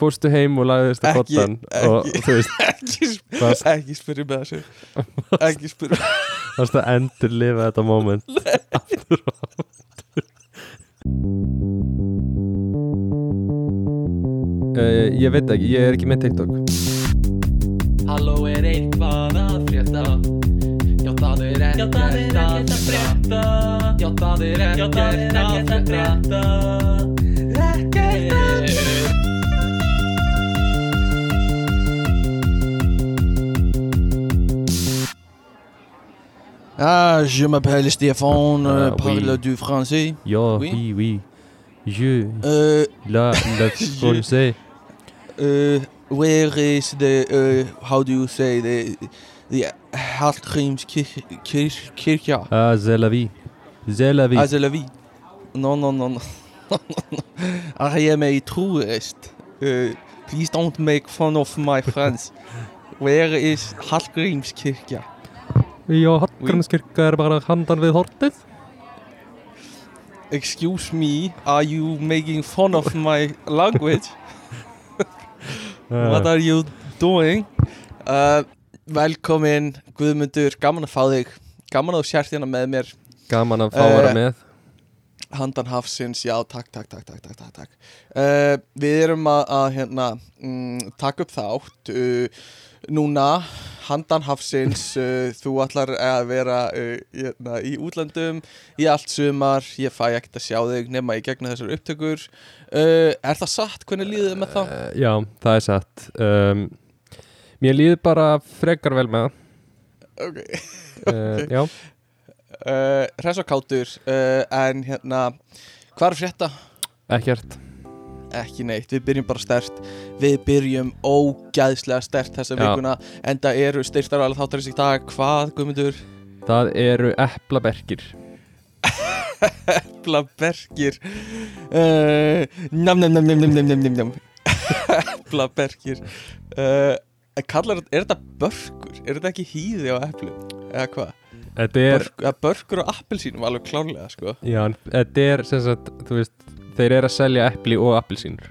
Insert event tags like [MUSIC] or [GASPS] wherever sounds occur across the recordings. fórstu heim og lagðist að Ekki- kottan og ekki. þú veist, ekki, sp- Varst- ekki spyrja með þessu ekki spyrja varst að endur lifa þetta [LAUGHS] moment aftur og aftur uh, Ég veit ekki, ég er ekki með TikTok Halló er eitthvað að frétta Já það er ekkert að frétta Já það er ekkert að frétta Ekkert að frétta ah, je m'appelle Stéphane Ah, euh, oui. parle du français Já, Oui. oui, oui Je, euh, la, [LAUGHS] la, français uh, where is the uh, how do you say the the Hallgríms kirkja Ah, Ah, c'est la vie C'est la vie Azelavi no no [LAUGHS] no no I am a tourist uh, please don't make fun of my [LAUGHS] friends where is Hallgríms kirkja Já, Hallgrímskirkja er bara handan við hortið Excuse me, are you making fun of my language? Eh, What are you doing? Uh, velkomin, Guðmundur, gaman að fá þig Gaman að þú sért hérna með mér Gaman að fá að vera Eh, með Handan hafsins, já, takk, takk, takk, takk, takk, takk, takk uh, Við erum að, að hérna, mm, taka upp þátt uh, Núna, handan hafsins, uh, þú ætlar að vera uh, hérna, í útlöndum Í allt sumar, ég fæ ekkert að sjá þig nema í gegna þessar upptökur uh, Er það satt? Hvernig líður þið með það? Eh, Já, það er satt um, Mér líður bara frekar vel með það Ok [LAUGHS] okay. Já, uh, Hress og kátur uh, En hérna Hvað er að frétta? ekkert Ekki neitt, við byrjum bara stert Við byrjum ógæðslega stert þessa Já. vikuna En það eru styrtar alveg þáttarins í dag Hvað, Guðmundur? Það eru eplaberkir Epla berkir uh, Nam, nam, nam, nam, nam, nam, nam, nam, nam. [LAUGHS] Epla berkir uh, en Kallar, er þetta börkur? Er þetta ekki hýði á eplu? Eða hvað? Þetta er, Börk, eða börkur á appelsínum alveg klánlega sko já, en þetta er sem sagt, þú veist Þeir eru að selja epli og appelsínur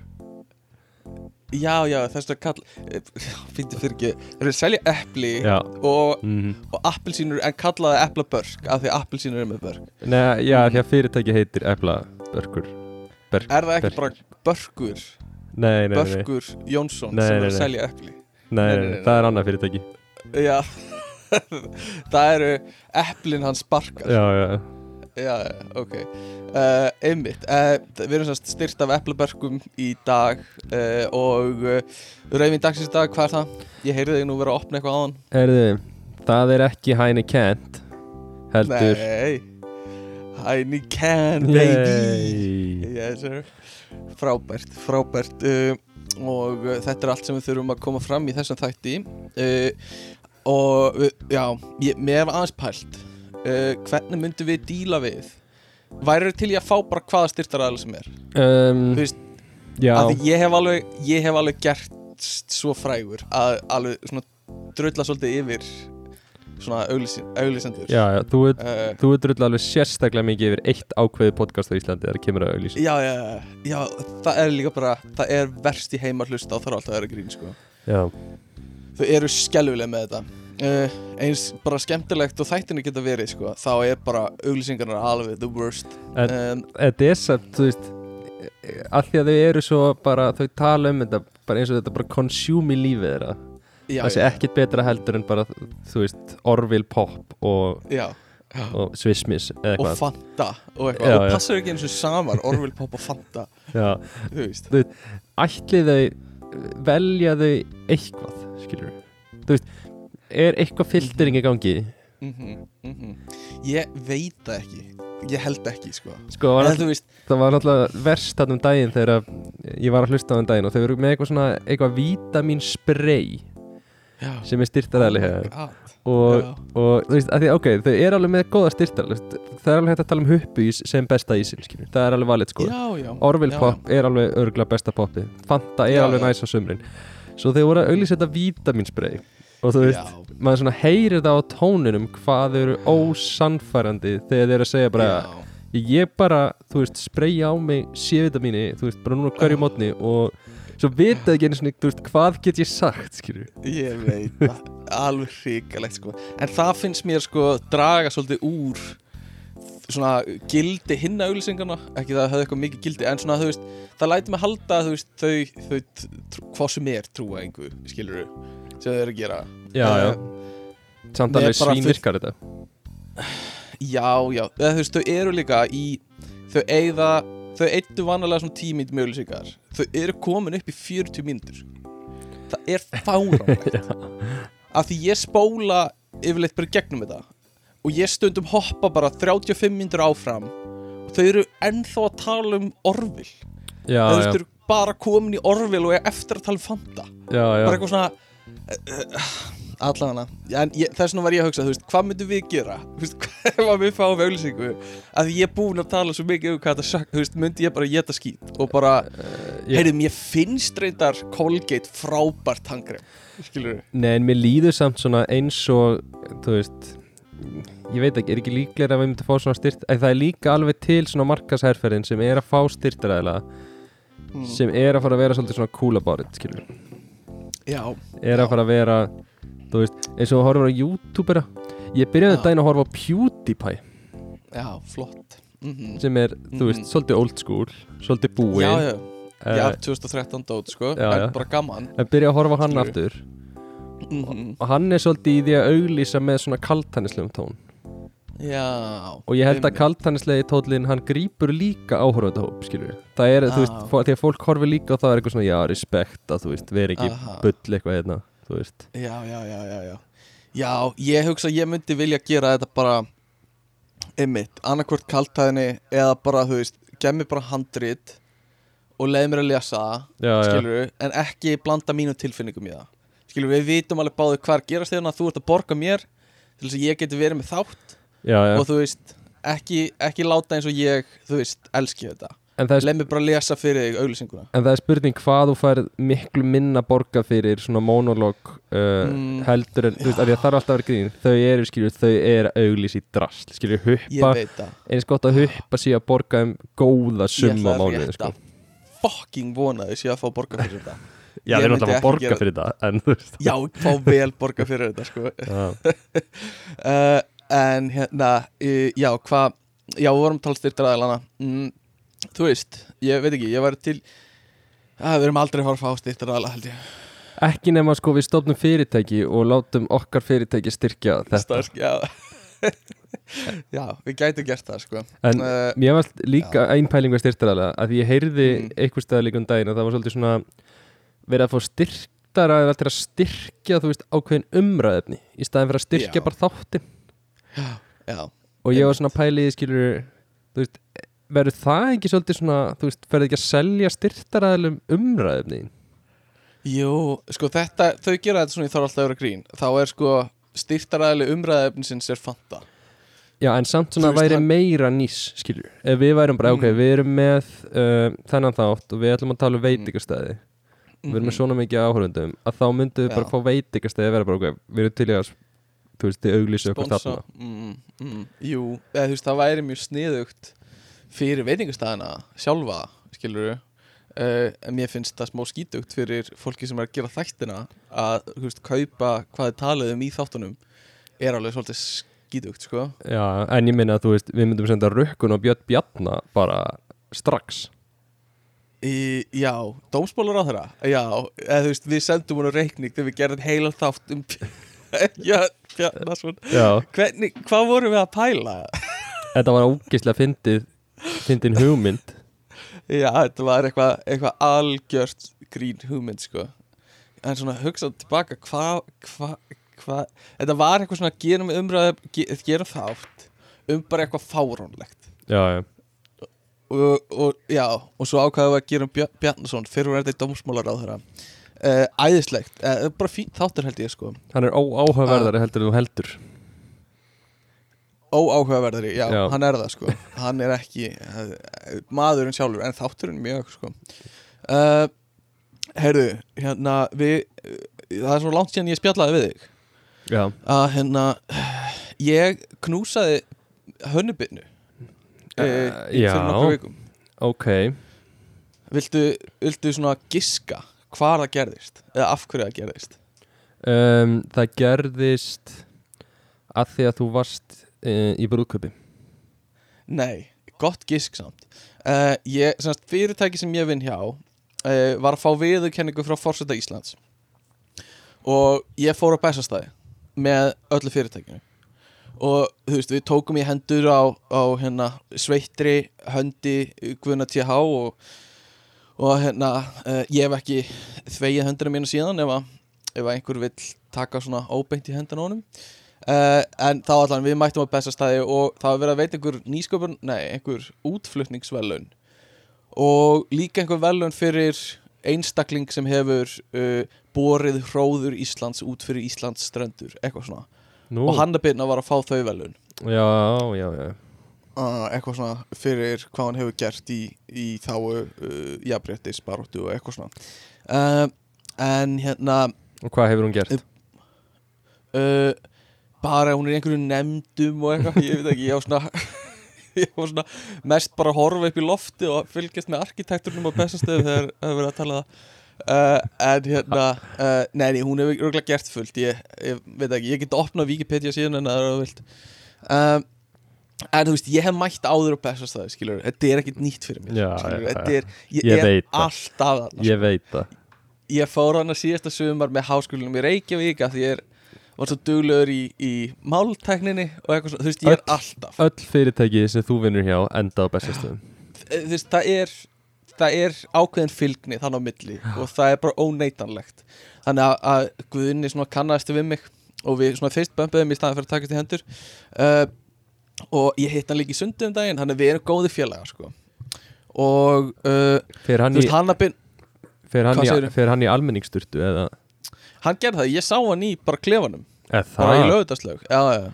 Já, já, þess að kalla [LAUGHS] Fyndi fyrir ekki, þeir eru að selja epli Já og, mm og appelsínur en kallaði epla börk af því að appelsínur er með börk Nei, já, því að fyrirtæki heitir eplaberkur Er það ekki Börk. bara börkur, Nei, nei, nei, nei, börkur Jónsson Nei, sem nei, er að nei. selja epli nei, nei, nei, nei, nei. það er annað fyrirtæki Já, [LAUGHS] það eru eplin hans barkar Já, já, já ok uh, Einmitt, uh, við erum sérst styrt af eplabörkum í dag uh, og uh, rauðin dagsins í dag, hvað er það? Ég heyrði þig nú vera að opna eitthvað á hann Erðu, það er ekki hæni kent Heldur Nei Hæni can baby Yay. yes, sir. Frábært, frábært uh, Og uh, þetta er allt sem við þurfum að koma fram í þessum þætti uh, Og uh, já, ég, mér var aðeins pælt uh, Hvernig myndum við díla við? Værið til ég að fá bara hvaða styrtaræðal sem er um, Þú veist, Já, Af því ég hef alveg, ég hef alveg gert s- svo frægur að alveg svona drölla svolítið yfir svona auglýsin- auglýsendur já, já, þú ert Uh, Þú ert rull alveg sérstaklega mikið yfir eitt ákveði podcast á Íslandi þegar kemur að auðlýsa já, já, já, já, það er líka bara það er verst í heima að hlusta og það er alltaf að vera grín sko. Já, þau eru skelvileg með þetta uh, eins bara skemmtilegt og þættinu geta verið sko, þá er bara auglýsingarnar alveg the worst En- um, þetta er samt, þú veist að því að þau eru svo bara þau tala um þetta, bara eins og þetta bara consume í lífið þeirra, já, það sé ekkit betra heldur en bara, þú veist, Orville Pop og, já, og Swissmiss eða og eitthvað Fanta og Já, eitthvað, og já. passar ekki eins og samar Orwell Pop og Fanta, Já, þú veist ætli þau velja þau eitthvað, skilur þú veist, er eitthvað filtering í gangi, mm -hmm, ég veit það ekki ég held ekki, sko sko, var en alltaf þú veist, það var náttúrulega verst þarna um daginn þegar að ég var að hlusta á um daginn og þau eru með eitthvað svona eitthvað vítamin spray já sem er styrtaræðli hér Ah, og, Já. og þú veist, að því ok, þau eru alveg með góða styrtaræðli það er alveg hægt að tala um huppuís sem besta ísinn, skilur, það er alveg valið sko já, já Orville já, Pop er alveg örgla besta poppi Fanta er Já, alveg já. næs á sumrin svo þau voru að auglýsa þetta vítamin spray og þú já, veist, maður svona heyrir það á tóninum hvað þau eru ósannfærandi þegar þau eru að segja bara já. ég bara, þú veist, spreyja á mig C-vitamíni, þú veist, bara núna á hverju mótni og svo vita ekki einu svona, þú veist, hvað get ég sagt, skilur Ég veit það, alveg hrikalegt sko En það finnst mér sko draga svolítið úr svona gildi hinna auglýsingarna ekki það hefði eitthvað mikið gildi en svona þú veist það læti mig halda að þú veist þau, þau t- trú, hvað sem er trúa einhver skilur sem þau eru að gera Já, já, samt alveg Mér Eh, bara svín virkar þetta já, já eða þú veist þau eru líka í þau eigða þau eittu vanalega svona tímynd með auglýsingar þau eru komin upp í 40 mínútur [LAUGHS] það er fáránlegt af því ég spóla yfirleitt bara í gegnum þetta og ég stundum hoppa bara 35 myndur áfram og þau eru ennþá að tala um orvil Já, þau já, eru bara komin í orvil og er eftir að tala um fanta já, já bara eitthvað svona eh, allan hana þess vegna var ég að hugsa, þú veist, hvað myndum við gera Þú veist, [LAUGHS] hvað var við fáum auðlýsingu að því ég er búin að tala svo mikið um hvað þetta sagt, þú veist, myndi ég bara geta skýt og bara, Eh, ég- heyrðu, mér finnst reyndar Colgate frábært hangrem skilur við, Nei, en mér líður samt svona eins og, þú veist, ég veit ekki, er ekki líklega að við myndum að fá svona styrt, en það er líka alveg til svona markasherferðin sem er að fá styrtiræðila, Mm. sem er að fara að vera svolítið svona cool about it, skilur já, er að fara að vera þú veist, eins og horfur á youtubera ég byrjaði Já. daginn að horfa á PewDiePie já, flott mm sem er, þú veist, Mhm. svolítið old school svolítið búinn já, já, eh, já, 2013 dót, sko, já, já. en bara gaman en byrjaði að horfa á hann Skilur. aftur mm og hann er svolítið í því að auglýsa með svona kaltannislegum tón já, og ég held að einmitt. kaltannislegi tónlinn hann grýpur líka áhörðahóp, skilur það er, þú veist, Já. fó- því að fólk horfi líka og það er eitthvað svona, já, respekt að þú veist, veri ekki Aha. bull eitthvað hérna, þú veist Já, já, já, já, já Já, ég hugsa að ég myndi vilja gera þetta bara einmitt, annarkvort kaltæðinni eða bara, þú veist, gef mér bara handrit og leið mér að lesa það Já, já. skilur við, en ekki blanda mínum tilfinningum í það skilur við, við vitum alveg báðu hvar gerast þeirna þú ert að borga mér til þess að ég geti verið með þátt já, já. og þú veist, ekki, ekki láta eins og ég þú veist, elski þetta En, það er, leið mér bara að lesa fyrir þig auglýsinguna en það er spurning hvað þú færð miklu minna borga fyrir svona monolog uh, Mm. heldur en, þú veist, af því að það er alltaf að vera grín þau eru, skilur, þau eru auglýs í drast skilur, ég huppa, veit það eins gott að huppa sé að borga um góða summa á mánuði, sko. sko fucking vonaði sé að fá borga fyrir þetta Já, Ég þeir eru myndi alltaf að ekki borga gera- fyrir það en þú veist já, fá vel borga fyrir þetta sko. já. uh, en hérna uh, já, hvað já, við vorum talstyrtir aðeilana mm, þú veist, ég veit ekki, ég var til að við erum aldrei að fara að fá styrtir aðeila held ég Ekki nema sko við stofnum fyrirtæki og látum okkar fyrirtæki styrkja þetta Stark, já. já, [LAUGHS] við gætum gert það sko. En Eh, mér varst líka ein pælingu að styrtaraðlega að ég heyrði Mm. einhvers staðar líka um daginn að það var svolítið svona verið að fá styrtaraðlega til að styrkja þú veist ákveðin umræðefni í staðin fyrir að styrkja Já. bara þáttin já, og ég var svona pæliði skilur þú veist verður það ekki svolítið svona þú veist ferði ekki að selja styrtaraðlega umræðefni jú, sko þetta þau gera þetta svona, ég þarf alltaf að vera grín þá er sko styrtar aðeili umræðefnisins er fanta Já, en samt svona Þú veist, væri það- Mm. meira nýs, skilur Ef við værum bara, ok, við erum með uh, þennan þátt og við ætlum að tala um Mm. veitingastæði Við Mhm. erum með svona mikið áhörundum að þá myndum við bara Mm-hmm. fá Já. veitingastæði að vera bara, ok, við erum til í að þú veist, þið auglýsa okkur sponsa þarna mm, mm, Jú, eða þú veist, það væri mjög sniðugt fyrir veitingastæðina sjálfa, skilur við en mér finnst það smá skítugt fyrir fólki sem er að gera þættina að, þú veist, kaupa hvað þið talið um í þáttunum er alveg svolítið skítugt, sko Já, en ég minna að þú veist, við myndum senda rökkun og Björn Bjarna bara strax í, Já, dómsbólar á þeirra Já, eða þú veist, við sendum hún á reikning þegar við gerðum heilan þátt um [LAUGHS] Já, já, það svona Já, Hvernig, hvað vorum við að pæla? þetta var ógeðslega fyndið fyndin [LAUGHS] hugmynd Já, þetta var eitthvað eitthva algjört grín hugmynd sko En svona hugsað tilbaka hvað, hvað, hvað Þetta var eitthvað svona gerum umræða, ge, gerum þátt Um bara eitthvað fáránlegt Já, já, og, og já, og svo ákvaðum við að gera um Björn Bjarnason Fyrir verðið dómsmálar á þeirra uh, Æðislegt, uh, bara fínt þáttur held ég sko hann er óáhugaverðari heldur en þú heldur Óáhugaverðari, já, Já. hann er það sko Hann er ekki eh, maðurinn sjálfur En þátturinn mjög sko uh, Herðu, hérna við, eh, Það er svo langt síðan ég spjallaði við þig Já, Að hérna Ég knúsaði hönnubinnu uh, Eh, já. Fyrir nokkru vikum ok Viltu, viltu svona giska hvar það gerðist eða af hverju það gerðist um, Það gerðist að því að þú varst uh, í brúðköpi Nei, gott gisk samt uh, ég, semast, Fyrirtæki sem ég vinn hjá uh, var að fá viðurkenningu frá Forseta Íslands og ég fór á bæsastæði með öllu fyrirtækinu og þú veist, við tókum í hendur á, á hérna, sveittri höndi Guðna TH og, og hérna, uh, ég hef ekki þvegið höndina mínu síðan ef, að, ef að einhver vill taka svona óbeint í höndina á honum uh, en þá allan, við mættum á bestastæði og það var verið að veita einhver nýsköpun nei, einhver útflutningsvelun og líka einhver velun fyrir einstakling sem hefur uh, borið hróður Íslands út fyrir Íslands ströndur, eitthvað svona Nú, og hannabirna var að fá þau velun já, já, já uh, eitthvað svona fyrir hvað hann hefur gert í, í þáu uh, jafnréttis baróttu og eitthvað svona uh, en hérna Og hvað hefur hún gert? uh, bara hún er í einhverju nefndum og eitthvað, ég veit ekki, ég á svona [LAUGHS] ég var svona mest bara að horfa upp í lofti og fylgjast með arkitekturnum á bestastöðu þegar það er verið að tala það uh, en hérna uh, nei, nei, hún hefur örgulega gert fullt ég, ég veit ekki, ég get opnað Wikipedia síðan en það er að þú vilt um, en þú veist, ég hef mætt áður á bestastöðu, skilur, þetta er ekkit nýtt fyrir mér Já, skilur, já, þetta er, ég, Ég er veit það. alltaf þarna, Ég veit það ég fór hana síðasta sumar með háskólinum í Reykjavík af því ég er, var svo duglegur í, í máltækninni og eitthvað svona, þú veist, ég er Öll- alltaf Öll fyrirtæki sem þú vinnur hjá enda á bestastöðum þú veist, það er það er ákveðin fylgni þann á milli og það er bara óneitanlegt þannig að, að Guðinni svona kannast við mig og við svona fyrst bömbuðum í staðan fyrir að takast í hendur uh, og ég hitt hann líka í sundi um daginn þannig að við erum góði félagar sko og uh, Fer hann í, þú veist, hann að byrja fer hann hvað í, segirðu? fer hann í almenningsturtu eða hann gerði það, ég sá hann í bara klefanum Eða bara í það? lögutaslaug, já, já, já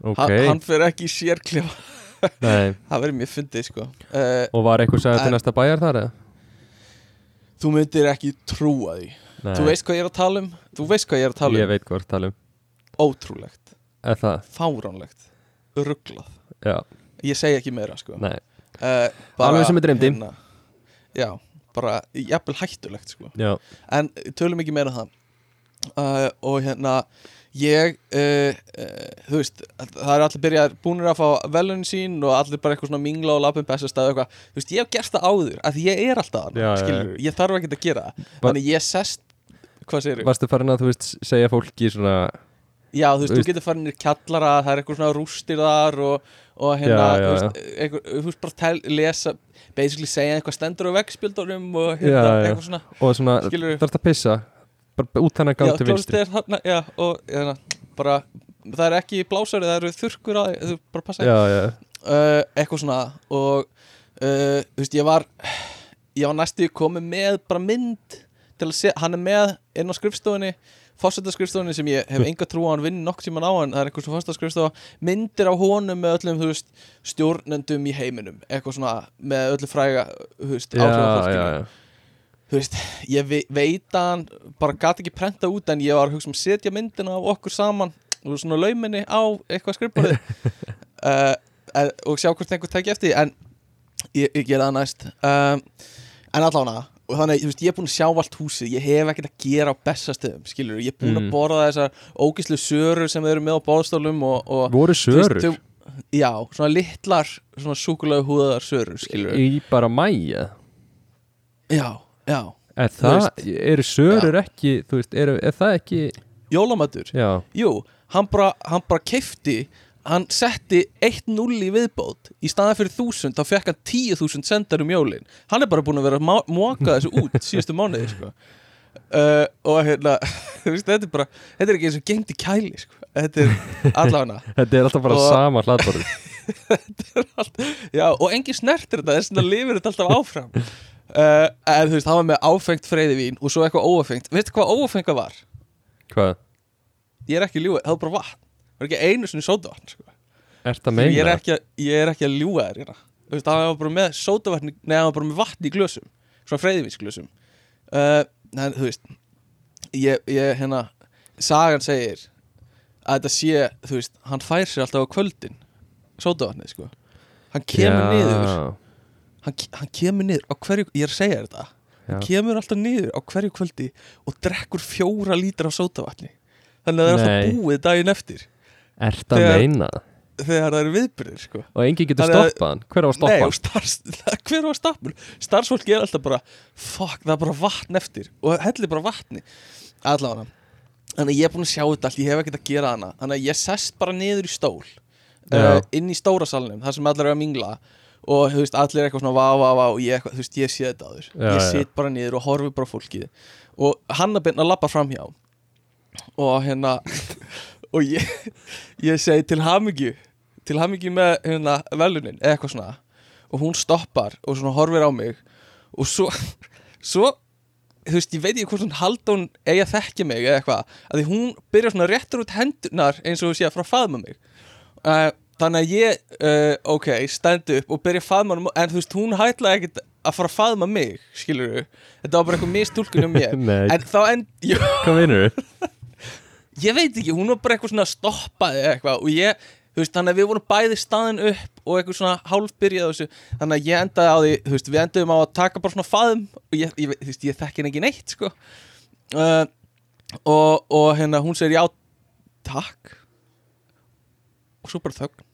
Ok, okay. hann fyrir ekki í sérklefa nei það verður mjög fyndið sko uh, Og var eitthvað sagði til næsta bæjar þar eða? þú myndir ekki trúa því Nei, þú veist hvað ég er að tala um þú veist hvað ég er að tala um Ég veit hvað þú ert að tala um ótrúlegt, Eða það? fáránlegt rugglað, Já, ég segi ekki meira sko uh, nei bara, Alveg sem ég dreymdi. hérna, já, bara jafnvel hættulegt sko Já, en tölum ekki meira um það uh, og hérna ég, uh, uh, þú veist það eru allir byrjar búnir að fá velunin sín og allir bara eitthvað svona mingla og lappin bestast eða eitthvað, þú veist, ég hef gert það áður að ég er Já, já, alltaf hann, já. skilur, ég þarf ekki að gera það Var- þannig ég sest, hvað segir varstu farin að þú veist segja fólki svona Já, þú Þú veist, þú veist- getur farin í kjallara, það er eitthvað svona rústir þar og, og Já, hérna, já, þú veist, eitthvað, þú veist bara tel, lesa, basically segja eitthvað stendur á vegspjöldunum og hérna, Já, já. eitthvað svona og svona Skilurðu? þarfst að pissa bara út þannig að Já, gátt til vinstri klósettið er þarna, já, og hérna, bara, það er ekki blásari, það eru þurrkur að, þú bara passa já, já, uh, eitthvað svona og uh, þú veist ég var ég var næstu komið með bara mynd til að sé, hann er með inn á skrifstofunni fórsetarskrifstofunni sem ég Hm. hef enga trú á hann vinni nokk tíman á hann, það er eitthvað svona fórsetarskrifstofa myndir á honum með öllum þú veist, stjórnendum í heiminum eitthvað svona með öllu fræga þú veist, já, áhrif á já, fólkinu já. þú veist, ég ve veit að hann bara gat ekki prenta út en ég var að hugsa um að setja myndina af okkur saman og svona lauminni á eitthvað skrifbúrið [LAUGHS] uh, en- og sjá hvort einhver tekja eftir því, en ég, ég gera það næst um, en allána og þannig, þú veist, ég er búin að sjá allt húsið ég hef ekkert að gera á bestastöðum, skilur ég er búin Mm. að borða þessar ógislu sörur sem við erum með á borðstólum og, og voru þú veist, sörur þau- já, svona litlar, svona súkulegu húðaðar sörur, skilur í bara mæja já, já, er Þú það, veist. eru sörur ekki þú veist, eru, er það ekki jólamatur já, Jú, hann bara, hann bara keifti hann setti 1-0 í viðbót í staðan fyrir 1000, þá fekk hann 10.000 sendar um jólin hann er bara búin að vera að móka þessu út síðustu mánuði sko. uh, og hérna [LAUGHS] þú veist, þetta er bara, þetta er ekki eins og gengt í kæli sko. þetta er allavega þetta er alltaf bara Og- sama hlaðborð Já, og engin snertir þetta, þess vegna lifir þetta alltaf áfram uh, en þú veist, hann var með áfengt freyðivín og svo eitthvað óafengt veistu hvað óafenga var? hvað, Ég er ekki ljúið, það var bara vatn það var ekki einu sinni sótavatn sko. ert það Ég er meina ekki, að- ég er ekki að ljúa þér hérna. Þú veist, hann var bara með sótavatni Nei, hann var bara með vatni í glösum Svona freyðivísglösum uh, Nei, þú veist Ég, ég, hérna Sagan segir að þetta sé, þú veist Hann fær sér alltaf á kvöldin Sótavatni, sko Hann kemur niður hann, ke- hann kemur niður á hverju Ég er að segja þér þetta Já. kemur alltaf niður á hverju kvöldi og drekkur fjóra lítra af sótavatni þannig að það er Nei. alltaf búið daginn eftir Ert að Þegar- meina það? þegar það eru viðbyrðir sko. Og enginn getur Þannig að- stoppað hann Hver á að stoppa Nei, og hann? starfs, [LAUGHS] hver var stappur? Starfsfólki er alltaf bara fuck, það er bara vatn eftir og hellir bara vatni allavega þannig að ég er búin að sjá þetta allt, ég hef ekkert að gera hana þannig að ég sest bara niður í stól uh, Já. inn í stóra salnum, þar sem allir eru að mingla og þú veist, allir er eitthvað svona vá, vá, vá og ég, eitthvað, þú veist, ég sé þetta aður Já, ég já. sit bara niður og horfi bara á fólkið og hann er beinn að labba framhjá og hérna [LAUGHS] og ég, ég segi til hamingju til hamingju með hérna, velunin eða eitthvað svona og hún stoppar og svona horfir á mig og svo, svo þú veist, ég veit ekki hvort hún haldi hún eigi að þekkja mig eða eitthvað að því hún byrjar svona réttur út hendunar eins og þú sé að fara að faðma mig uh, þannig að ég, uh, ok, stend upp og byrja að faðma hann en þú veist, hún hætlaði ekkit að fara að faðma mig skilur þetta var bara eitthvað mistúlkun um mér Nei. en þá end, [LAUGHS] jú, Hvað vinur þau? ég veit ekki, hún var bara eitthvað svona stoppaði eða eitthvað og ég, þú veist, þannig að við vorum bæði staðin upp og eitthvað svona hálfbyrjað og þessu, þannig að ég endaði á því, þú veist, við endaðum á að taka bara svona faðum og ég, ég, veit- þú veist, ég þekki henni ekki neitt, sko uh, og, og hérna, hún segir já, takk og svo bara þögn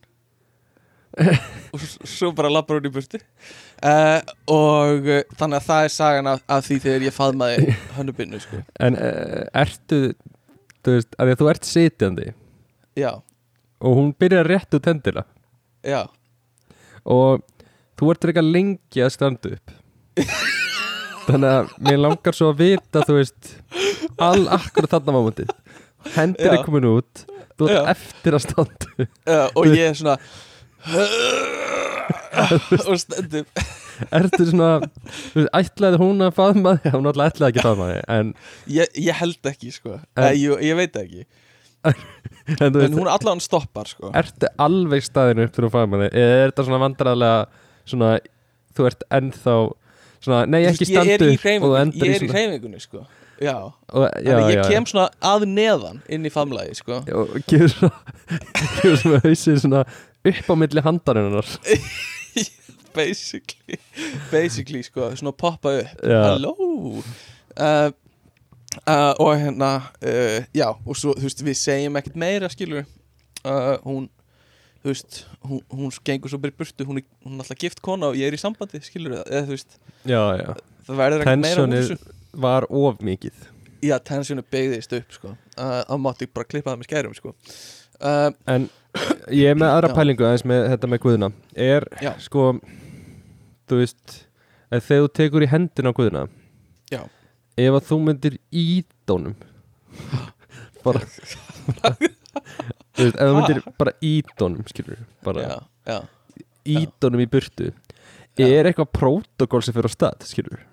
og s- svo bara labbar hún í burtu uh, og uh, þannig að það er sagan af, af því þegar ég faðmaði hönnubinnu, sko, En uh, ertu Þú veist, af því að þú ert sitjandi já, Og hún byrjar rétt út hendina já Og þú ert eitthvað lengi að standa [LAUGHS] upp Þannig að mér langar svo að vita Þú veist All akkur þarna mámundi Hendir Já. er komin út Þú ert Já. eftir að standa upp Já, og ég er svona [LAUGHS] og stendur Ertu svona, þú veist, ætlaði hún að faðma þig? Hún alltaf ætlaði ekki að faðma þig En, ég, ég held ekki sko En- en, ég, ég veit það ekki en þú en veist, hún allan stoppar sko ertu alveg staðinu upp til að faðma þig? Eða er þetta svona vandræðlega Svona, þú ert ennþá Svona, nei, Þú ekki veist, ég er standu í upp Og þú hreyfingunni, endar í ég er í svona hreyfingunni sko já, og, já, þannig að já, ég já. kem svona að neðan inn í famlagi sko Og gefur svona [LAUGHS] Gefur svona hausinn svona upp á milli handarinnar basically, basically sko svona poppa upp, Já. halló uh, uh, og hérna uh, já, og svo þú veist við segjum ekkert meira skilur uh, hún þú veist, hún, hún gengur svo bara í burtu hún er, hún er alltaf gift kona og ég er í sambandi skilur það, eða þú veist, Já, já það verður ekkert meira úr Tensjónið þessu. var of mikið já, tensjónu byggðist upp sko uh, að mátti bara klippa það með skærum sko uh, En ég er með aðra Já. pælingu aðeins með þetta með Guðna Er, Já. sko, þú veist að Þegar þú tekur í hendina á Guðna Já. Ef að þú myndir [LAUGHS] ídónum Bara Þú veist, ef þú myndir bara ídónum, skilur Bara já, já ídónum í burtu Já. Er eitthvað prótokól sem fyrir á stað, skilur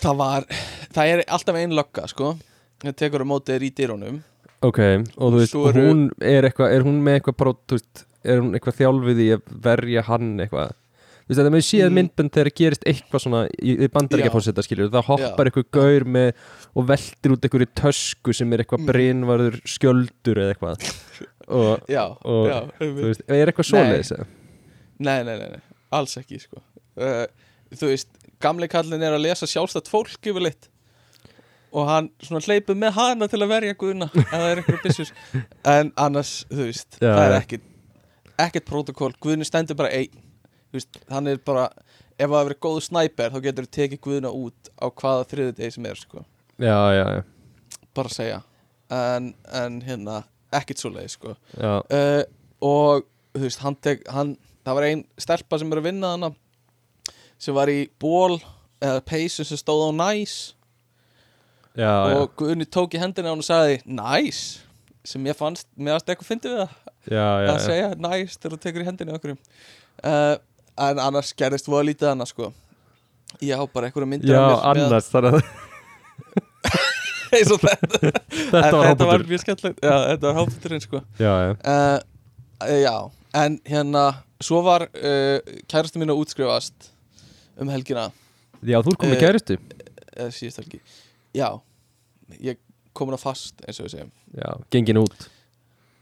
það var, það er alltaf ein lokka sko, það tekur á móti þér í dyrunum Ok, og þú veist, Svo eru- hún er eitthvað Er hún með eitthvað prót, þú veist Er hún eitthvað þjálfið í að verja hann eitthvað Þú veist, þetta með síðan Mm. mm. myndbönd þegar gerist eitthvað svona í, í bandaríkja Já. fórseta skilur, það hoppar eitthvað gaur með og veltir út eitthvað í tösku sem er eitthvað Mm. mm. brinvarður skjöldur eða eitthvað [LAUGHS] og já, Og, já, þú veist, er eitthvað svoleiðis eða? Nei, nei, nei, nei, alls ekki sko. uh, Þú veist, gamli kallin er að lesa sjálfstætt fólk yfirleitt og hann svona hleypur með hana til að verja guðuna ef það er einhverjum byssur en annars, þú veist, Já, það er já. ekkit ekkit protokól, guðinu stendur bara ein þú veist, hann er bara ef það hefur verið góðu snæper, þá getur þú tekið guðuna út á hvaða þriðu degi sem er sko. já, já, já, bara að segja en, en hérna, ekkit svo leið sko já, uh, og þú veist, hann tek, hann, það var ein stelpa sem er að vinna hana sem var í ból eða peysu sem stóð á næs já, já, og Guðni tók í hendina á hann og sagði næs sem ég fannst, mér fannst eitthvað fyndið við það já, já, að já. segja næs þegar þú tekur í hendina á einhverjum uh, en annars gerðist voða lítið annars sko ég á bara einhverja myndir já, af mér sem ég- annars þannig að [LAUGHS] [LAUGHS] eins og þetta, þetta var En þetta var hópatur mjög skemmtilegt já, þetta var háputurinn sko já, já, uh, Já, en hérna Svo var uh, kærastu mín að útskrifast Um helgina já, þú er komið Eh, kæristu Eða síðust helgi Já, ég komin að fast eins og við segjum já, gengin út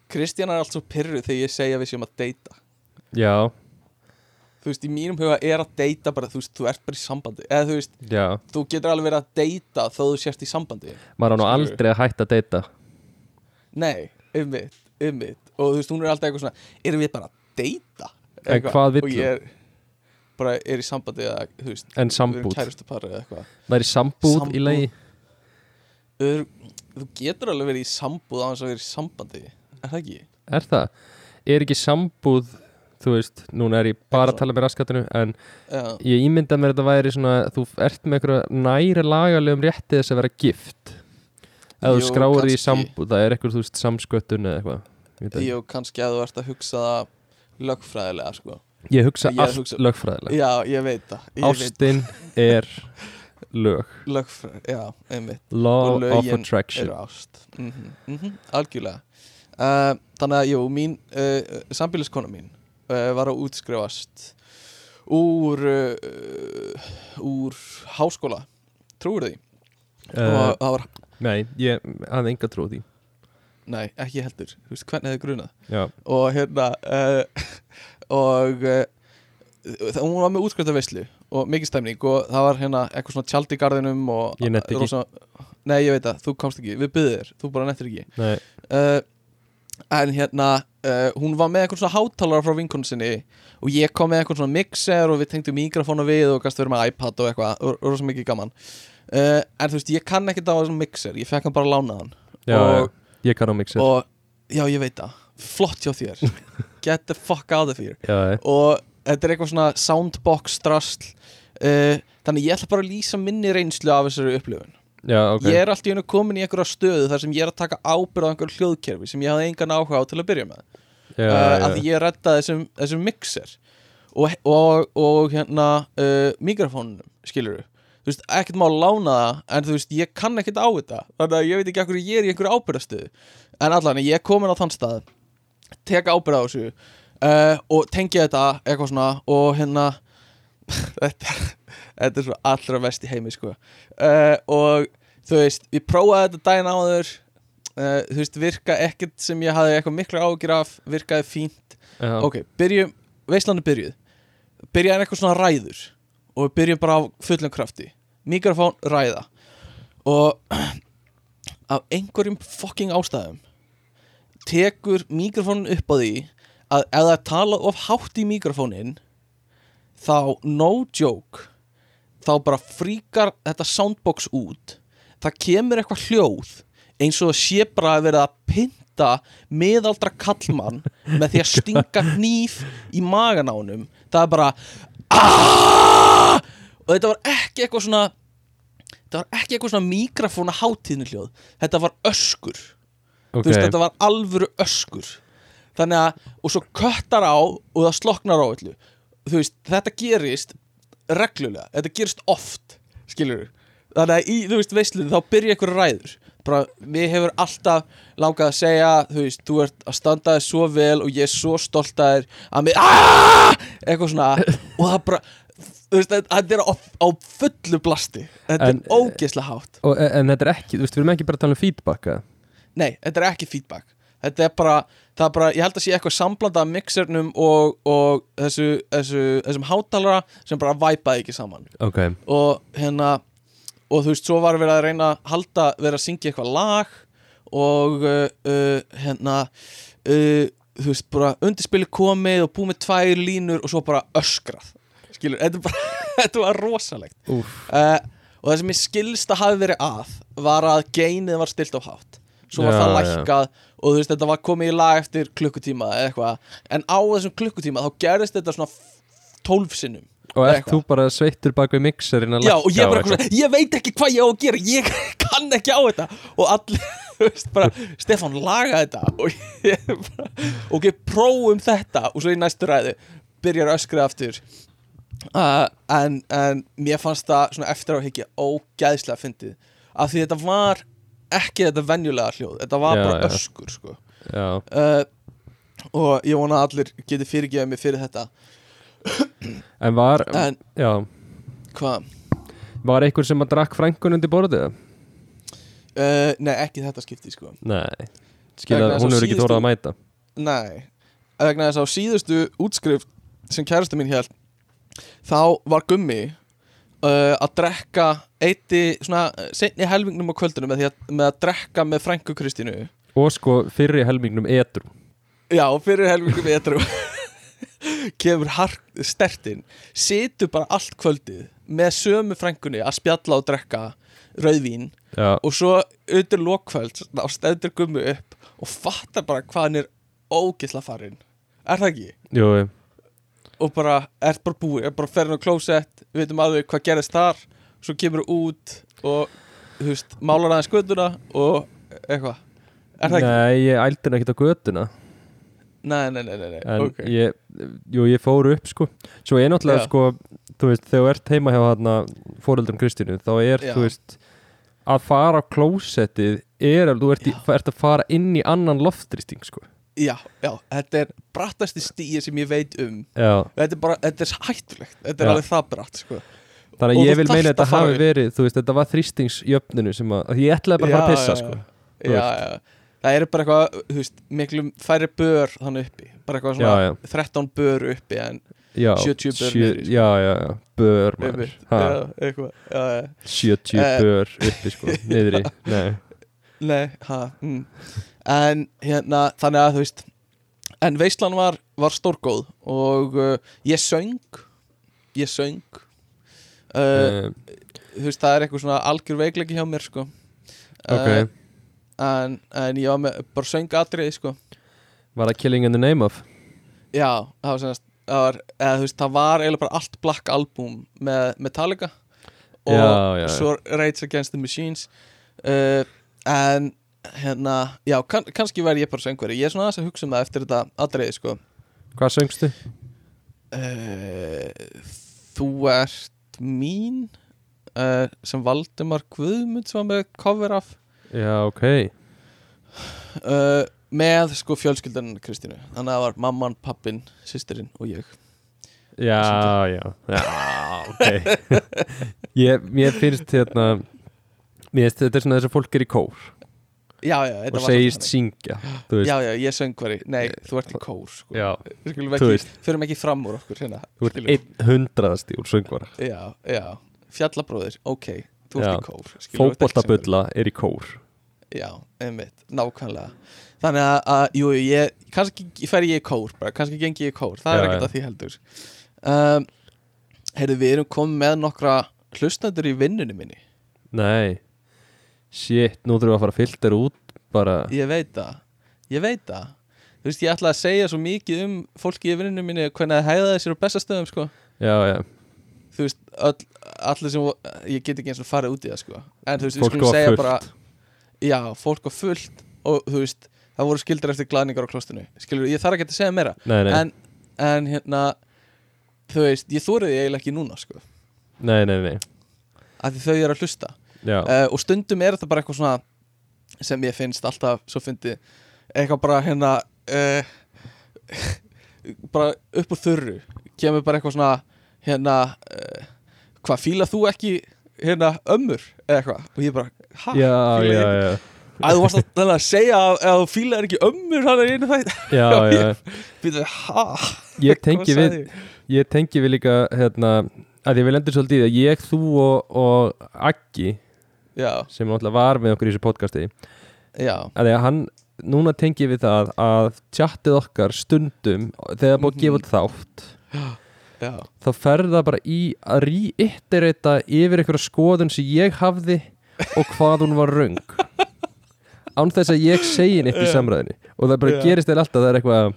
Kristjana er allt svo pyrru þegar ég segja við séum að deyta já, Þú þú veist, í mínum huga er að deyta bara, þú veist, þú ert bara í sambandi eða þú veist, já, þú getur alveg verið að deyta þó þú sért í sambandi maður á nú Skilurðu? aldrei að hætta að deyta nei, um ummitt, ummitt og þú veist, hún er alltaf eitthvað svona, erum við bara að deyta? En hvað vill og ég er bara er í sambandi eða, þú veist, en við erum sambúð, kærustu parið eða eitthvað það er sambúð, í Sambúð. lagi Ör, þú getur alveg verið í sambúð á hans að vera í sambandi er það ekki? er það, er ekki sambúð þú veist, núna er ég bara að tala með raskatinu en Já, ég ímynda mér að þetta væri svona þú ert með einhverja næri lagalegum rétti þess að vera gift eða þú Jú, skráir því í kannski. sambúð það er eitthvað, þú veist, samsköttun eða eitthvað Ég veit ekki. jú, kannski að þú ert að hugsa það lögfræðilega, sko ég hugsa ég allt hugsa- lögfræðilega Já, ég veit það, ég veit ástin er lög lögfræði, já, einmitt law Og of lögin attraction eru ást mm -hmm, algjörlega uh, þannig að jú, mín uh, sambíliskona mín uh, var að útskrifast úr uh, úr háskóla trúir því uh, og það var, nei, ég hafði enga trú á því nei, ekki heldur Þú veist, hvernig hefði grunað já, og hérna uh, [LAUGHS] og uh, það, hún var með útskriftaveislu og mikið stemning og það var hérna eitthvað svona tjald í garðinum og Ég nennti ekki. nei ég veit það, þú komst ekki, við byggðir þér, þú bara nettir ekki nei, uh, en hérna uh, hún var með eitthvað svona hátalara frá vinkonu sinni og ég kom með eitthvað svona mixer og við tengdum mikrofónu við og kannski verið með iPad og eitthvað, og rosa mikið gaman uh, en þú veist, ég kann ekkert á þessum mixer ég fekk hann bara að lána hann já, Og- já, ég kann á mixer og já, ég veit það, flott hjá þér get the fuck out of here já, já, og þetta er eitthvað svona soundbox drasl uh, þannig ég ætla bara að lýsa minni reynslu af þessari upplifun já, ok ég er allt í einu komin í einhverja stöðu þar sem ég er að taka ábyrð á einhverju hljóðkerfi sem ég hafði engan áhuga á til að byrja með já, uh, já, að því ég reddaði þessum, þessum mixer og, og, og hérna uh, mikrofónunum, skilur þú veist, ekkert má lána það en þú veist, ég kann ekkert á þetta þannig að ég veit ekki akkur ég er í einhverju ábyrðastöðu en allan, ég er komin á þann stað tek ábyrða á þessu uh, og tengja þetta eitthvað svona og hérna [LAUGHS] þetta, þetta er svo allra vest í heimi sko. uh, og þú veist, ég prófaði þetta daginn áður uh, þú veist, virka ekkert sem ég hafði eitthvað mikla ágjur af, virkaði fínt já, ok, byrjum, veislanu byrjuð byrjaði eitthvað svona ræður og við byrjum bara á fullum krafti mikrofón ræða og [CLEARS THROAT] af einhverjum fucking ástæðum tekur mikrofónin upp á því að ef það er talað of hátt í mikrofónin þá no joke þá bara fríkar þetta soundbox út það kemur eitthvað hljóð eins og það sé bara að vera að pynta meðaldra kallmann með því að stinga hníf í magan á honum það er bara "Ah!" og þetta var ekki eitthvað svona þetta var ekki eitthvað svona mikrofóna hátíðni hljóð þetta var öskur ok þú veist, þetta var alvöru öskur þannig að, og svo köttar á og það sloknar á öllu þú veist, þetta gerist reglulega, þetta gerist oft skilur þannig að í, þú veist, veislunum þá byrja ykkur ræður bara, mér hefur alltaf langað að segja þú veist, þú ert að standa þér svo vel og ég er svo stolt að þér að mér, aaaah, eitthvað svona og það bara, þú veist, þetta- þetta er á, á fullu blasti þetta En- er ógeðslega hátt Og, e, en- en þetta er ekki, þú veist, við erum ekki bara að tala um feedbacka Nei, þetta er ekki feedback Þetta er bara, það er bara, ég held að sé eitthvað samblanda af mixernum og, og þessu, þessu, þessum hátalara sem bara væpaði ekki saman ok, og hérna, og þú veist, svo var við að reyna að halda, við að syngja eitthvað lag og uh, uh, hérna uh, þú veist, bara undirspili komið og búið með tvær línur og svo bara öskrað skilur, þetta, er bara, [LAUGHS] þetta var rosalegt úf, uh, og það sem ég skilst að hafi verið að var að geinið var stilt á hátt svo var Já, það já. lækkað og þú veist þetta var komið í lag eftir klukkutíma eða eitthvað en á þessum klukkutíma þá gerðist þetta svona f- 12 sinnum og eða ert þú bara sveittur bak við mixerinn að lækka Já, og ég bara, eitthvað? eitthvað, ég veit ekki hvað ég á að gera ég [LAUGHS] kann ekki á þetta og allir, [LAUGHS] þú veist, bara Stefán, laga þetta og ég bara, ok, prófum þetta og svo í næstu ræðu byrjar öskrið aftur uh, en, en mér fannst það svona eftir á higgja ógæðslega fyndið af því þetta var ekki þetta venjulega hljóð, þetta var Já, bara já. öskur sko já, uh, og ég vona að allir geti fyrirgefið mig fyrir þetta en var, en já hvað, var einhver sem að drakk frængun undir borðið uh, nei ekki þetta skipti sko nei, Vegna skilja, þess hún að hefur ekki síðustu- þórað að mæta Nei, vegna þess að á síðustu útskrift sem kærastu mín hér þá var gummi uh, að drekka eitti svona uh, seinni helmingnum á kvöldinu með, því að, með að drekka með frænku Kristínu Og sko fyrri helmingnum edru já, fyrir helmingnum etru [LAUGHS] kemur hark, stertin situr bara allt kvöldið með sömu frænkunni að spjalla og drekka rauðvín Já, og svo undir lokkvöld þá stendur gummi upp og fattar bara hvað hann er ógisla farinn er það ekki? jú, jú. og bara ert bara búið, er bara ferinn á klósett við veitum aðeins hvað gerist þar svo kemur þú út og þú veist, málar aðeins gönduna og eitthvað, er það ekki? Nei, ég ældi henni ekkert á götuna Nei, nei, nei, nei, nei. En ok ég, jú, ég fór upp sko Svo ég náttúrulega Já. sko Þú veist, þegar þú ert heima hjá hana Fóreldrum Kristínu, þá er, Já. þú veist Að fara á klósettið Er að þú ert, í, Já. ert að fara inn í annan loftrýsting sko Já, já, þetta er brattasti stíi sem ég veit um Já, þetta er bara, þetta er hættulegt þetta er Já. alveg það bratt, sko þannig Og að þú ég vil þarft meina að að þetta fara hafi upp. verið Þú veist, þetta var þrýstingsjöfninu sem að af því Ég ætlaði bara að fara að pissa sko Þú já, já, það eru bara eitthvað, þú veist, miklum færri bör þannig uppi, bara eitthvað svona Já, 13 bör uppi en já, 70 bör sjö- niður í, sko. Já, já, já, bör maður uppi, Ha, já, eitthvað, já, já 70 Eh. bör uppi sko, niðri [LAUGHS] Nei, Nei, ha, mm. En hérna, þannig að þú veist En veislan var, var stórgóð Og uh, ég söng Ég söng uh, uh, Þú veist, það er eitthvað svona algjör veikleiki hjá mér sko. ok uh, en, en ég var með Bara söng atriði, sko Var það Killing in the Name of? Já, það var semast Það var, eða, þú veist, það var eiginlega bara allt Black Album Með Metallica Og Já, já, já. svo Rage Against the Machines uh, En hérna, já, kann, kannski væri ég bara söngveri Ég er svona aðeins að hugsa um það eftir þetta atriði, sko Hvað söngstu? uh, Þú ert mín uh, sem Valdimar Guðmund sem var með cover af Já, ok uh, með sko fjölskyldan Kristínu þannig að það var mamman, pappin, systirinn og ég Já, já, já, ok [LAUGHS] ég, Mér finnst hérna Mér finnst þetta er svona þess að fólk er í kór Já, já, þetta og var segist svolítið syngja Þú þannig. veist, Já, já, ég er söngveri, nei, þú ert í kór sko. já, Við skulum Þú ekki, veist. förum ekki fram úr okkur hérna, þú ert skilur. einn hundraðasti úr söngvara Já, já, fjallabróðir, ok Þú ert Já. í kór skilur, þú ert ekki söngvari. Fótboltabulla er í kór Já, einmitt, nákvæmlega Þannig að, að jú, jú, ég, kannski fer ég í kór bara, kannski gengi ég í kór, það Já, er ekkert já. að því heldur um, Heyrðu, við erum komið með nokkra hlustendur í vinnunni minni Nei Shit, nú þurfum við að fara að filter út bara Ég veit það, ég veit það Þú veist, ég ætla að segja svo mikið um fólki í vinnunni minni hvernig það hegðaði sér á bestastöðum, sko Já, já, Þú veist, öll, allir sem, ég get ekki eins og farið út í það, sko En þú veist, við fólk skulum var segja fullt bara Já, fólk var fullt og þú veist, það voru skildir eftir glæningar á klostinu Skilur, ég þarf ekki að segja meira Nei, nei, en, en hérna þú veist, ég þóriði eiginlega ekki núna sko, nei, nei, nei af því þau eru að hlusta Já, uh, og stundum er þetta bara eitthvað svona sem ég finnst alltaf svo fyndi eitthvað bara hérna uh, [LAUGHS] bara upp úr þurru kemur bara eitthvað svona hérna uh, hvað fíla þú ekki hérna ömmur eða eitthvað og ég bara, hæ, já, fíla já, ég já að þú varst að, þannig að segja að, að þú fílaðir ekki ömmur hann er einu þætt [LAUGHS] Já, já, Býtum, ha, ég hvað tengi við sagði ég? Ég tengi við líka hérna, að ég vil endur svolítið í því að ég, þú og, og Aggi já, sem náttúrulega var með okkur í þessu podcasti já, að því að hann, núna tengi ég við það að tjattið okkar stundum þegar búið að gefa Mhm. út þátt já þá ferði það bara í að reiterita yfir einhverja skoðun sem ég hafði og hvað hún var [LAUGHS] röng án þess að ég segi neitt í samræðinni og það bara Já. gerist þeir alltaf það er eitthvað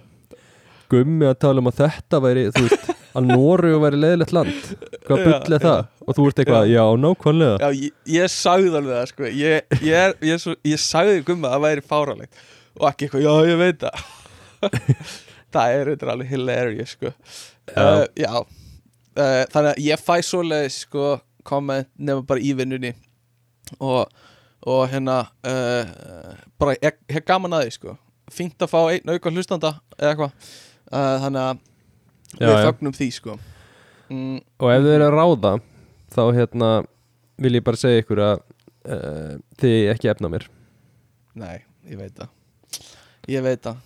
gummi að tala um að þetta væri þú veist, að Nóru væri leðilegt land hvað Já, bull er það og þú ert eitthvað, já, nákvæmlega Já, ég, ég sagði alveg það, sko Ég, ég, er, ég, er svo, ég sagði gumma að það væri fáralegt Og ekki eitthvað, já, ég veit það Það [LAUGHS] er eitthvað alveg hilarious, sko Já. uh, já. Uh, Þannig að ég fæ svoleiðis, sko Komment nema bara í vinnunni Og, og hérna uh, Bara, ég, ég gaman að því, sko Fínt að fá einn auka hlustanda Eða eitthvað uh, Þannig að Já, við já. fögnum því, sko mm, og ef þau eru að ráða þá hérna vil ég bara segja ykkur að uh, þið ekki efna mér Nei, ég veit það Ég veit það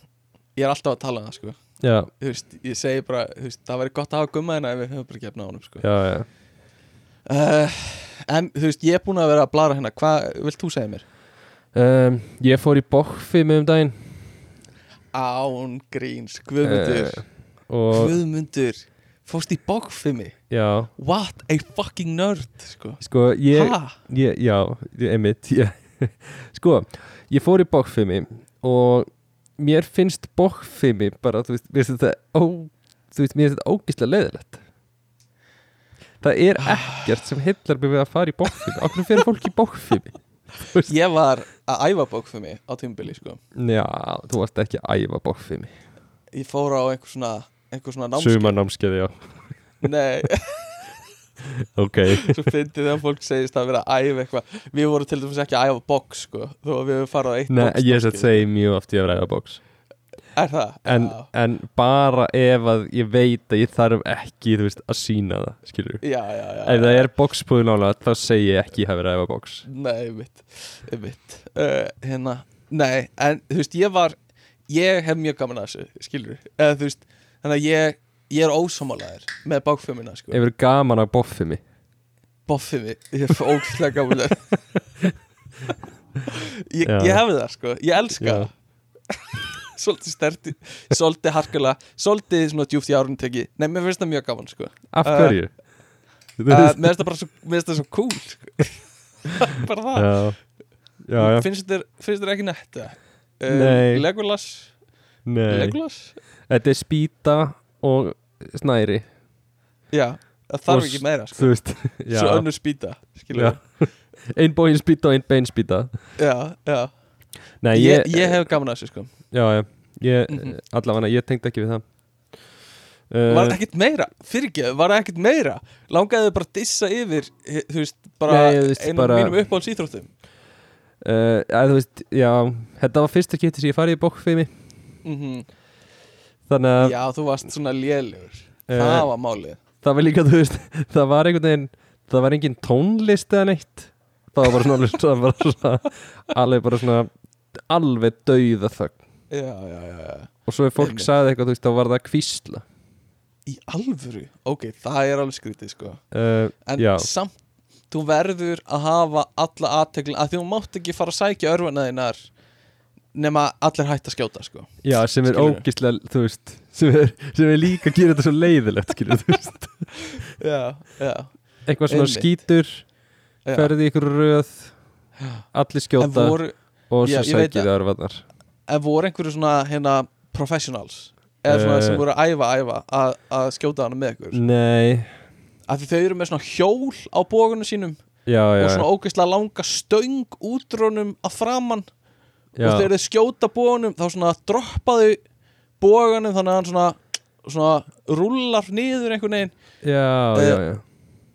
Ég er alltaf að tala um það sko já, þú veist, ég segi bara, þú veist, það væri gott að hafa gumma en við höfum bara gefna á honum sko. já, já uh, En þú veist, ég er búin að vera að blara hérna Hvað vilt þú segja mér? um, Ég fór í bókfi með um daginn Án gríns, Guðmundur Eh, og Guðmundur, fórst í bókfimi já, What a fucking nerd sko. sko ég, Ha? ég já, ég- einmitt ég, [LAUGHS] sko, ég fór í bókfimi og mér finnst bókfimi bara, þú veist, mér finnst þetta ó, þú veist, mér finnst þetta ógislega leiðilegt það er ekkert sem heillar mig við að fara í bókfimi okkur fyrir fólk í bókfimi Ég var að æfa bókfimi á tímubili sko. já, þú varst ekki að æfa bókfimi Ég fór á einhver svona, einhver svona námskeið suma námskeið, já, Nei, ok svo fyndi þegar fólk segist að vera að æfa eitthvað Við vorum til dæmis ekki að æfa bóks sko, þó að við höfum farið á eitt [LAUGHS] Nei, ég satt námskeið. segi mjög oft ég að ræða bóks Er það? en, Já. en bara ef að ég veit að ég þarf ekki þú veist, að sína það, skilur Já, já, já ef það er boxbúð nálega þá segi ég ekki að hafa ræða box Nei, mitt, mitt. Uh, hérna, nei, en þú veist, ég var ég hef mjög gaman að þessu, skilur eða þú veist, þannig að ég ég er ósámálaður með bákfumina sko. ef það er gaman að boffi mig boffið mig, ég er ókslega gaman að [LAUGHS] ég, Já. ég hefði það, sko, ég elska Já. það svolítið sterti svolítið harkulega, svolítið svona djúft í árun teki, nei, mér finnst það mjög gaman sko. uh, af hverju? [LAUGHS] mér finnst eh, það bara svo, mér finnst það svo cool sko. [LAUGHS] bara það já, já, já, finnst þér, finnst þér ekki nett eða? Eh, Nei. Legolas nei Legolas? þetta er spýta og snæri Já, það þarf Og ekki meira sko. þú [LAUGHS] veist, já, Svo önnur spýta já. skilur við. ein bóin spýta og ein bein spýta Já, já nei, ég, ég, ég hef gaman að þessu sko já, já, ég Mhm. allavega, ég tengd ekki við það Var Uh, það ekkert meira? Fyrirgeðu, var það ekkert meira? Langaði þau bara að dissa yfir he- Þú veist, bara Nei, þú veist, einu bara- bara... mínum uppáhalds íþróttum uh, að, þú veist, já, þetta var fyrsta kýtti sem ég farið í bókfimi mm þannig að Já, þú varst svona lélugur Eh, Það var málið það var líka, þú veist, [LAUGHS] það var einhvern veginn það var engin tónlist eða neitt það var bara svona, [LAUGHS] alveg, það var bara svona alveg bara svona alveg dauða þögn Já, já, já, já og svo ef fólk Einmitt. sagði eitthvað, þú veist, þá var það kvísla Í alvöru? Ok, það er alveg skrítið sko uh, en já, samt þú verður að hafa alla aðteglin að því þú mátt ekki fara að sækja örfuna þínar nema allir hætt að skjóta sko. já, sem er skilurðu. ógislega þú veist, sem er, sem er líka að gera þetta svo leiðilegt, skilur, þú [LAUGHS] veist já, já, eitthvað svona Einmitt. skítur, já. ferði ykkur röð allir en skjóta voru, og Já, svo ég veit sækir það örvarnar en voru einhverju svona hérna, professionals eða svona Eh. Mm. sem voru að æfa, æfa að, að skjóta hana með ykkur nei, af því þau eru með svona hjól á bógunum sínum já, já, og svona ógeðslega langa stöng útrónum að framann já. og þegar þau skjóta bóganum þá svona droppaðu bóganum þannig að hann svona, svona rullar niður einhvern veginn Já, Eh, já, já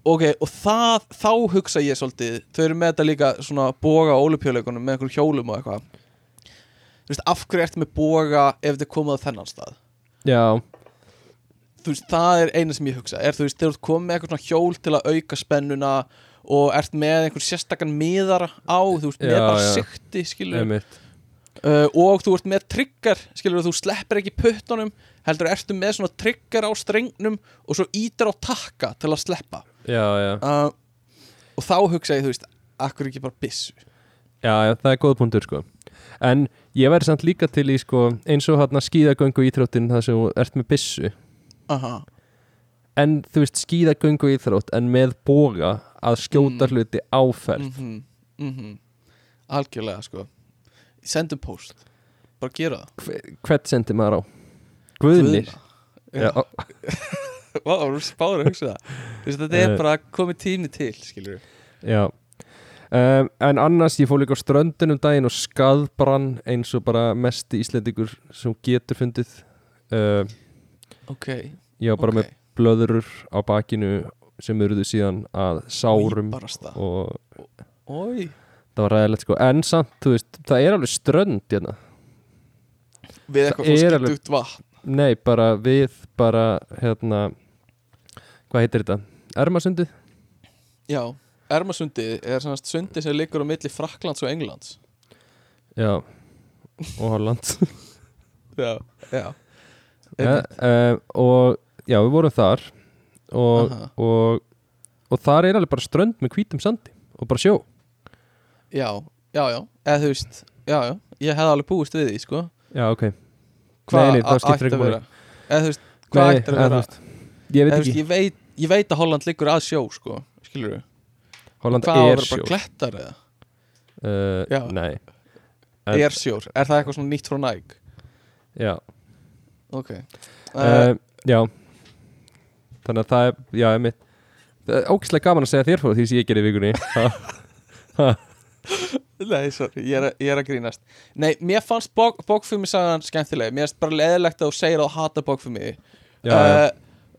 ok, og það, þá hugsa ég svolítið þau eru með þetta líka svona boga á olupjöleikunum með einhverjum hjólum og eitthvað þú veist, af hverju ertu með boga ef þið komað á þennan stað Já, þú veist, það er eina sem ég hugsa er, þú veist, þegar þú ert komið með eitthvað svona hjól til að auka spennuna og ert með einhver sérstakann miðara á, þú veist, með Já, bara já. sikti skilur, einmitt uh, og þú ert með trigger skilur, þú sleppir ekki puttunum heldur ertu með svona trigger á strengnum og svo ítir á takka til að sleppa Já, já, uh, og þá hugsa ég, þú veist, akkur ekki bara byssu já, já, það er góð punktur sko En ég væri samt líka til í sko eins og hann að skíðagöngu íþróttin það sem þú ert með byssu aha, En þú veist skíðagöngu íþrótt en með boga að Mm. skjóta hluti áferð mhm, mhm algjörlega, sko sendum post, bara gera það mm. Hvert sendi maður á? Guðni Guðna. Já, Já. Vá, það voru spáður að hugsa það Þú veist, Þetta er Eh. bara komið tími til, skilur við já. Um, En annars ég fór líka á ströndunum daginn og skaðbrann eins og bara mesti íslendingur sem getur fundið um, Ok, Ég var bara með blöðurur á bakinu sem urðu síðan að sárum Íbarasta og Ói, það var ræðilegt sko en samt, þú veist, það er alveg strönd hérna. við Það eitthvað er fór alveg- skipt út vatn nei, bara við bara, hérna hvað heitir þetta? Ermasundið? Já, Ermasundið er sannast sundið sem liggur á milli Fraklands og Englands Já, og Holland Já, já ja, uh, og já, við vorum þar og, Aha. og, og þar er alveg bara strönd með hvítum sandi og bara sjó já, já, já, eða þú veist já, já, ég hefði alveg búist við því, sko já, ok, hvað Nei, nei, það a- skiptir engu ætti að máli. vera eða þú veist, hvað Nei, ætti að eða þú vera veist, ég veit eða, þú ekki veist, ég, veit, ég veit að Holland liggur að sjó, sko skilur við, Holland hvað á að er vera sjó bara klettar eða, Já. uh, nei, En- er sjór er það eitthvað svona nýtt frá næg já ok, Eh. uh, já þannig að það er, já, ég mitt það er ógislega gaman að segja þér frá því sem ég gerði í [LAUGHS] vikunni Ha, Eh, Nei, sorry, ég er, að- ég er að grínast Nei, mér fannst bók, bókfumi sagan skemmtileg Mér finnst bara leðilegt að þú segir að þú hata bókfumi já, Eh. já,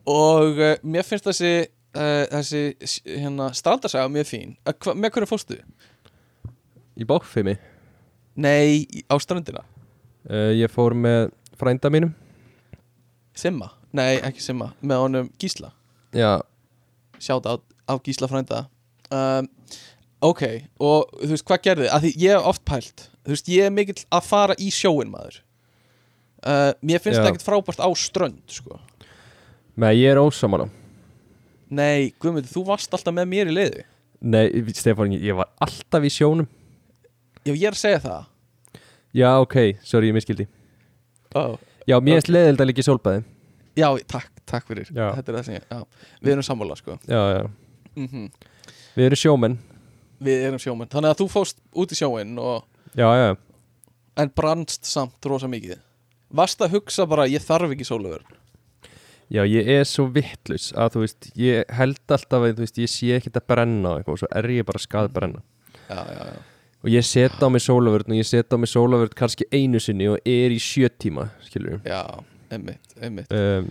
Og uh, mér finnst þessi uh, Þessi s- hérna, strandarsaga mjög fín uh, hva, Með hverju fórstu? í bókfimi Nei, í- á strandina uh, ég fór með frænda mínum Simma? Nei, ekki Simma Með honum Gísla já, Sjáta á, á Gísla frænda um, Ok, og þú veist hvað gerði Af því ég hef oft pælt Þú veist, ég er mikill að fara í sjóin maður uh, Mér finnst Já. það ekkert frábært á strönd Sko með ég er ósamála Nei, Guðmundur, þú varst alltaf með mér í liði nei, Stefán, ég var alltaf í sjónum Já, ég er að segja það já, ok, sorry, ég miskildi oh. já, mér er sleðild að líka í sólbæði Já, takk, takk fyrir Já. Þetta er það sem ég, já, við erum sammála sko já, já, mm við erum sjómenn Við erum sjómenn, þannig að þú fóst út í sjóin og, já, já, já. En brannst samt rosa mikið Varst að hugsa bara, ég þarf ekki sóluverð já, ég er svo vittlaus að þú veist, ég held alltaf að þú veist, ég sé ekkert að brenna og eitthvað, og svo er ég bara skað brenna Já, já, já og ég set á mig sólavörn og ég set á mig sólavörn kannski einu sinni og er í sjö tíma skilur Já, einmitt, einmitt um,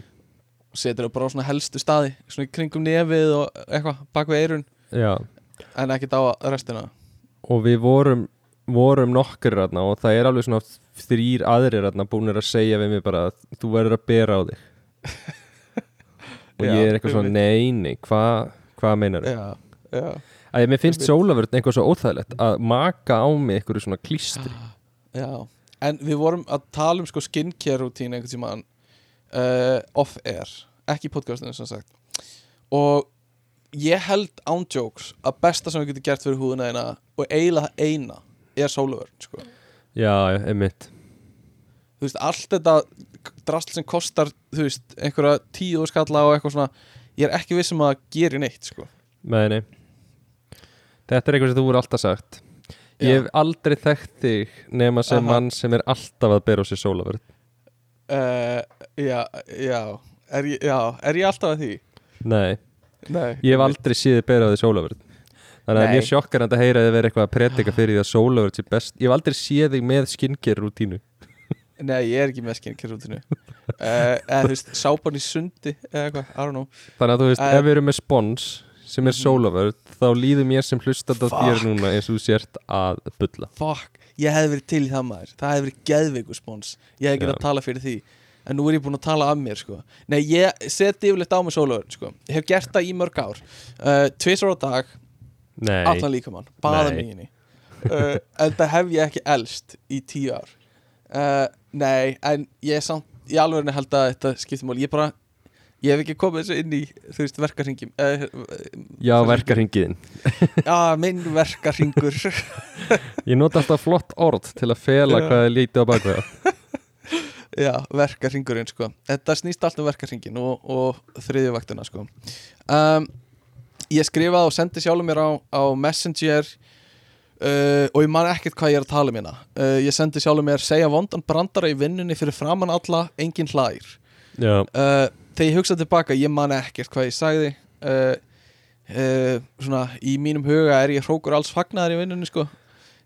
Og setur það bara á svona helstu staði Svona í kringum nefið og eitthvað, bak við eirun já, En ekkert á restina og við vorum vorum nokkur ræðna og það er alveg svona þrýr aðrir ræðna búinir að segja við mig bara að þú verður að bera á þig og Já, ég er eitthvað svona neini, hvað hva meinar þau? Já, já, að mér finnst sólavörn eitthvað svo óþægilegt að maka á mig eitthvað svona klístri já En við vorum að tala um sko skincare rútín einhvern tímann uh, off-air, ekki í podcastinu sem sagt og ég held án jokes að besta sem við getum gert fyrir húðuna eina og eiginlega það eina er sóluverð sko. já, emitt þú veist, allt þetta drasl sem kostar, þú veist, einhverja tíu skalla og eitthvað svona ég er ekki viss um að það geri neitt sko. Nei, nei Þetta er eitthvað sem þú voru alltaf sagt Ég Já. hef aldrei þekkt þig nema sem Aha. mann sem er alltaf að bera á sér sólavörð uh, já, já er ég, já, er ég alltaf að því? Nei, Nei, ég hef aldrei síði bera á þér sólavörð Þannig að Nei. mér sjokkar að heyra að þið verið eitthvað að predika fyrir því að sólavörð sé best Ég hef aldrei séð þig með skinngerir rútínu Nei, ég er ekki með skincare rútinu [LAUGHS] uh, Eða þú veist, sápan í sundi Eða eitthvað, I don't know Þannig að þú veist, Æ. Mhm. ef við erum með spons sem er sólavörð þá líður mér sem hlustandi á þér Fuck. núna eins og þú sért að bulla Fuck, ég hef verið til í það maður Það hef verið geðveiku spons Ég hef getað Já. að tala fyrir því En nú er ég búinn að tala af mér, sko Nei, ég seti yfirleitt á mig sólaugurinn, sko Ég hef gert það í mörg ár uh, Tvisar á dag, Nei, allan líkamann Baða Nei. mig í henni uh, En það hef ég ekki elst í tíu ár uh, Nei, en ég er samt Í alvegurinn held að þetta skiptir máli Ég bara, ég hef ekki komið þessu inn í Þú veist, verkarhingjum uh, já, verkarhingiðin Já, minn verkarhingur Ég nota alltaf flott orð til að fela Já. hvað er lítið á bakveða [LAUGHS] Já, verkarhingurinn sko Þetta snýst allt um verkarhingin og, og þriðjuvaktina sko um, Ég skrifaði og sendi sjálfum mér á, á Messenger uh, og ég man ekkert hvað ég er að tala um hérna uh, Ég sendi sjálfum mér segja vondan brandara í vinnunni fyrir framann alla engin hlær Já, uh, Þegar ég hugsa tilbaka, ég man ekkert hvað ég sagði uh, uh, Svona, í mínum huga er ég hrókur alls fagnaðar í vinnunni sko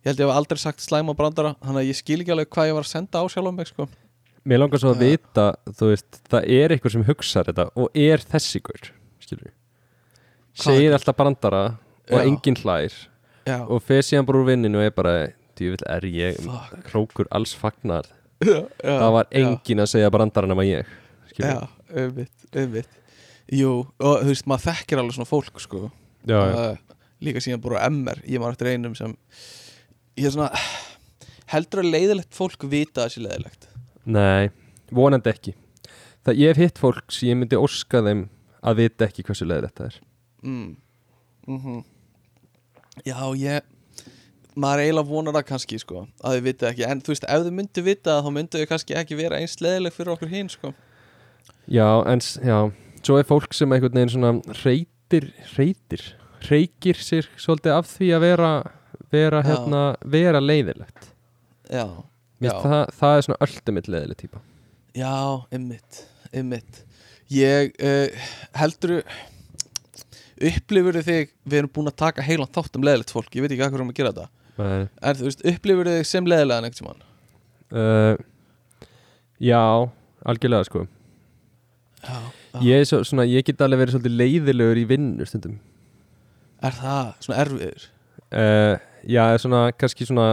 Ég held ég hef aldrei sagt slæma brandara Þannig að ég skil ekki alveg hvað ég var að senda á sjálfum mig sko Mér langar svo að Já. vita, þú veist, það er einhver sem hugsar þetta og er þessi ykkur, skilur við. Hvað Segir alltaf brandara og Já. enginn hlær Já, og fer síðan bara úr vinninu og er bara, djúvill er ég [LAUGHS] Fuck. krókur alls fagnar. já, já, það var já, enginn að segja brandara nema ég, skilur já, við. auðvitt, auðvitt Jú, og þú veist, maður þekkir alveg svona fólk sko Já, já, uh, Líka síðan bara á MR, ég maður eftir einum sem Ég er svona heldur að leiðilegt fólk vita að það sé leiðilegt nei, vonandi ekki. það ég hef hitt fólk sem ég myndi óska þeim að vita ekki hversu leið þetta er mm. Mm Já, ég maður eiginlega vonar það kannski sko að þau vita ekki, en þú veist, ef þau myndu vita það, þá myndu þau kannski ekki vera eins leðileg fyrir okkur hinn sko já, en s- já, svo er fólk sem einhvern veginn svona reytir reytir, reykir sér svolítið af því að vera vera, Já. hérna, vera leiðilegt Já, Mér Já. finnst það, það er svona ölldumill leiðileg típa já, ymmit ymmit Ég uh, heldur upplifur þig, við erum búin að taka heilan þátt um leðilegt fólk, ég veit ekki hvað hverjum að gera þetta Nei. en þú veist, upplifur þig sem leðilegan einhvern tímann uh, já, algjörlega sko Já, ég, er svo, svona, ég get alveg verið svolítið leiðilegur í vinnu stundum Er það svona erfiður? uh, já, er svona, kannski svona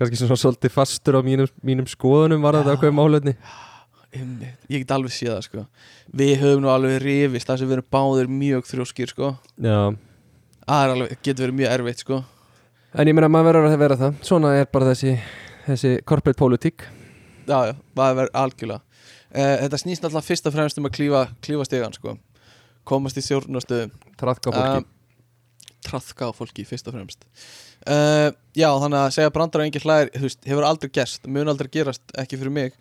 kannski svona svolítið fastur á mínum, mínum skoðunum var þetta Já. ákveðum álefni Einmitt. Ég get alveg séð það sko Við höfum nú alveg rifist það sem við erum báðir mjög þrjóskir sko já, Það er alveg, getur verið mjög erfitt sko en ég meina maður verður að vera það svona er bara þessi, þessi corporate politík Já, já, það verður algjörlega uh, Þetta snýst náttúrulega fyrst og fremst um að klífa, klífa stegan sko Komast í stjórnastöðum traðka fólki Traðka á fólki fyrst og fremst uh, Já, þannig að segja brandar og engin hlæðir Þú veist, hefur aldrei gerst, mun aldrei gerast ekki fyrir mig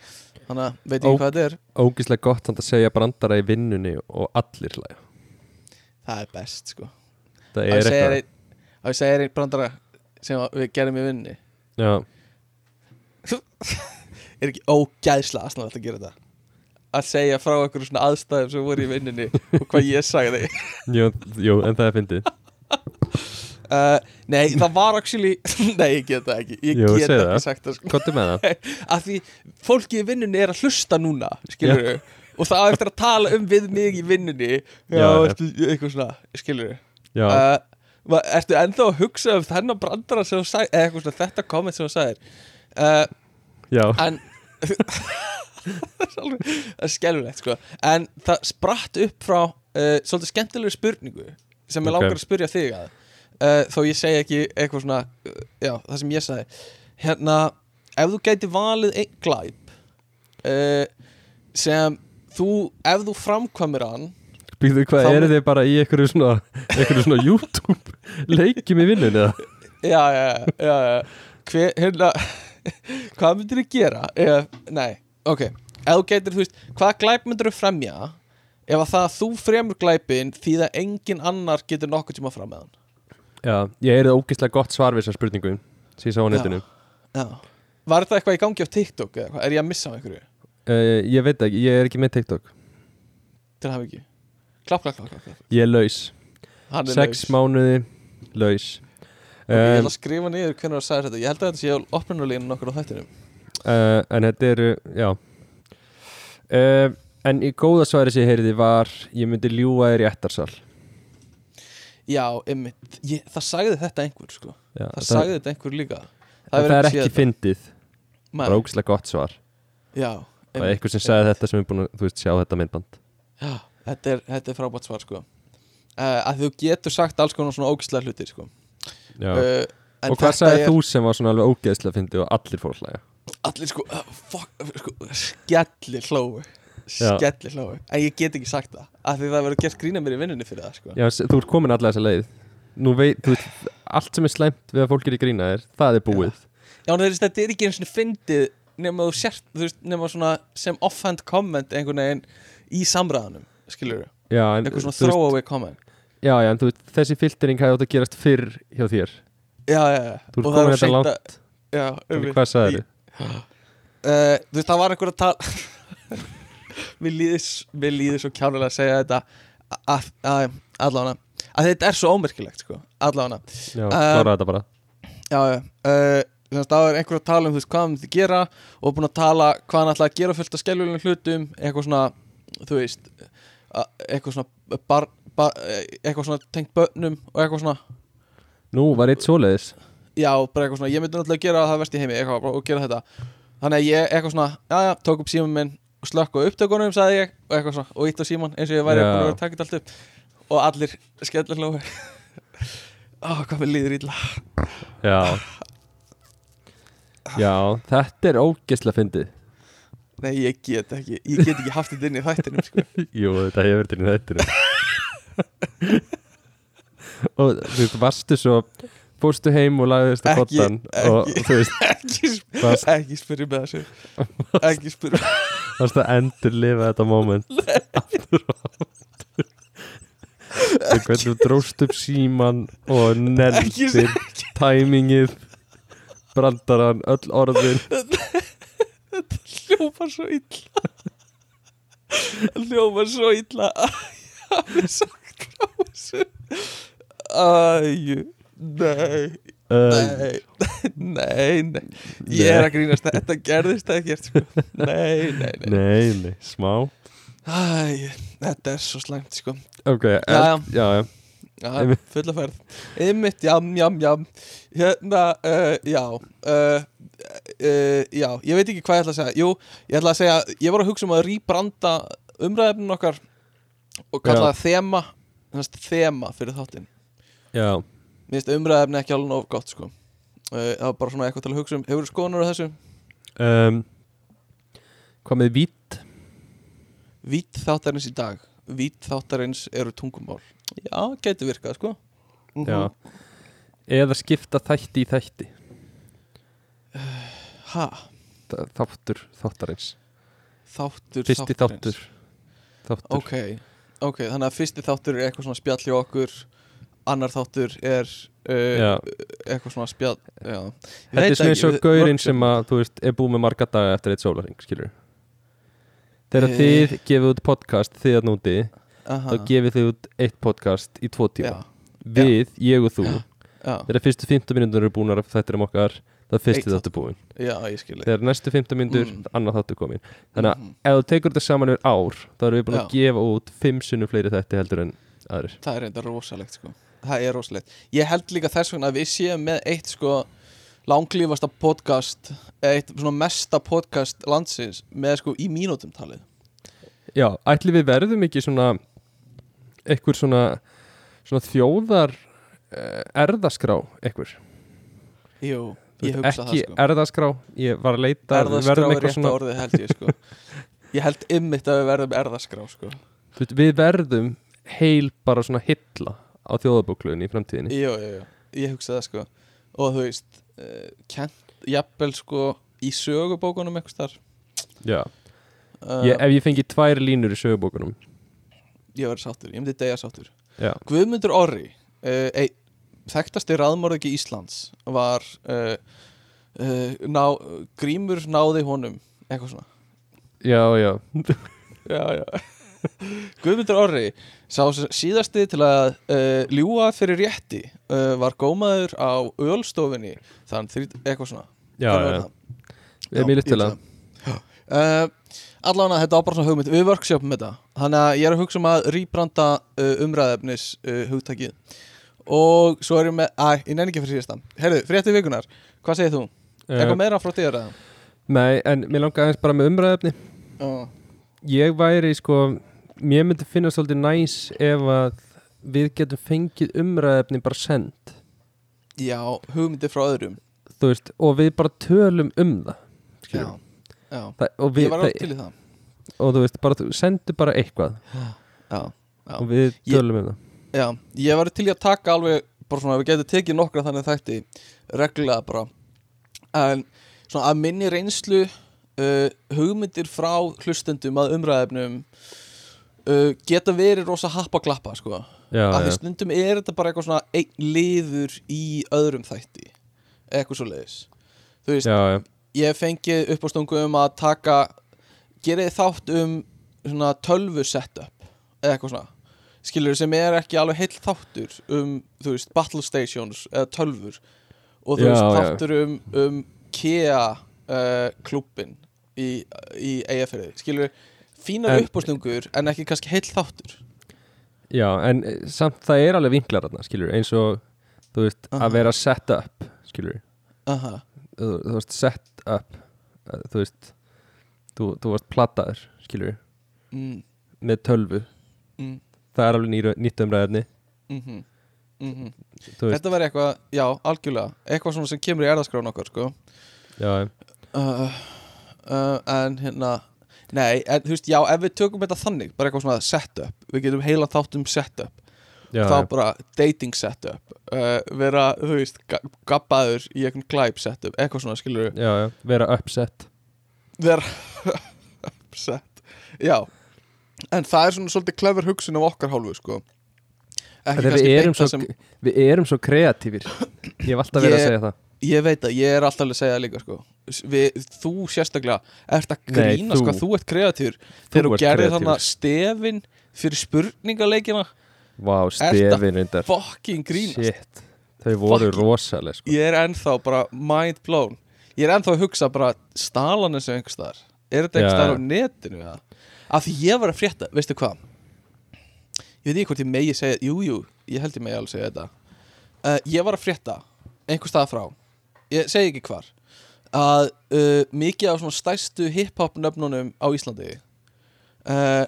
Þannig að veit ekki Ó. hvað þetta er ógíslega gott samt að segja brandara í vinnunni og allir hlæja Það er best sko það Ef ég er segir eitthvað einn- ef ég segir einn brandara sem að við gerum í vinninni já, er ekki ógæðslega aðsnaðalegt að gera þetta að segja frá einhverjum svona aðstæðum sem voru í vinninni og hvað ég sagði jú, jú, en það er fyndið uh, nei, það var actually [LAUGHS] nei, ég get það ekki, ég Jú, get segðu ekki það. sagt það sko. gottum með [LAUGHS] það að því fólki í vinninni er að hlusta núna skilur og það á eftir að tala um við mig í vinninni já, Já, já. Ertu, eitthvað svona, skilur já, uh, va- Ertu ennþá að hugsa um þennan brandara sem þú sagði, eða eitthvað svona þetta komment sem þú sagðir uh, já, en [LAUGHS] það er alveg- það er skelfilegt sko en það spratt upp frá uh, svolítið skemmtilegri spurningu sem Ok. ég langar að spyrja þig að uh, þó ég segi ekki eitthvað svona uh, já, það sem ég sagði hérna, ef þú gæti valið einn glæp uh, sem þú, ef þú framkvæmir hann býðu hvað Þá- eru þið bara í einhverju svona, einhverju svona YouTube leikjum í vinnunni eða? já, já, já, já, já. Hver, hérna [LAUGHS] hvað myndir þú gera ef, nei, ok ef þú getur, þú veist, hvaða glæp myndir þú fremja ef að það að þú fremur glæpin því að engin annar getur nokkuð tíma fram með hann já, ég er það ógíslega gott svar við þessar spurningu sem ég sá á Já. netinu já. var þetta eitthvað í gangi á TikTok eða hvað, er ég að missa á einhverju Uh, ég veit ekki, ég er ekki með TikTok til það ekki klapp, klapp, klapp, klapp, klapp. Ég er laus, Hann er sex laus. mánuði laus Ok, ég um, ætla að skrifa niður hvernig það sagði þetta ég held að þetta sé á opnunarleginu nokkur á þættinum uh, En þetta eru, já uh, En í góða sværi sem ég heyriði var Ég myndi ljúga þér í ettarsal já, einmitt, ég, það sagði þetta einhver sko. já, það, sagði þetta einhver líka það, hefur það er séð ekki fyndið Nei. Bara ógislega gott svar já, Það er eitthvað sem sagði þetta sem er búin að, þú veist, sjá þetta myndband Já, þetta er, þetta er frábært svar sko uh, að þú getur sagt alls konar svona ógislega hluti sko Já uh, en Og hvað þetta sagði er þú sem var svona alveg ógeðslega fyndið og allir fór að hlæja? allir sko, uh, fuck, sko skellir hlóu Já. skellir hlóu, en ég get ekki sagt það af því það verður gert grína mér í vinnunni fyrir það sko Já, s- þú ert komin allar þessa leið Nú veit, þú veist, allt sem er slæmt við að fólk er í grína þér, það er búið Já, en þeirist, þetta er ekki eins og fyndið nema þú sért, þú veist, nema svona sem offhand comment einhvern veginn í samræðanum, skilur við, Já, en, eitthvað svona þú veist- throwaway comment Já, já, en þú veist, þessi filtering hefði átt að gerast fyrr hjá þér Já, já, já, Þú ert Og komin það er of þetta seint langt, að- já, þannig einmitt. hvað sagðir Í- uh, þú veist það var einhver að tala [LAUGHS] mér líður mér líður svo kjánulega að segja þetta að, að, allána að þetta er svo ómerkilegt sko allána Já, Eh, klára þetta bara já, já, uh, þannig að það var einhver að tala um þú veist hvað hann myndi gera og búin að tala hvað hann ætlaði að gera fullt af skellulegum hlutum eitthvað svona, þú veist a- eitthvað svona bar, bar, eitthvað svona tengt bönnum og eitthvað svona Nú var eitt svoleiðis já, bara eitthvað svona, ég myndi náttúrulega gera það verst í heimi eitthvað, bara, og gera þetta þannig að ég eitthvað svona, já já, tók upp síman minn og slökk á upptökunum, sagði ég og eitthvað svona, og ítt á síman eins og ég væri Já. búin að vera að taka þetta allt upp og allir skellir hlóðu [LAUGHS] á, hvað mér líður illa [LAUGHS] Já Já, þetta er ógeðslega fyndið Nei, ég get ekki, ég get ekki haft þetta inn í þættinum sko. [LAUGHS] Jú, þetta hefur verið til í þættinu [LAUGHS] Og þú veist, varstu svo Fórstu heim og lagðist að Ekki- kottan Og ekki. þú veist, ekki, sp- Fast. ekki spyrja með þessu ekki spyrja varstu að endur lifa þetta [LAUGHS] moment Aftur og aftur Og hvernig þú dróst upp síman Og Ekki- neldir Tæmingið Brandaran, öll orðin hljómar svo illa hljómar svo illa að ég hafi sagt frá þessu æjú nei, uh, nei nei, nei ég er að grínast, þetta gerðist ekkert sko. nei, nei, nei, nei. Nei, nei, smá Æ, þetta er svo slæmt sko Ok, já, já. já, já. Já, Einmitt. fulla ferð Einmitt, jam, jam, jam Hérna, uh, já uh, uh, Já, ég veit ekki hvað ég ætla að segja Jú, ég ætla að segja Ég var að hugsa um að rýbranda umræðinu okkar Og Já. kalla það þema Þannig þema fyrir þáttinn já. Mér finnst umræðinu ekki alveg nóg gott sko uh, Það var bara svona eitthvað til að hugsa um Hefur skoðanur á þessu? Um, Hvað með vít? Vít þáttarins í dag Vít þáttarins eru tungumál Já, gæti virkað sko mm Já Eða skipta þætti í þætti Ha, Þa- Þáttur, þáttarins þáttur Fyrsti þáttarins. þáttur Þáttur Ok, ok, þannig að fyrsti þáttur er eitthvað svona spjall hjá okkur Annar þáttur er uh, Já, eitthvað svona spjall já. Ég þetta veit er svona ekki, eins og við- gaurinn við- sem að, þú veist, er búið með marga daga eftir eitt sólaring, skilur Þegar Eh. þið gefið út podcast þið að núti, Aha, þá gefið þið út eitt podcast í tvo tíma já, Við, ég og þú já, Þegar fyrstu 15 minútur eru búnar af þættir um okkar þá er fyrsti Eitt þáttur búin já, ég skil Þegar næstu 15 myndur, Mm. annað þáttu komin Þannig að Mhm. ef þú tekur þetta saman yfir ár þá erum við búin að Já. gefa út fimm sunnum fleiri þætti heldur en aðrir Það er reynda rosalegt sko Það er rosalegt Ég held líka þess vegna að við séum með eitt sko langlífasta podcast eða eitt svona mesta podcast landsins með sko í mínútum talið Já, ætli við verðum ekki svona einhver svona, svona þjóðar uh, erðaskrá einhver Jú, Þú ég veist, hugsa ekki það sko erðaskrá, ég var að leita við Erðaskrá verðum er eitthvað rétt svona, orðið held ég sko Ég held ymmit að við verðum erðaskrá sko þú veist, Við verðum heil bara svona hilla á þjóðabókluðin í framtíðinni Jú, jú, jú, ég hugsa það sko Og þú veist, uh, kent Jafnvel sko í sögubókunum einhvers þar Já, uh, ég, ef ég fengi tvær línur í sögubókunum Ég verði sáttur, ég myndi degja sáttur Já, Guðmundur Orri uh, ei, Þekktasti raðmörðingi Íslands Var uh, uh, ná, Grímur náði honum Eitthvað svona já, já já, já. [LAUGHS] Guðmundur Orri sá sem síðasti til að uh, ljúa fyrir rétti uh, var gómaður á ölstofinni þann þrít, eitthvað svona Já, já, Hvernig var já. það? Ég er mjög lystilega Uh, allan að þetta var bara svona hugmynd við workshopum þetta þannig að ég er að hugsa um að rýbranda uh, umræðefnis uh, hugtakið og svo erum við að, ég nefn ekki fyrir síðasta heyrðu, frétti vikunar, hvað segir þú? Eh, eitthvað meira frá þér eða? Nei, en mér langaði aðeins bara með umræðefni Uh, Ég væri sko Mér myndi finna svolítið næs ef að við getum fengið umræðefni bara send já, hugmyndi frá öðrum þú veist, og við bara tölum um það, já, skilurðu. já, það og, við, ég var átt til í það og þú veist, bara, þú sendu bara eitthvað já, Já. og við Ég- tölum um það já, ég var til í að taka alveg bara svona, við getum tekið nokkra þannig þætti reglulega bara en svona að minni reynslu uh, hugmyndir frá hlustendum að umræðefnum uh, geta verið rosa happa glappa sko, að Já, því stundum er þetta bara eitthvað svona einn liður í öðrum þætti, eitthvað svo leiðis þú veist, já, já, já, ég hef fengið upp á stungu um að taka gerið þátt um svona tölvu setup eða eitthvað svona skilur sem er ekki alveg heill þáttur um þú veist battle stations eða tölvur og þú Já, veist já. þáttur um, um KEA uh, klubbin í, í EFRið skilur fínar En- upp á stungur en ekki kannski heill þáttur já, en eh, samt það er alveg vinklar þarna, skilur, eins og þú veist, Aha. að vera set up, skilur aha, þú, þú veist, set up eh, þú veist, þú, þú varst plataður, skilur, mm, með tölvu mm, það er alveg nýr, nýtt umræðefni mm -hmm, mm -hmm. þú veist, þetta var eitthvað, já, algjörlega eitthvað svona sem kemur í erðaskrán okkar sko já, uh, uh, en hérna nei, en, þú veist, já, ef við tökum þetta þannig bara eitthvað svona setup, við getum heila þátt um setup, já, þá já. bara dating setup, uh, vera þú veist, ga- gabbaður í einhvern glæp setup, eitthvað svona, skilur já, já, vera upset vera [LAUGHS] upset já, en það er svona svolítið clever hugsun af okkar hálfu sko. ekki Þegar við kannski erum, beint svo, það sem við erum svo kreatífir Ég hef alltaf verið að Ég- segja það ég veit að ég er alltaf alveg að segja það líka sko. við, þú sérstaklega ert að Nei, grína, þú. sko, þú ert kreatýr þegar þú ert gerir kreatífur. þannig að stefin fyrir spurningaleikina Vá, stefin reyndar fucking grínast Shit, þau voru Fucking- rosaleg sko. ég er ennþá bara mind blown ég er ennþá að hugsa bara stalan þessu einhvers staðar er þetta einhvers Já, staðar já. á netinu eða? af því ég var að frétta, veistu hvað ég veit ekki hvort ég megi segja jú, jú, ég held ég megi alveg segja þetta uh, ég var að frétta einhvers staðar frá, ég segi ekki hvar að uh, mikið af svona stæstu hip-hop nöfnunum á Íslandi uh,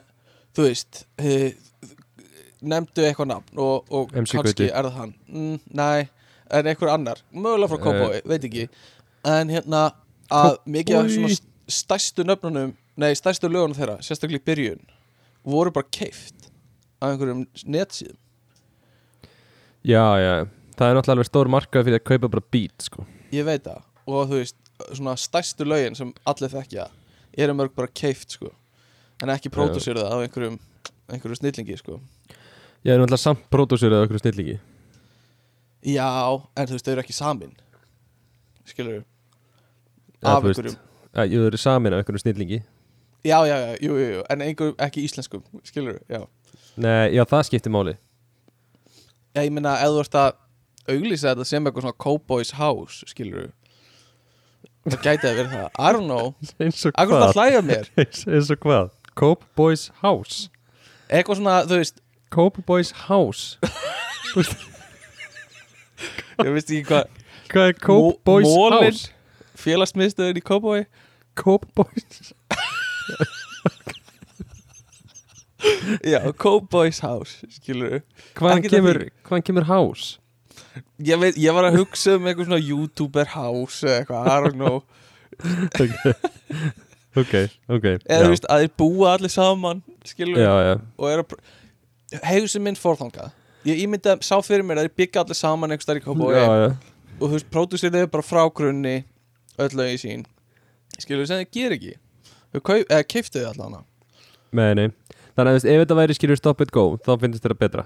þú veist uh, nefndu eitthvað nafn og, og MC kannski Gauti. er það hann mm, nei, en einhver annar mögulega Eh, frá Kópói, veit ekki en hérna að mikið af svona st- stærstu nöfnunum nei, stærstu lögunum þeirra, sérstaklega í byrjun voru bara keift af einhverjum netsíðum Já, já, það er náttúrulega alveg stór markað fyrir að kaupa bara beat sko. ég veit það, og þú veist svona stærstu lögin sem allir þekkja eru mörg bara keift sko en ekki pródusir það af einhverjum einhverjum snillingi sko Ég er náttúrulega samt pródúsur eða okkur snillingi já, en þú veist, þau eru ekki samin skilur Eða, af þú veist, einhverjum að Ég eru samin af okkur snillingi já, já, já, jú, jú, jú, en einhverjum ekki íslenskum skilur, já Nei, já, það skiptir máli Já, ég meina, ef þú ert að auglýsa þetta sem eitthvað svona Cowboys House, skilur Það gæti að vera það. I don't know. [LAUGHS] Eins og Akkur það hlæja mér. Eins [LAUGHS] eins og hvað? Cope Boys House Eitthvað svona, þú veist, Cope Boys [LAUGHS] House ég veist ekki hvað. Hvað er Cope Mó- Boys mólin. House? Félagsmiðstöðin í Cowboy. Cope Boys Já, Cowboys House, skilur Hvaðan Ekkert að kemur, hvaðan kemur House? Ég veit, ég var að hugsa um eitthvað svona YouTuber House eða eitthvað, I don't know. [LAUGHS] Ok, ok Eða já. þú veist, að þeir búa allir saman, skilur Já, já, Og er að, hegðu minn fórþangað. Ég ímynda, sá fyrir mér að þeir byggja allir saman einhvers staðar í Cowboy. já, já. og þú veist, pródúsir þau bara frá grunni öll lögin sín skilur þau sem þau ger ekki þau kaup, eða, keiftu þau allan hana Nei, nei Þannig að þú veist, ef þetta væri skilur Stop It Go þá finnst þetta betra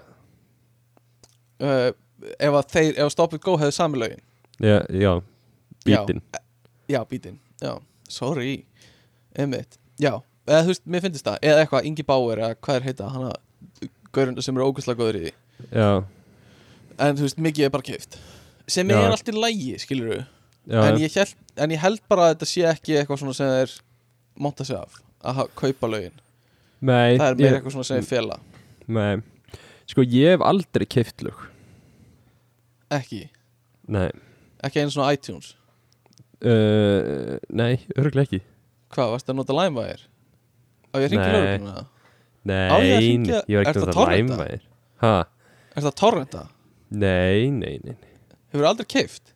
uh, ef að þeir, ef að Stop It Go hefðu sami lögin Já, já Bítin já, bítinn, já, sorry einmitt, já, eða þú veist, mér finnst það eða eitthvað, Ingi Bauer, eða hvað er heita hana, gaurinn sem eru ógustlega góður í því Já, en þú veist, mikið er bara keift sem Já. er allt í lægi, skilur þau já, en, já. ég held, en ég held bara að þetta sé ekki eitthvað svona sem þeir monta sig af að ha- kaupa lögin, Nei, það er meira ég- eitthvað svona sem þeir fela Nei Sko, ég hef aldrei keift lög Ekki, Nei ekki einu svona iTunes uh, Nei, örgulega ekki Hvað, varstu að nota LimeWire? Á ég Nei. hringi lögum það? Nei, Á ég að hringja- ég var ertu ekki að að það torrenta? læma þér Ha, Er það torrenta? nei, nei, nei nei. Hefur aldrei keift?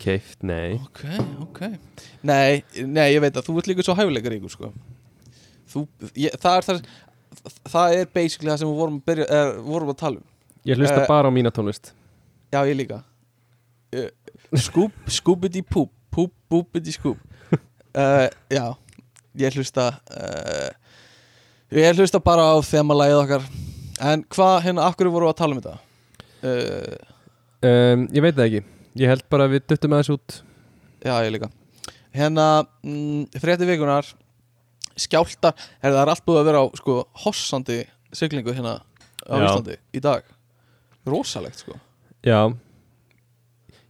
Keift, nei Ok, ok Nei, nei, ég veit að þú ert líka svo hæfileikar ykkur sko þú, ég, Það er það Það er basically það sem við vorum að, byrja, er, vorum að tala um Ég hlusta Eh, bara á mína tónlist Já, ég líka Eh, Skúb, skúbidi púp Púp, búbidi [LAUGHS] skúb uh, Já, ég hlusta uh, Ég hlusta bara á þemalægið okkar En hvað, hérna, af hverju voru að tala um þetta? Uh, um, Ég veit það ekki Ég held bara að við duttum aðeins út já, ég líka Hérna, mm, frétti vikunar Skjálta Er það er allt búið að vera á, sko, hossandi siglingu hérna á Já. Íslandi í dag Rosalegt, sko Já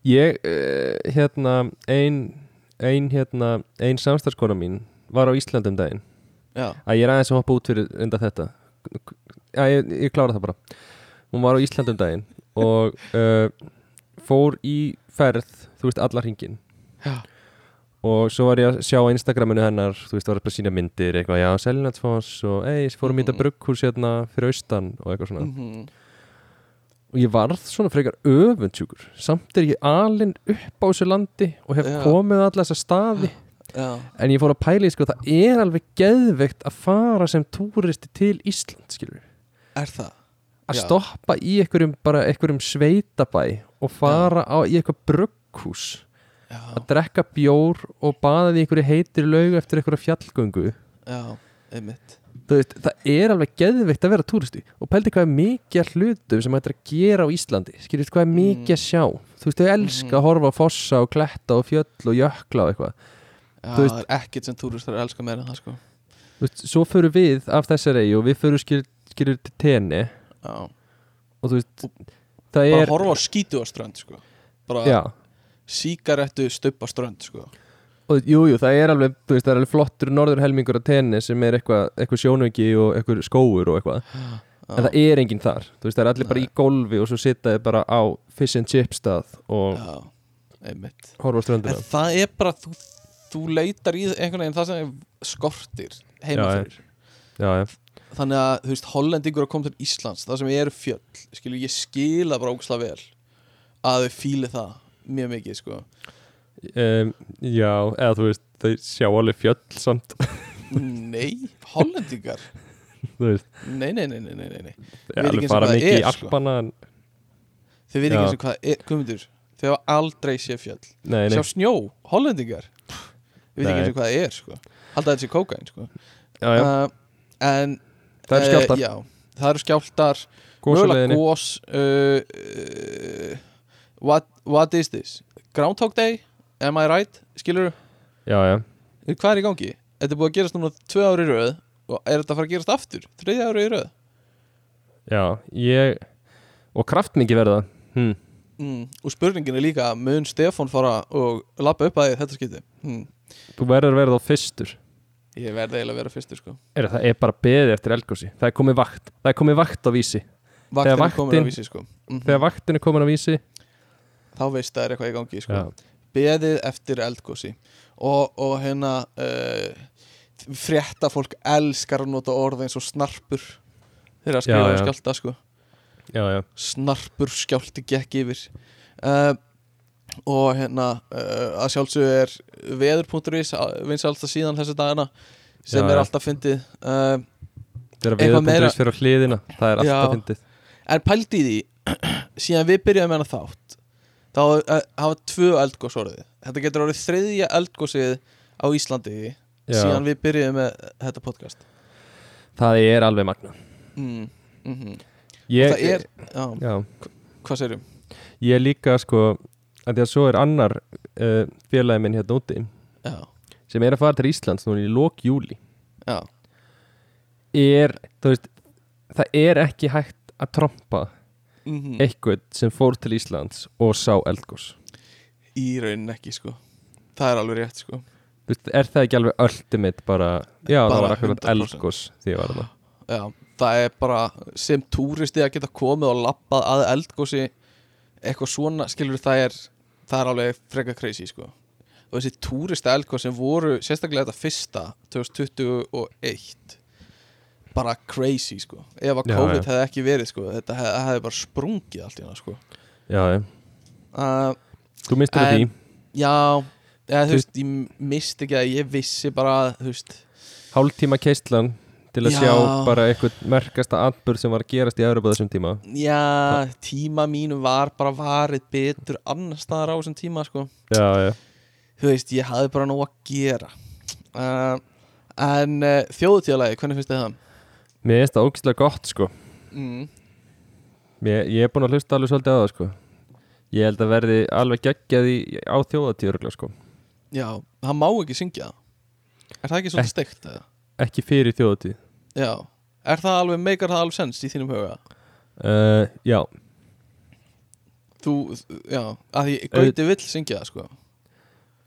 Ég, uh, hérna ein, ein, hérna ein samstarfskona mín var á Ísland um daginn Já, að ég er aðeins að hoppa út fyrir undan þetta að ég, ég klára það bara hún var á Ísland um daginn og uh, fór í ferð, þú veist, allar hringin já, og svo var ég að sjá á Instagraminu hennar þú veist, það var bara að sína myndir, eitthvað, já, Selinatsfoss og, ei, fórum í þetta brugghús hérna fyrir austan og eitthvað svona mhm, og ég varð svona frekar öfundsjúkur samt er ég alinn upp á þessu landi og hef Já. komið á alla þessa staði já, en ég fór að pæla í sko, það er alveg geðveikt að fara sem túristi til Ísland, skilur er það að Já. stoppa í einhverjum, bara einhverjum sveitabæ og fara á, í eitthvað brugghús já, að drekka bjór og baða því einhverju heitir laugu eftir einhverja fjallgöngu já, einmitt Þú veist, það er alveg geðveikt að vera túristi og pældi hvað er mikið af hlutum sem hættir að gera á Íslandi skilur hvað er Mm. mikið að sjá þú veist, þau elska Mhm. að horfa á fossa og kletta og fjöll og jökla og eitthvað já, Þú veist- það er ekkert sem túristar elska meira en það sko Þú veist, svo förum við af þessari eigi og við förum skilur, skilur til tenni já, og þú veist, það bara er horfa á skítu á strönd sko bara já, sígarettu stupp á strönd sko og jú, jú, það er alveg þú veist, það er alveg flottur norðurhelmingur á tenni sem er eitthvað, eitthvað sjónauki og eitthvað skóur og eitthvað, já, en það er enginn þar þú veist, það er allir bara Nei. í golfi og svo sitaði bara á fish and chip stað og já, einmitt horfa á ströndina En það er bara, þú, þú leitar í einhvern veginn það sem skortir heima Já, fyrir. já, já. Þannig að, þú veist, hollendingur að koma til Íslands, það sem eru fjöll, skilur, ég skila bara ógslag vel að þau fíli það mjög mikið, sko. Um, já, eða þú veist þau sjá alveg fjöll samt [LAUGHS] Nei, hollendingar? þú veist, Nei, nei, nei, nei, nei, nei, nei. þau Veit ekki alveg eins og fara hvað það mikið í er, sko. alpana en- Þau veit ekki Já. eins og hvað er, guðmundur, þau hafa aldrei séð fjöll. Nei, nei, Sjá snjó, hollendingar. Þau veit ekki Nei. eins og hvað það er, sko. Halda þetta sé kókain, sko. já, já, Uh, en, það eru eh, skjálftar Já, það eru skjálftar. góðsaleginni, Mögulega gós uh, uh, what, what is this? Groundhog Day? Am I right? Skilur já, já, Hvað er í gangi? Þetta er búið að gerast núna tvö ári í röð og er þetta að fara að gerast aftur? Þriðja ári í röð? já ég, og kraftmikið verða hm. Mm. Og spurningin er líka mun Stefán fara og lappa upp að því þetta skipti? Mm. þú verður að verða á fyrstur Ég verði eiginlega að vera fyrstur sko er, það er bara beðið eftir elgósi það er komið vakt, það er komið vakt á vísi Vaktin er vaktin- komin á vísi sko mm. þegar vaktin er komin á vísi Þá veist það er eitthvað í gangi sko já, beðið eftir eldgósi og, og hérna uh, frétta fólk elskar að nota orð eins og snarpur þeirra að skrifa Já, um já. skjálta sko já, já, snarpur skjálti gekk yfir uh, og hérna uh, að sjálfsög er veður.is vins alltaf síðan þessu dagana sem Já, er já. alltaf fyndið uh, þegar Eitthvað meira- viðbúndurins fyrir á hliðina það er Já. alltaf fyndið en pældi í því [CLEARS THROAT] síðan við byrjuðum með hana þátt þá uh, hafa tvö eldgós orðið þetta getur orðið þriðja eldgósið á Íslandi Já. síðan við byrjuðum með þetta podcast það er alveg magna mm, mm -hmm. ég, það er, já, já, hvað segirum ég líka sko að því að svo er annar uh, félagi minn hérna úti já, sem er að fara til Íslands núna í lok júli já, er, þú veist það er ekki hægt að trompa mm eitthvað sem fór til Íslands og sá eldgós í raunin ekki sko það er alveg rétt sko Þú veist, er það ekki alveg ultimate bara já, Bara það var akkurat 100%. eldgós því að var það já, það er bara sem túristi að geta komið og lappað að eldgósi eitthvað svona, skilur það er það er alveg freka crazy sko og þessi túrista eldgós sem voru sérstaklega þetta fyrsta 2021 bara crazy sko ef að Já, COVID já. hefði ekki verið sko þetta hefði, hefði bara sprungið allt í hana sko já, já. uh, þú mistur En- því Já, eða, Þú- þú veist, ég misti ekki að ég vissi bara, þú veist hálftíma keistlan til að Já. sjá bara eitthvað merkasta atbyrð sem var að gerast í Európa þessum tíma Já, tíma mínu var bara varið betur annar staðar á þessum tíma, sko já, já, Þú veist, ég hafði bara nóg að gera uh, En uh, þjóðutíðalagi, hvernig finnst þið það? mér finnst það ógislega gott sko Mm. Mér, ég er búin að hlusta alveg svolítið á það sko Ég held að verði alveg geggjað í, á þjóðatíðurugla sko Já, það má ekki syngja það Er það ekki svolítið steikt, eða? Ekki fyrir þjóðatíð Já, er það alveg, meikar það alveg sens í þínum huga? uh, Já, Þú, já, að því Gauti vill syngja það, sko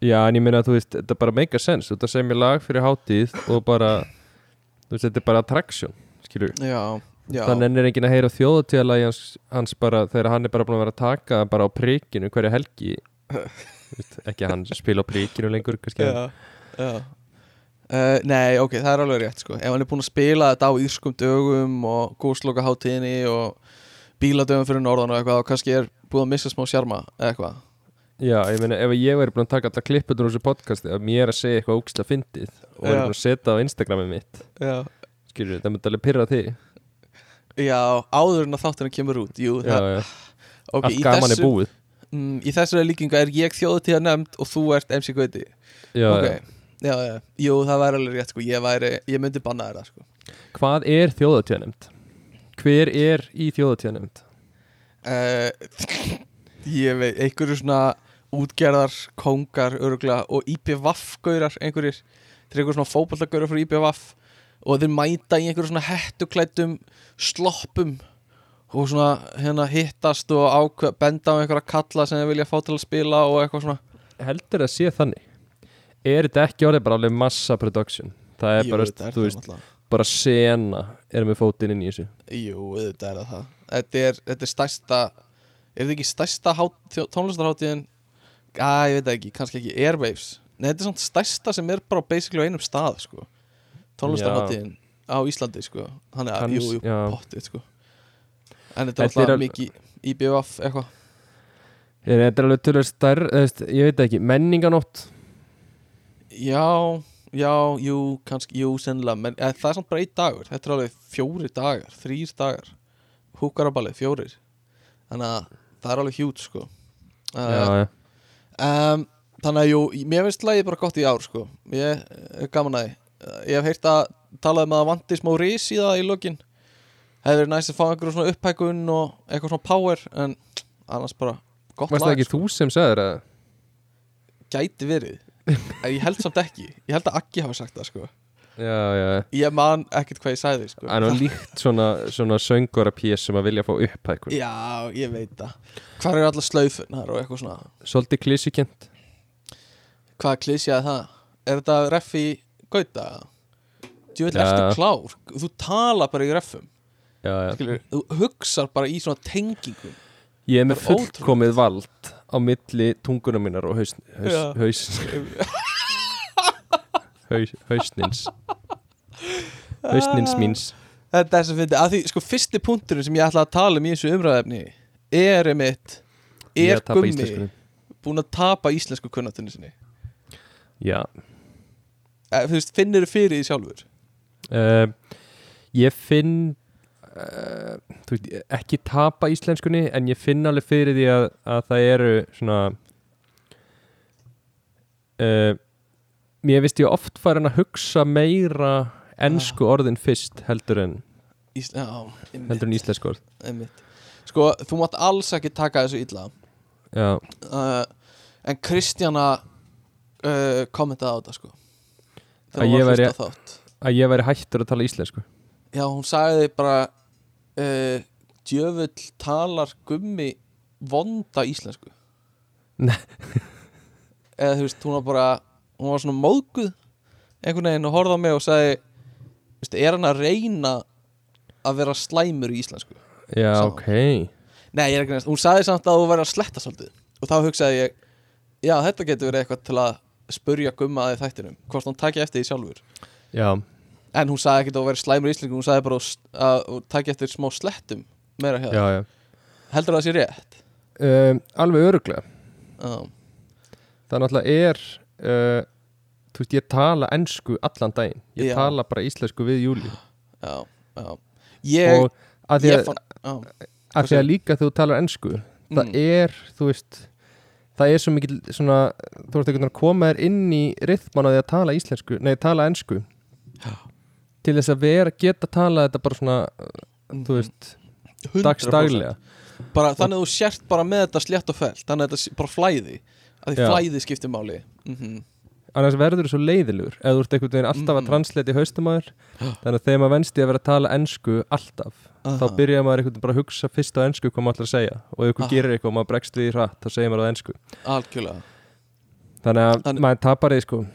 já en ég meina að þú veist Þetta bara make a sense, þetta sem ég lag fyrir hátíð Og bara, þú veist þetta er bara attraction Skilur Já, já Þannig ennir enginn að heyra þjóðatíðalagi hans, hans bara, þegar hann er bara búin að vera að taka bara á prikinu hverja helgi Þú veist, ekki að hann spila á prikinu lengur kannski hann- já, já. Uh, Nei, ok, það er alveg rétt sko Ef hann er búinn að spila þetta á írskum dögum og góðsloka hátíðinni og bíladögum fyrir norðan og eitthvað og kannski er búið að missa smá sjarma eða eitthvað Já, ég meina, ef ég væri búin að taka alltaf klipputur úr þessu podcasti að mér að segja eitthvað ógislega fyndið og væri Já. búin að setja á Instagramið mitt Já, skilur, það myndi alveg pyrra þig Já, já áður en að þáttunum kemur út Jú, það, já, ok, allt í gaman er þessu, búið mm, í þessu líkingu er ég þjóðutíða nefnd og þú ert MC Gauti Já, Ok, já, já, jú, það væri alveg rétt sko Ég, væri, ég myndi banna þér það sko já. Hvað er þjóðatíðanemnd? Hver er í þjóðatíðanemnd? uh, [LAUGHS] Ég veit, einhverju svona útgerðar, kongar, örugla og IPVAF-gaurar einhverjir Þeir eru einhverjum svona fótballagaurar frá IPVAF og þeir mæta í einhverjum svona hettuklættum sloppum og svona hérna hittast og ákveð, benda á einhverja kalla sem þeir vilja fá til að spila og eitthvað svona Heldur að sé þannig Er þetta ekki orðið bara alveg massa production? Það er Jú, bara, auðvitað er þú það veist, náttúrulega. bara sena er með fótinn inn í þessu Jú, auðvitað er það það Þetta er, þetta er stærsta Er þetta ekki stærsta hát, þjó- tónlistarhátíðin Æ, ég veit það ekki, kannski ekki Airwaves Nei, þetta er svona stærsta sem er bara basically á einum stað sko. Tónlistarhátíðin á Íslandi sko. Þannig að, Kanns- jú, jú, já. pottið sko. En þetta er Þetta er alltaf al- mikið IBF eitthvað Er þetta alveg tölur stærr, þú veist, ég veit ekki, menninganótt Já, já, jú, kannski, jú, sennilega Men eh, það er samt bara einn dagur Þetta er alveg fjóri dagar, þrýr dagar Húkarabalið, fjórir Þannig að það er alveg hjút sko. Eh, Já, já, um, Þannig að jú, mér finnst lagið bara gott í ár sko. Ég er gaman að því Uh, Ég hef heyrt að talað um að það vanti smá ris í það í lokin Hefði verið næst að fá einhverjum svona upphækun og eitthvað svona power En annars bara gott varst það lag sko. ekki þú sem sagður að Gæti [LAUGHS] verið En ég held samt ekki Ég held að Aggi hafa sagt það sko Já, já, já Ég man ekkert hvað ég sagði sko [LAUGHS] Það er nú líkt svona, svona söngora pjés sem að vilja fá upphækun Já, ég veit það Hvar eru allar slaufunar og eitthvað svona Svolítið klísikent Hvað klísjaði það? Er þetta reffi gauta? Þú veit, Já. ertu klár Þú tala bara í reffum já, já. Skilur, þú hugsar bara í svona tengingum Ég er með Það er ótrúlegt. fullkomið vald á milli tunguna mínar og hausn, haus, Já. haus, haus, hausnins [LAUGHS] Hausnins míns Þetta er sem fyrir, að því sko fyrsti punkturinn sem ég ætla að tala um í þessu umræðefni er einmitt, Ég er að tapa gummi íslenskunni. búin að tapa íslensku kunnatunni sinni Já Eh, Þú veist, finnir þú fyrir því sjálfur uh, Ég finn uh, þú veit, ekki tapa íslenskunni en ég finn alveg fyrir því að, að það eru svona uh, Mér vist ég oft farin að hugsa meira ensku orðin fyrst heldur en, Ís, Já, einmitt, heldur en íslensku orð einmitt Sko, þú mátt alls ekki taka þessu illa Já, uh, En Kristjana uh, kommentaði á þetta sko Að Þegar hún ég var væri- fyrst á þátt að ég væri hættur að tala íslensku Já, hún sagði bara uh, Djöfull talar gummi vonda íslensku Nei. [LAUGHS] Eða þú veist, hún var bara Hún var svona móðguð Einhvern veginn og horfði á mig og sagði veist, Er hann að reyna að vera slæmur í íslensku? Já, Sama. ok Nei, ég er ekki næst Hún sagði samt að þú væri að sletta svolítið Og þá hugsaði ég Já, þetta getur verið eitthvað til að spurja gumma að í þættinum Hvort hann taki eftir því sjálfur Já, En hún sagði ekkert að hún væri slæmur í íslensku Hún sagði bara að- að hún taki eftir smá slettum Meira hjá já, já Heldur það sé rétt? um, Alveg öruglega Já, það náttúrulega er uh, þú veist, ég tala ensku allan daginn, ég Já. tala bara íslensku við júli já, já Ég, og að því ég að, fann já, að, því að líka þegar þú talar ensku það mm, er, þú veist það er svo mikil svona þú veist, einhvern veginn að koma þér inn í rithman á því að tala íslensku, nei, tala ensku til þess að vera, geta tala þetta bara svona, Mm, þú veist 100% dagstaglega, bara, Þannig að þú sért bara með þetta slétt og felt Þannig að þetta sé bara flæði Að því Já. flæði skiptir máli mm annars verður þú svo leiðilugur eða þú ert einhvern veginn alltaf að Mhm. translate í [GASPS] haustumæður þannig að þegar maður venst í að vera að tala ensku alltaf þá byrjar maður einhvern veginn bara að hugsa fyrst á ennsku hvað maður ætlar að segja og ef Aha. ykkur gerir eitthvað og maður bregst við í hratt þá segir maður á ennsku Algjörlega þannig að Þannig- maður tapar því sko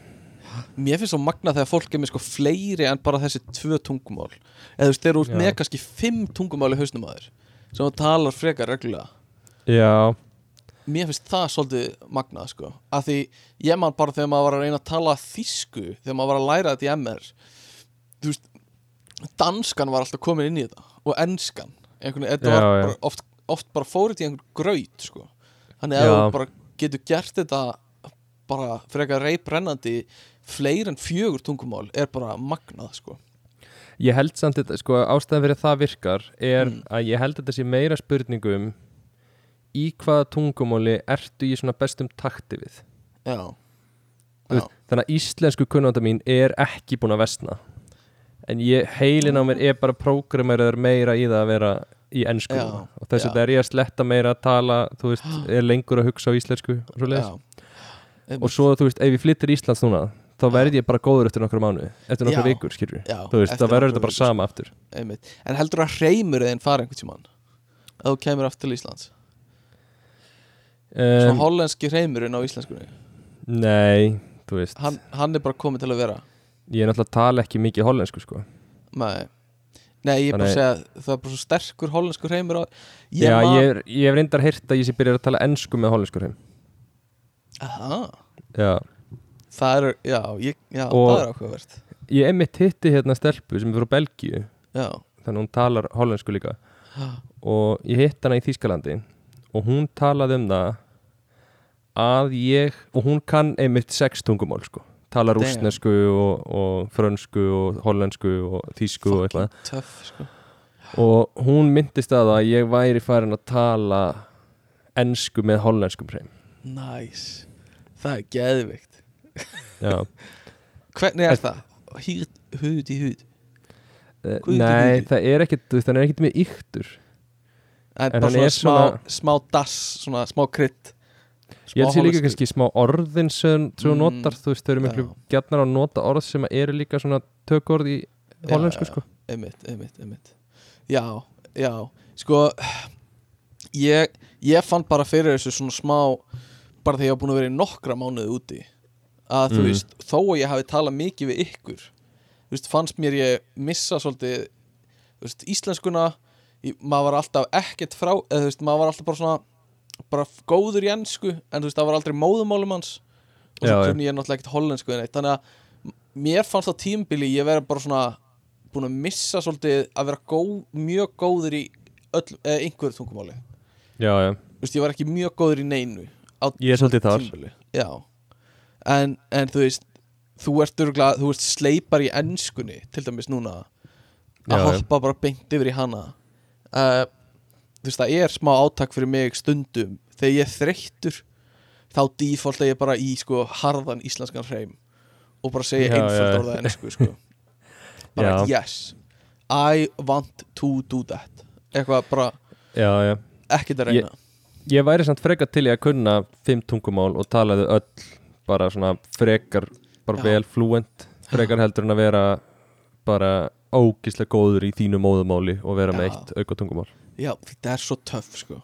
Mér finnst svo magna þegar fólk er með sko fleiri En bara þessi tvö tungumál Eða þú veist, þeir eru út Já. með kannski fimm tungumál í hausnum aður Sem þú talar frekar reglulega já, Mér finnst það svolítið magnað sko Af því ég man bara þegar maður var að reyna að tala þýsku Þegar maður var að læra þetta í MR Þú veist Danskan var alltaf komin inn í þetta Og enskan Einhvern, Þetta Já, var já. bara oft, oft bara fórið í einhvern graut sko Þannig að Já. ef þú bara getur gert þetta bara frekar reybrennandi fleir en fjögur tungumál er bara magnað sko Ég held samt þetta, sko, ástæðan fyrir að það virkar er Mm. að ég held að þetta sé meira spurningum í hvaða tungumáli ertu í svona bestum takti við Já, Þú já. veist, þannig að íslensku kunnanda mín er ekki búin að vestna en ég, heilin á mér er bara prógrameraður meira í það að vera í ennsku Já, og þess já. að það er ég að sletta meira að tala þú [GASPS] veist, er lengur að hugsa á íslensku og, svoleiðis. já. Einmitt. og svo þú veist, ef ég flyttir í Íslands núna þá verð ég bara góður eftir nokkra mánu eftir nokkra Já. vikur, skilur Já, þú veist, eftir það verður nokkra þetta bara vikur, sama aftur Einmitt. En heldur að hreymur eðin fara einhvern tímann að þú kemur aftur til Íslands Svo um, hollenski hreymurinn á íslenskunni Nei, þú veist hann, hann er bara komið til að vera Ég er náttúrulega að tala ekki mikið hollensku sko Nei, Nei ég er bara að Þannig- segja það er bara svo sterkur hollensku hreymur á... Ég, Já, man- ég, er- ég hef reyndar heyrt að ég sé byrjar að tala ennsku með hollensku hreim Aha, Já, Það er, já, ég, já Og- það er áhugavert ég emmitt hitti hérna stelpu sem er frá Belgíu Já, þannig að hún talar hollensku líka Ha. og ég hitt hana í Þýskalandi og hún talaði um það að ég og hún kann einmitt sex tungumál sko tala Damn. rúsnesku og, og frönsku og hollensku og þýsku og eitthvað fucking töff sko. og hún myndist að það að ég væri farin að tala ennsku með hollenskum hreim Nice, það er geðvikt Já Hvernig er það? Hýrt, húð í húð Eh, Guð, Nei, guð. það er ekkit, þú veist, hann er ekkit með yktur En, En bara hann er svona smá, svona- smá dass, svona smá krydd Ég held sér líka hollensku. kannski smá orðin sem sem þú Mm, notar, þú veist, þau eru miklu gjarnar að nota orð sem eru líka svona tökorð í Já, hollensku, já, sko einmitt, einmitt, einmitt já, já, sko ég, ég fann bara fyrir þessu svona smá bara þegar ég var búin að vera í nokkra mánuði úti að þú Mm. veist, þó að ég hafi talað mikið við ykkur þú veist, fannst mér ég missa svolítið þú veist, íslenskuna ég, maður var alltaf ekkert frá eða þú veist, maður var alltaf bara svona bara góður í ennsku, en þú veist, það var aldrei móðumálum hans og svo Já, já. kunni ég náttúrulega ekkert hollensku en eitt, þannig að m- mér fannst á tímbili ég verið bara svona búin að missa svolítið að vera góð, mjög góður í öll, eða einhverjum tungumáli Já, já, Þú veist, ég var ekki mjög góður í neinu á ég er svolítið þar tímbili Já, en, en þú veist þú ert, örgla, þú ert sleipar í enskunni til dæmis núna Já, að já. hoppa bara beint yfir í hana uh, þú veist, það er smá átak fyrir mig stundum þegar ég er þreyttur þá defaulta ég bara í sko harðan íslenskan hreim og bara segja Já, já. einfalt orða ensku sko. [LAUGHS] bara Já. yes I want to do that eitthvað bara Já, já, ekkert að reyna ég væri samt frekar til ég að kunna fimm tungumál og talaði öll bara svona frekar, bara Já. vel fluent frekar heldur en að vera bara ógislega góður í þínu móðumáli og vera með Já. eitt auka tungumál Já, þetta er svo töff sko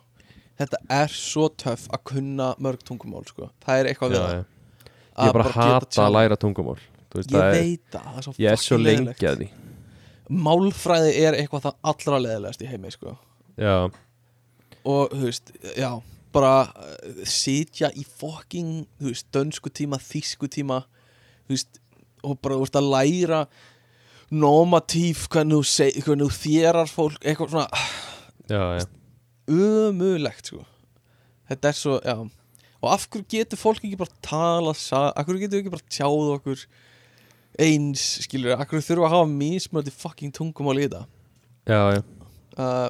Þetta er svo töff að kunna mörg tungumál sko Það er Já, eitthvað við það já. Ég bara geta hata að challenge. læra tungumál Þú veist, Ég það er- veit það, það er svo Ég er svo fucking lengi leiðinlegt. að því Málfræði er eitthvað það allra leðilegast í heimi sko Já, Og, þú veist, já Bara uh, sitja í fucking, þú veist, dönsku tíma, þýsku tíma Þú veist, og bara, þú veist, að læra Nómatíf, hvernig þú, seg, hvernig þú þérar fólk Eitthvað svona, já, já ömulegt sko. þetta er svo já. og af hverju getur fólk ekki bara tala sa- af hverju getur við ekki bara tjáð okkur eins skilur af hverju þurfum við að hafa mismöndi fucking tungumál í þetta Já, já uh,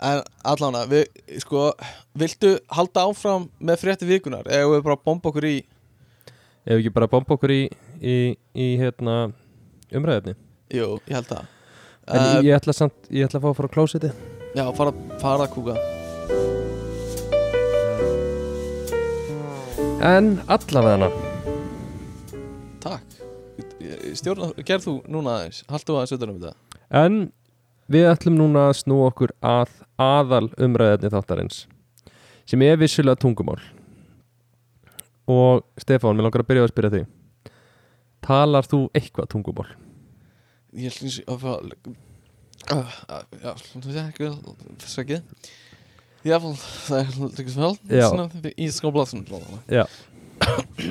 en allána við, sko, viltu halda áfram með frétti vikunar eða eigum við bara að bomba okkur í Ef ekki bara bomba okkur í, í, í hérna, umræðefni jú, ég held það En uh, ég ætla samt, ég ætla að fá að fara á klósiti já, fara, fara að kúka En allavega takk Stjórna, gerð þú núna aðeins haldu aðeins utan um þetta En við ætlum núna að snúa okkur að aðal umræðefni þáttarins Sem er vissulega tungumál Og Stefán, mér langar að byrja á að spyrja þig Talar þú eitthvað tungumál? ég held eins og að Uh, já, þú veit ekki Svekkið Já, [LAUGHS] það er líka Já. svel Í skóblasun Já.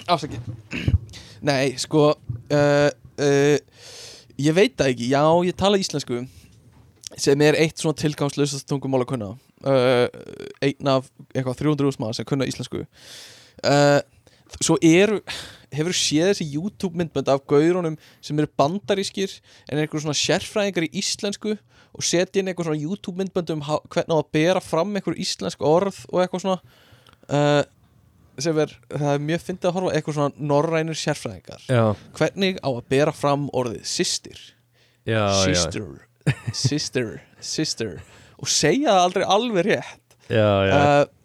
Afsakið Nei, sko uh, uh, Ég veit það ekki, já, ég tala íslensku sem er eitt svona Eh, tilgangslausast tungumál að kunna uh, einn af eitthvað 300 úrsmaður sem kunna íslensku uh, Svo eru Hefur séð þessi YouTube myndbönd af gaurunum sem eru bandarískir en er einhver svona sérfræðingar í íslensku og setja inn einhver svona YouTube myndbönd um há- hvernig á að bera fram einhver íslensk orð og eitthvað svona uh, sem er, það er mjög fyndið að horfa á eitthvað svona norrænir sérfræðingar Já, hvernig á að bera fram orðið systir já, sister, sister, sister og segja það aldrei alveg rétt já, já, já. uh,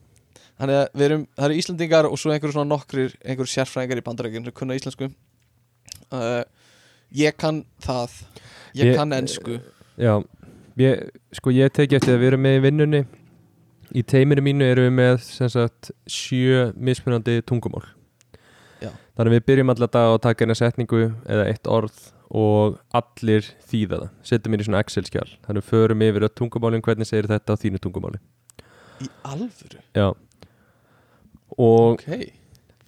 þannig að við erum, það eru Íslandingar og svo einhverju svona nokkrir, einhverju sérfræðingar í bandarækjum sem kunna íslensku uh, ég kann það ég, Ég- kann ensku Já, ég, sko ég teki eftir að við erum með í vinnunni Í teiminu mínu erum við með sem sagt sjö mismunandi tungumál Já. Þannig að við byrjum alla dag að taka eina setningu eða eitt orð og allir þýða það Setjum inn í svona Excel-skjál Þannig við förum yfir öll tungumálin hvernig segir þetta á þínu tungumáli í alvöru, Já Og ok já,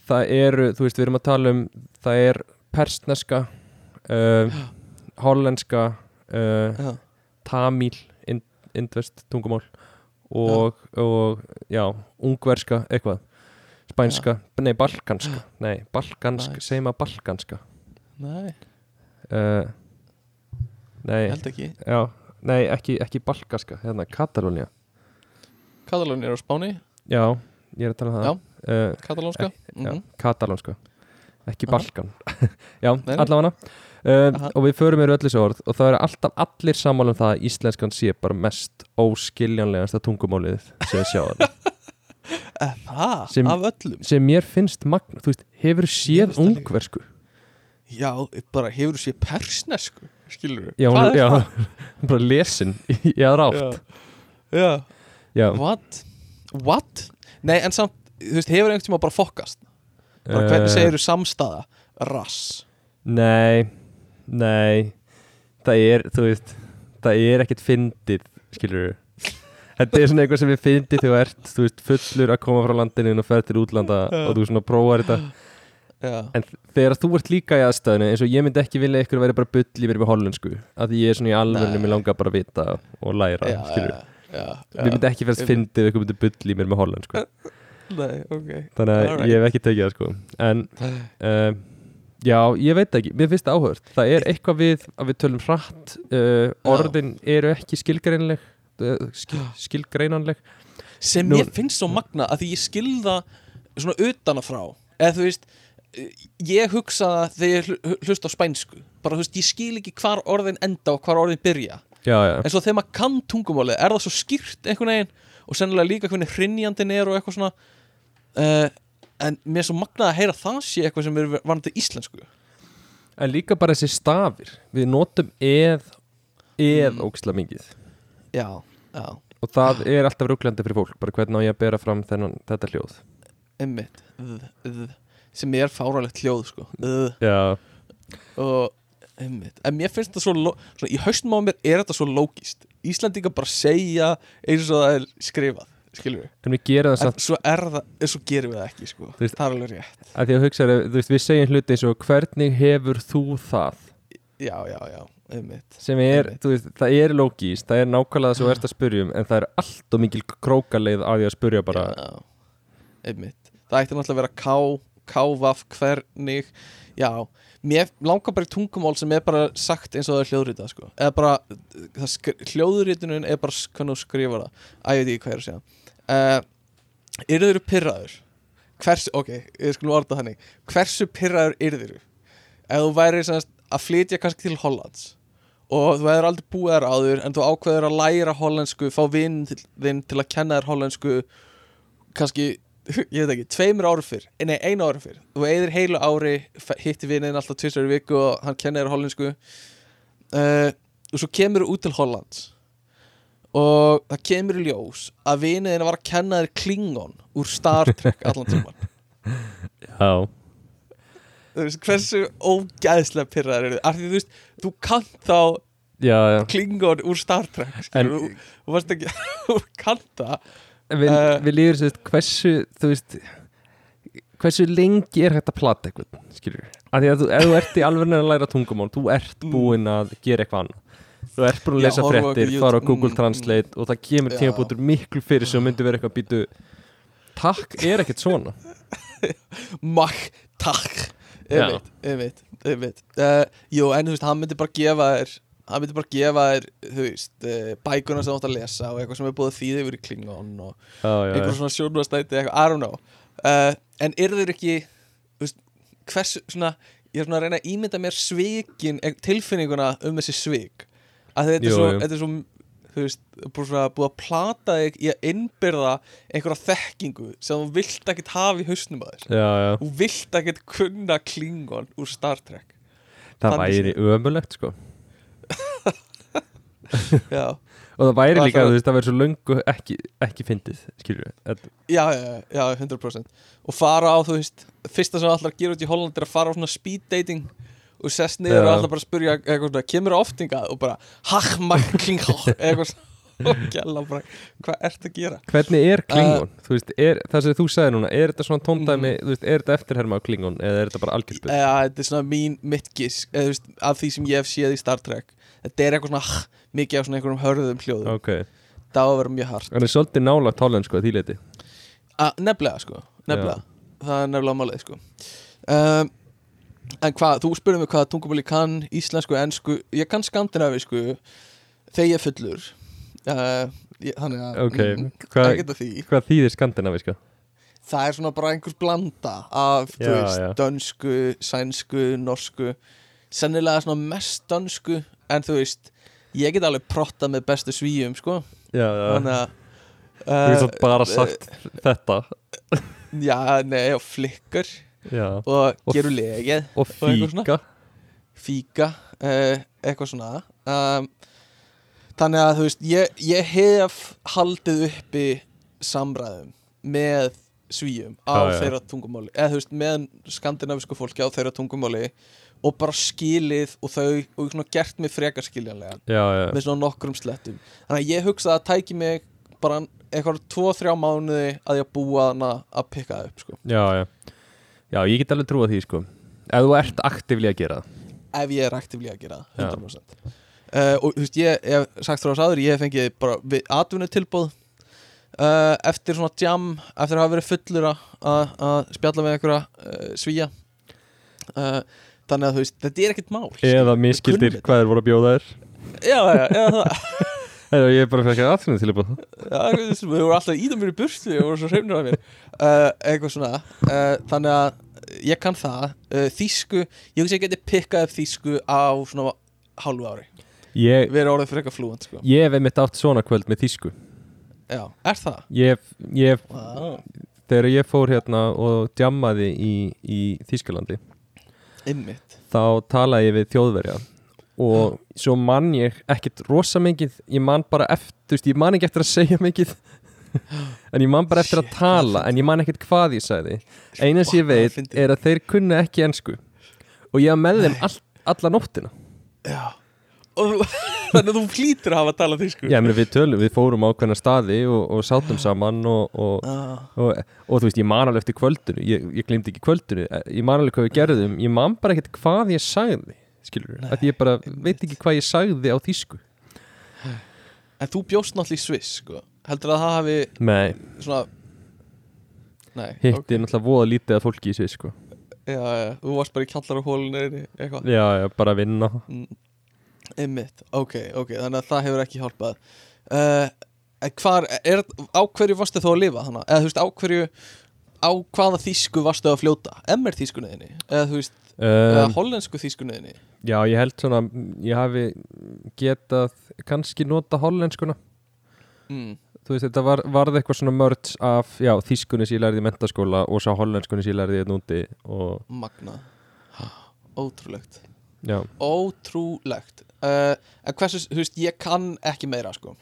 það eru, þú veist, við erum að tala um það er persneska uh, hollenska uh, tamíl ind, indvest tungumál og, og já, ungverska eitthvað, spænska nei, balkanska, nei, balkansk Nice. segjum að balkanska nei, uh, nei, ég held ekki já nei, ekki, ekki balkaska, hérna, Katalónia Katalón er á Spáni, já, ég er að tala um Já. það uh, katalónska Já, mhm, katalónska ekki Aha. balkan [LAUGHS] já, nei. allavega Aha. uh, og við förum yfir öll þessu orð og það eru alltaf allir sammála um það að íslenskan sé bara mest óskiljanlegasta tungumálið sem við sjáum Eh, það, Sem- af öllum sem mér finnst magna, þú veist, hefur Ég séð veist það líka. ungversku já, bara hefur sé persnesku skilur já, hún er já, hún er [LAUGHS] bara lesin í í aðra átt já, já. já, What? What? Nei, en samt, þú veist, hefur einhvern tíma bara fokkast bara, Hvernig Eh, segir þú samstæða? Rass nei, nei það er, þú veist það er ekkert fyndið, skilur þetta er svona eitthvað sem er fyndið þegar þú ert, þú veist, fullur að koma frá landinu og ferð til útlanda og þú svona prófar þetta Já, en þegar þú ert líka í aðstæðinu eins og ég myndi ekki vilja að ykkur að vera bara bull í mér með hollensku, að því ég er svona í alvörinu Nei. mér langar bara að vita og læra já, skilur, já, já, mér já. myndi ekki fyrst fyndið ef ykkur myndi bull í mér með hollensku Nei, ok þannig að Alright. ég hef ekki tekið það sko en um, já, ég veit ekki, mér finnst það áhört það er eitthvað við að við tölum hratt uh, orðin eru ekki skilgreinleg uh, skil, skilgreinanleg Sem Nú- ég finnst svo magna að því ég skilða svona utanafrá Eða þú veist, eh, ég hugsa það þegar ég hlu- hlusta á spænsku Bara þú veist, ég skil ekki hvar orðin enda og hvar orðin byrja já, já, En svo þegar maður kann tungumálið er það svo skýrt einhvern veginn og sennilega líka hvernig hrinjandin er og eitthvað svona uh, en mér er svo magnað að heyra að það sé eitthvað sem er varandi íslensku en líka bara þessi stafir við notum eð eð mm. ógislega mingið Já, já, og það er alltaf rúklandi fyrir fólk bara hvernig á ég að bera fram þennan, þetta hljóð einmitt ð, ð, sem er fáralegt hljóð sko ð, já, og einmitt en mér finnst þetta svo, lo- svona, í haustum á mér er þetta svo lógist Íslandingar bara segja eins og það er skrifað skilur við, en við gerum það en samt svo er það en svo gerum við það ekki sko, veist- það er alveg rétt að því að hugsa, þú veist, við segjum hluti eins og hvernig hefur þú það já, já, já, einmitt sem er, Einmitt. þú veist, það er logís það er nákvæmlega það sem þú ert að spurjum en það er allt og mikil krókaleið að því að spurja bara já, einmitt það ætti náttúrulega að vera ká, kávaf, hvernig já, mér langar bara í tungumál sem er bara sagt eins og það er hljóðrita sko. eða bara, það skr- hljóðritunin er bara sk- hvernig þú skrifar það að ég veit ekki hvað ég er að segja uh, yrður pyrraður hversu, ok, ég skulum orða þannig hversu pyrraður yrður ef þú væri semast, að flytja kannski til Hollands og þú hefur aldrei búið þar áður en þú ákveður að læra hollensku fá vinn til, þinn til að kenna þér hollensku kannski, ég veit ekki, tveimur ári fyrr eh, nei, einu ári fyrr, þú eigðir heilu ári fe- hittir vinnin alltaf tvisar í viku og hann kennir þér hollensku uh, og svo kemur þú út til Hollands og það kemur í ljós að vinnin var að kenna þér Klingon úr Star Trek allan tíman já, Þú veist, hversu ógæðslega pyrraðar eru þið af því þú veist, þú kannt þá já, já Klingon úr Star Trek En- skilur, þú, þú varst ekki [LAUGHS] þú kannt það En við, Eh. við líður, þú veist, hversu þú veist, hversu lengi er hægt að plata eitthvað, skilur að því að þú, ef þú ert í alveg að læra tungumál þú ert búinn að gera eitthvað annað þú ert búinn að Mm. Já, lesa horfa á eitthvað fréttir, YouTube, fara á Google mm, Translate og það kemur Já. tímabútur miklu fyrir sem myndi vera eitthvað býtu takk er ekkert svona Mach, takk Ég Já. veit, ég veit, ég veit uh, Jú, en þú veist, hann myndi bara gefa þér Hann myndi bara gefa þér, þú veist uh, Bækuna sem þú átt að lesa og eitthvað sem er búið að þýða yfir í Klingon og já, já, einhver svona sjónvastæti eitthvað, I don't know uh, en er þeir ekki þú veist, hversu svona ég er svona að reyna að ímynda mér svikin eh, tilfinninguna um þessi svik að Jú, þetta er svo, jú. þetta er svo þú veist, búið svona búið að plata þig í að innbyrða einhverja þekkingu sem þú vilt ekkert hafa í hausnum að þér já, já. þú vilt ekkert kunna klingon úr Star Trek það þannig væri ömulegt sko já, og það væri Það líka, þarf- þú veist, það væri svo löngu ekki, ekki fyndið, skilur við já, já, já, 100% og fara á, þú veist, fyrsta sem allar gera út í Holland er að fara á svona speed dating og sest Já. niður og allar bara spyrja eitthvað svona, kemur oftingað og bara hach, makk, kling, [LAUGHS] hach, eitthvað svona og gæla bara, hvað ert að gera hvernig er Klingon, þú veist, er, það Mm. sem þú sagði núna er þetta svona tóndæmi, þú veist, er þetta eftirherma á Klingon eða er þetta bara algjörspil eða þetta er svona mín mitt gisk eða, þú veist, af því sem ég hef séð í Star Trek þetta er eitthvað svona, hach, mikið af svona einhverjum hörðum hljóðum, ok, það á að vera mjög hart það er svolítið nála tálen sko að því leiti A, nefnilega sko, nefnilega það er nefnilega málið sko um, en hvað, þú spurðum mig hvað tungumáli kann, íslensku, ensku ég kann skandinavisku þegar ég er fullur uh, ég, þannig að ok, mm, hvað, ekkert að því hvað þýðir skandinaviska það er svona bara einhvers blanda af, þú Já, veist, já. dönsku sænsku, norsku sennilega svona mest dönsku en þú veist, ég get alveg protta með bestu svíum sko, já, já, þannig að þú Uh, veist bara sagt þetta já, nei, og flikkar já, og, Og og gerur legið og eitthvað svona. fíka fíka uh, eitthvað svona um, þannig að þú veist ég, ég hef haldið uppi samræðum með svíum á Já, já. þeirra tungumáli eða þú veist með skandinavisku fólki á þeirra tungumáli og bara skilið og þau og svona gert mig frekar skiljanlega já, já, með svona nokkrum slettum þannig að ég hugsa að það tæki mig bara eitthvað 2-3 mánuði að ég búa hana að pikka það upp sko. já, já já, ég get alveg trúa því sko ef þú ert aktivli að gera það ef ég er aktivlega að gera Já. það 100% uh, og þú veist ég hef sagt þrjá sáður ég hef fengið bara við atvinnutilbóð uh, eftir svona jam eftir að hafa verið fullur að- að að spjalla með einhverja uh, svíja uh, þannig að þú veist þetta er ekkert mál eða skilur. Við kunnum miskildir þetta. hvað þeir voru að bjóða þér já, já, já, það, eða ég er bara fyrir ekki aðfinnum til að búið já, þú veist, við vorum alltaf íða mér í burtu og vorum svo hreifnir af mér uh, eitthvað svona uh, þannig að ég kann það uh, þýsku, ég veist ég geti pikkað upp þýsku á svona hálfu ári ég, Við erum orðið frekar flúant sko ég hef einmitt átt svona kvöld með þýsku Já, er það? Ah. ég, hef- ég, hef- Wow. þegar ég fór hérna og djammaði í, í Þýskalandi Einmitt þá talaði ég við þjóðverja og svo man ég ekkert rosa mikið, ég man bara eftir þú veist, ég man ekki eftir að segja mikið en ég man bara eftir Shit, að hvað tala en ég man ekkert hvað ég sagði eina sem ég veit er að þeir kunna ekki ensku og ég var með þeim all, alla nóttina Já Og- Þannig að þú [LAUGHS] flýtur að hafa að tala þýsku Já, meni, við tölum, við fórum á hvernig staði og, og sátum saman og, og, ah, og, og, þú veist, ég man alveg eftir kvöldinu ég, ég glemdi ekki kvöldinu, ég man alveg hvað við gerðum ég man bara ekkert hvað ég sagði skilur við, að ég bara veit ekki hvað ég sagði á þýsku En þú bjóst náttúrulega í Sviss sko Heldur að það hafi Nei, svona Nei hitti ok. náttúrulega voða lítið af fólki í svið sko Já, já, þú varst bara í kallar og hólinu Eitthvað Já, já, bara að vinna Einmitt, ok, ok Þannig að það hefur ekki hjálpað uh, en Hvar, er, á hverju varstu þó að lifa þannig? Eða þú veist, á hverju Á hvaða þýsku varstu að fljóta? MR þýskunniðinni? Eða þú veist, eða um, hollensku þýskunniðinni? Já, ég held svona, ég hafi getað kannski nota hollenskuna Mm. þú veist, þetta var, varð eitthvað svona mörds af, já, þýskunni sem ég lærði í mentaskóla og sá hollenskunni sem ég lærði hérna úti og, Magna Ótrúlegt já, Ótrúlegt uh, En hversu, þú veist, ég kann ekki meira sko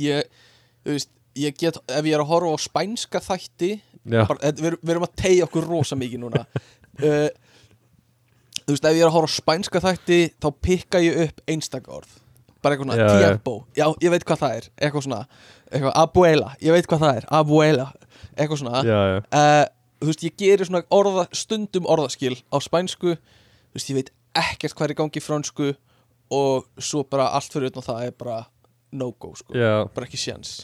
Ég, þú veist Ég get, ef ég er að horfa á spænska þætti já, bara, þetta- við, erum- við erum að tegja okkur rosa [LAUGHS] mikið núna uh, Þú veist, ef ég er að horfa á spænska þætti Þá pikka ég upp einstaka orð Bara eitthvað svona, Já, já. tiempo Já, ég veit hvað það er, eitthvað svona eitthvað, Abuela, ég veit hvað það er, abuela Eitthvað svona já, já, uh, þú veist, ég gerir svona orða, stundum orðaskil á spænsku þú veist, ég veit ekkert hvað er í gangi í fransku og svo bara allt fyrir utan það er bara no-go, sko, já. bara ekki séns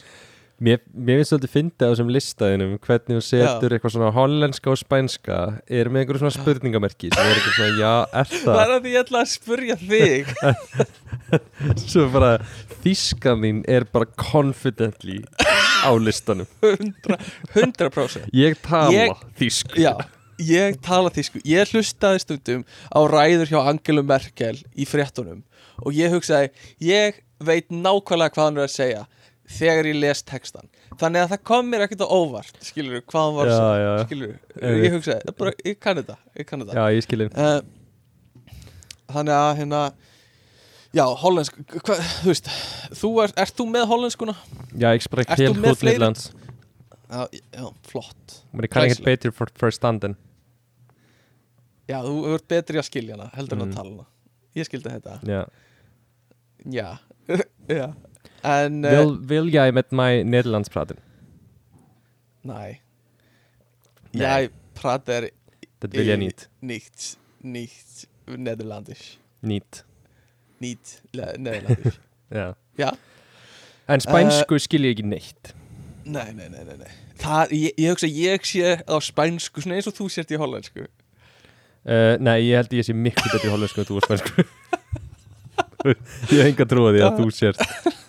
Mér, mér finnst svolítið fyndið á þessum listaðinum hvernig hún setur eitthvað svona hollenska og spænska er með einhverjum svona spurningamerki sem er eitthvað svona, já, [LAUGHS] er Það er það að því ég ætla að spurja þig [LAUGHS] svo bara þýskan þín er bara confidently á listanum 100%, 100%. ég tala Ég- þýsk Já, ég tala þýsku Ég hlustaði stundum á ræður hjá Angelu Merkel í fréttunum og ég hugsaði, ég veit nákvæmlega hvað hann er að segja þegar ég les textan Þannig að það kom mér ekkert á óvart, skilur hvað hann var að Já, segja, já. skilur Einmitt. Ég hugsaði, það er bara, ég kann þetta, ég kann þetta já, ég skilin Eh, Þannig að hérna Já, hollensk hva, Þú veist, þú er, ert þú með hollenskuna? já, ég sprak Ert þú helt með hot fleiri? Nederlands Já, já, flott men ég kann ekkert Glæsileg. betur for förstanden Já, þú ert betri að skilja hana heldur en Mm. að tala hana Ég skildi þetta já. Já, [LAUGHS] já En, eh, Vel... vil, vil ég með mæ Nederlands praten næ Nei. Ég prater þetta vil ég í- nýtt nýtt nýtt nederlandisch nýtt nýtt le- [LAUGHS] nederlandisch já. Já, en Eh, spænsku skil ég ekki neitt nei, nei, nei, nei, nei. Það, ég, ég hugsa, ég sé á spænsku svona eins og þú sért í hollensku Uh, nei, ég held ég sé miklu betri í hollensku en þú og spænsku Ég hef enga trúið því að þú sért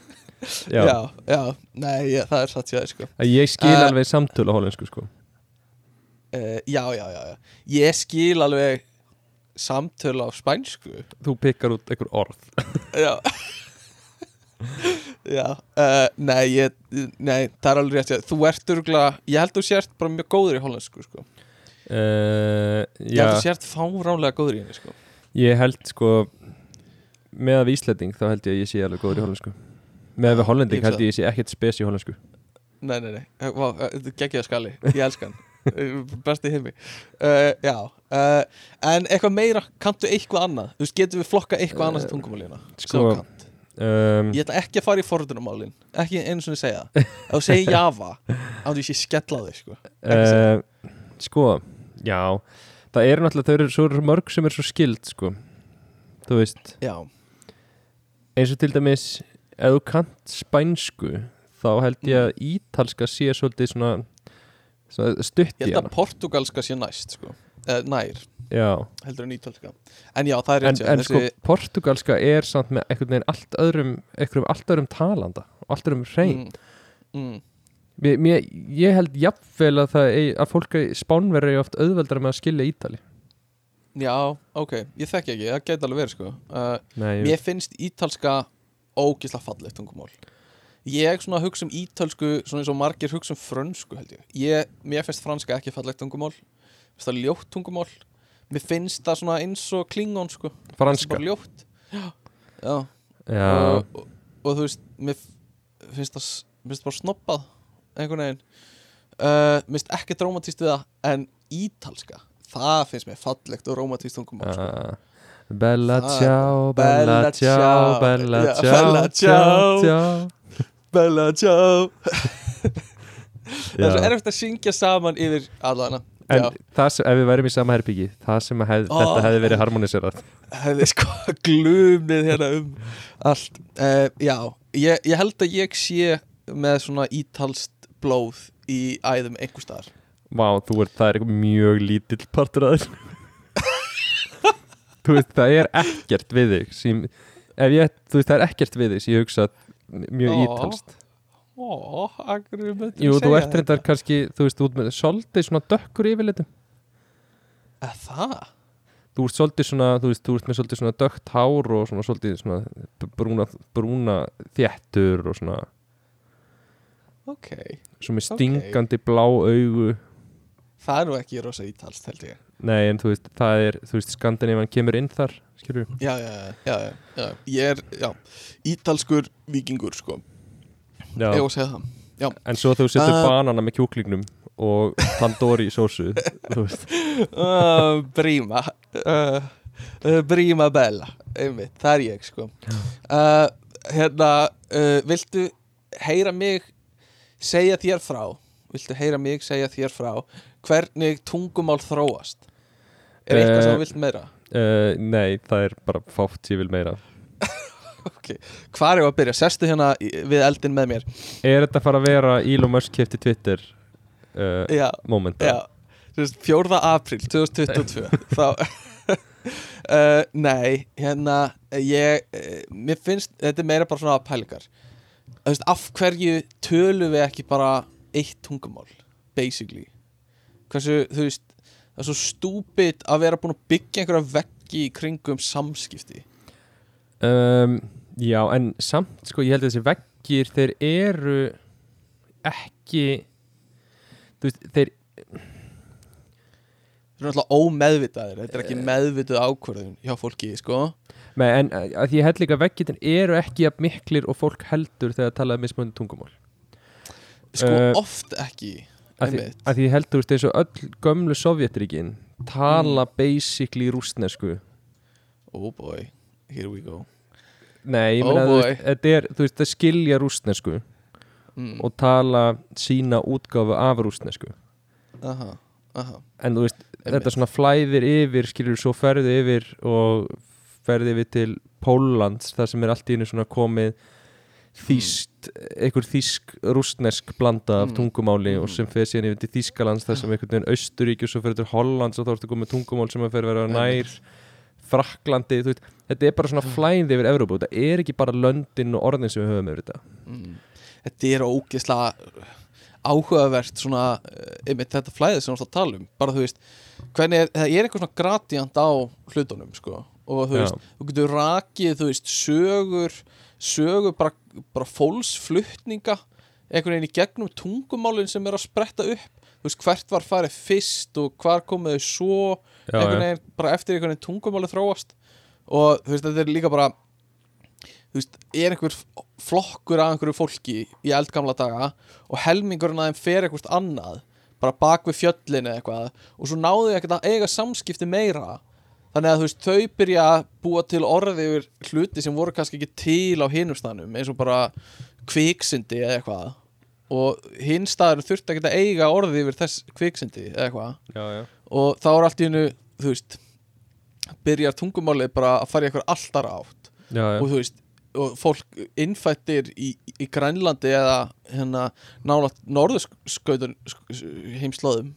Já, já, já nei, ég, það er satt sér, sko Að Ég skil Eh. alveg samtölu á hollensku sko Uh, já, já, já, já. Ég skil alveg samtölu á spænsku. Þú pikkar út einhver orð Já. já. Uh, nei, ég, nei, það er alveg rétt. Já. Þú ert örgulega, ég held þú sért bara mjög góður í hollensku, sko. uh, Ég held Já, þú sért fáránlega góður í henni, sko. ég held sko með að við Íslanding þá held ég að ég sé alveg góður í hollensku með að við Ég hollending hugsa held ég að ég sé ekkert spes í hollensku Nei, nei, nei. Eh, Vá, eh, þetta er geggjaður skali. Ég elska hann. Eh, Besti heimi. Uh, já. Uh, en eitthvað meira, kanntu eitthvað annað? Þú veist, getum við flokka eitthvað annað sem tungumálina? Eh, sko, um, Ég ætla ekki að fara í forðunumálin Ekki einu svona segja það Ef þú segir Java Þá þú sé skella á þig sko. ekki uh, Sko, já Það eru náttúrulega, þau eru svo eru mörg sem er svo skild sko Þú veist Já, eins og til dæmis ef þú kannt spænsku þá held ég Mm. að ítalska sé svolítið svona, svona stutt í ég held að hana portugalska sé næst sko. eh, Nær, já. heldur en ítalska En já, það er en, rétt en sko þessi, portugalska er samt með einhvern veginn allt öðrum, einhverjum allt öðrum talanda og allt öðrum hrein mm, mm, mér, mér, ég held jafnvel að, það, eigi- að fólk spánverður er oft auðveldara með að skilja ítali Já, ok, ég þekki ekki Það gæti alveg verið sko. uh, Nei, ég, Mér finnst ítalska ógisla fallegt tungumál Ég svona hugsa um ítalsku Svona eins og margir hugsa um frönsku held ég, ég Mér finnst franska ekki fallegt tungumál Mér finnst það ljótt tungumál Mér finnst það svona eins og klingon sko franska bara ljótt já, já. já, Og, og, og þú veist mér f- finnst það s- mér finnst það bara snoppað einhvern veginn uh, mér finnst ekki drómatist við það en ítalska það finnst mér fallegt og rómatist tungum uh, uh, Bella Það- ciao, Bella bella ciao, ciao. bella Já, ciao, bella ciao. ciao. Bella ciao það er svo Já. erfitt að syngja saman yfir allana En já, það sem, ef við værum í sama herbyggi Það sem að hef, Ó. þetta hefði verið harmoniserað hefði sko [LAUGHS] glumið hérna um allt uh, já, ég, ég held að ég sé með svona ítalst blóð í æðum einhver staðar Vá, þú ert, það er eitthvað mjög lítill partur að þér Þú veist, það er ekkert við þig sem, ef ég, Þú veist, það er ekkert við þig sem ég hugsa mjög Ó. ítalst Ó, akkur við möttum Jú, þú ert reyndar kannski, þú veist, þú ert með svolítið svona dökkur yfirleitum Er það? Þú ert svolítið svona, þú veist, þú ert með svolítið svona dökkt hár og svona svolítið svona b- brúna, brúna þéttur og svona, Ok svona með Ok. stingandi blá augu Það er nú ekki rosa ítalst held ég Nei, en þú veist, það er, þú veist, Skandinavíðan kemur inn þar, skilur við? Já, já, já, já, já, já. Ég er, já, ítalskur vikingur sko Já. Ég var að segja [LAUGHS] það En svo þú setur Ah. banana með kjúklingnum og tandoori sósu, þú veist. uh, Bríma uh, uh, Bríma Bella Einmitt, það er ég sko uh, Hérna, uh, viltu heyra mig segja þér frá Viltu heyra mig segja þér frá Hvernig tungumál þróast? Er eitthvað sem Eh, þú vilt meira? Uh, nei, það er bara fátt ég vil meira. ok, hvar er að byrja? Sestu hérna í- við eldin með mér Er þetta fara að vera Elon Musk kefti Twitter uh, Já, moment? já Þú veist, 4. apríl 2022 Þá [LAUGHS] uh, Nei, hérna ég, uh, Mér finnst, þetta er meira bara svona pælingar Þú veist, af hverju tölum við ekki bara eitt tungumál, basically Hversu, þú veist Það er svo stúpid að vera búin að byggja einhverja veggi í kringum samskipti Um, já, en samt sko, ég held að þessi veggir, þeir eru ekki þú veist, þeir Þetta er náttúrulega ómeðvitaðir, þetta er Eh. ekki meðvituð ákvörðun hjá fólki, sko Nei, en að að því ég held líka að veggirnir eru ekki jafn miklir og fólk heldur þegar það talaði mismunandi tungumál Sko Eh, oft ekki að því, Einmitt. að því ég held, þú veist, eins og öll gömlu sovjetríkin Mm. tala basically rústnesku Oh boy, here we go Nei, ég Oh meina, þú veist, boy. þetta er, þú veist, það skilja rústnesku mm. og tala sína útgáfu af rústnesku Aha, aha en þú veist, Einmitt. þetta svona flæðir yfir skilur svo ferðu yfir og ferðu yfir til Póllands þar sem er allt í einu svona komið þýst, einhver þýsk rústnesk blanda af Mm. tungumáli og Mhm. sem fer síðan yfir til Þýskalands þar sem einhvern veginn Austuríki og svo ferðu til Hollands og þá ertu komið tungumál sem að fer að vera nær Fraklandi, þú veist, þetta er bara Mm. svona flæði yfir Evrópu, þetta er ekki bara löndin og orðin sem við höfum yfir þetta mm. Þetta er ógeðslega uh, áhugavert svona eh, einmitt þetta flæðið sem við erum að tala um bara þú veist, hvernig er, það er eitthvað svona gradient á hlutunum sko og þú Já. veist, þú getur rakið þú veist, sögur sögur bara, bara fólksflutninga einhvern veginn í gegnum tungumálinn sem er að spretta upp þú veist, hvert var farið fyrst og hvar komuðu svo Já, einhvern já. veginn bara eftir einhvern veginn tungumáli þróast og þú veist þetta er líka bara þú veist, er einhver flokkur af einhverju fólki í eldgamla daga og helmingurinn að þeim fer eitthvað annað bara bak við fjöllin eða eitthvað og svo náðu þau ekkert að eiga samskipti meira þannig að þú veist, þau byrja að búa til orði yfir hluti sem voru kannski ekki til á hinum staðnum eins og bara kviksindi eða eitthvað og hinn staðurinn þurfti ekkert að eiga orði yfir þess kviksindi eða eitthvað Já, já. og þá er allt í hennu, þú veist byrjar tungumálið bara að fara í eitthvað alltaf átt Já, já. og þú veist, og fólk innfættir í, í Grænlandi eða hérna nálaðt norðurskautun heimslóðum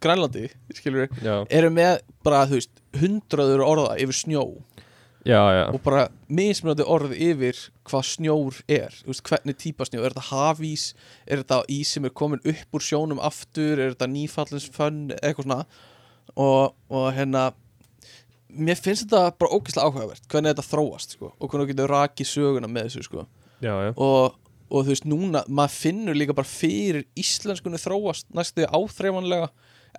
Grænlandi, skilur við Já. eru með bara, þú veist, hundraður orða yfir snjó Já, já. og bara mismunandi orð yfir hvað snjór er, þú veist, hvernig típa snjór er þetta hafís, er þetta ís sem er komin upp úr sjónum aftur er þetta nýfallins fönn, eitthvað svona og, og hérna mér finnst þetta bara ógeðslega áhugavert hvernig þetta þróast, sko, og hvernig þú getur rakið söguna með þessu, sko, já, já. og, og þú veist, núna, maður finnur líka bara fyrir íslenskunni þróast næstu áþreifanlega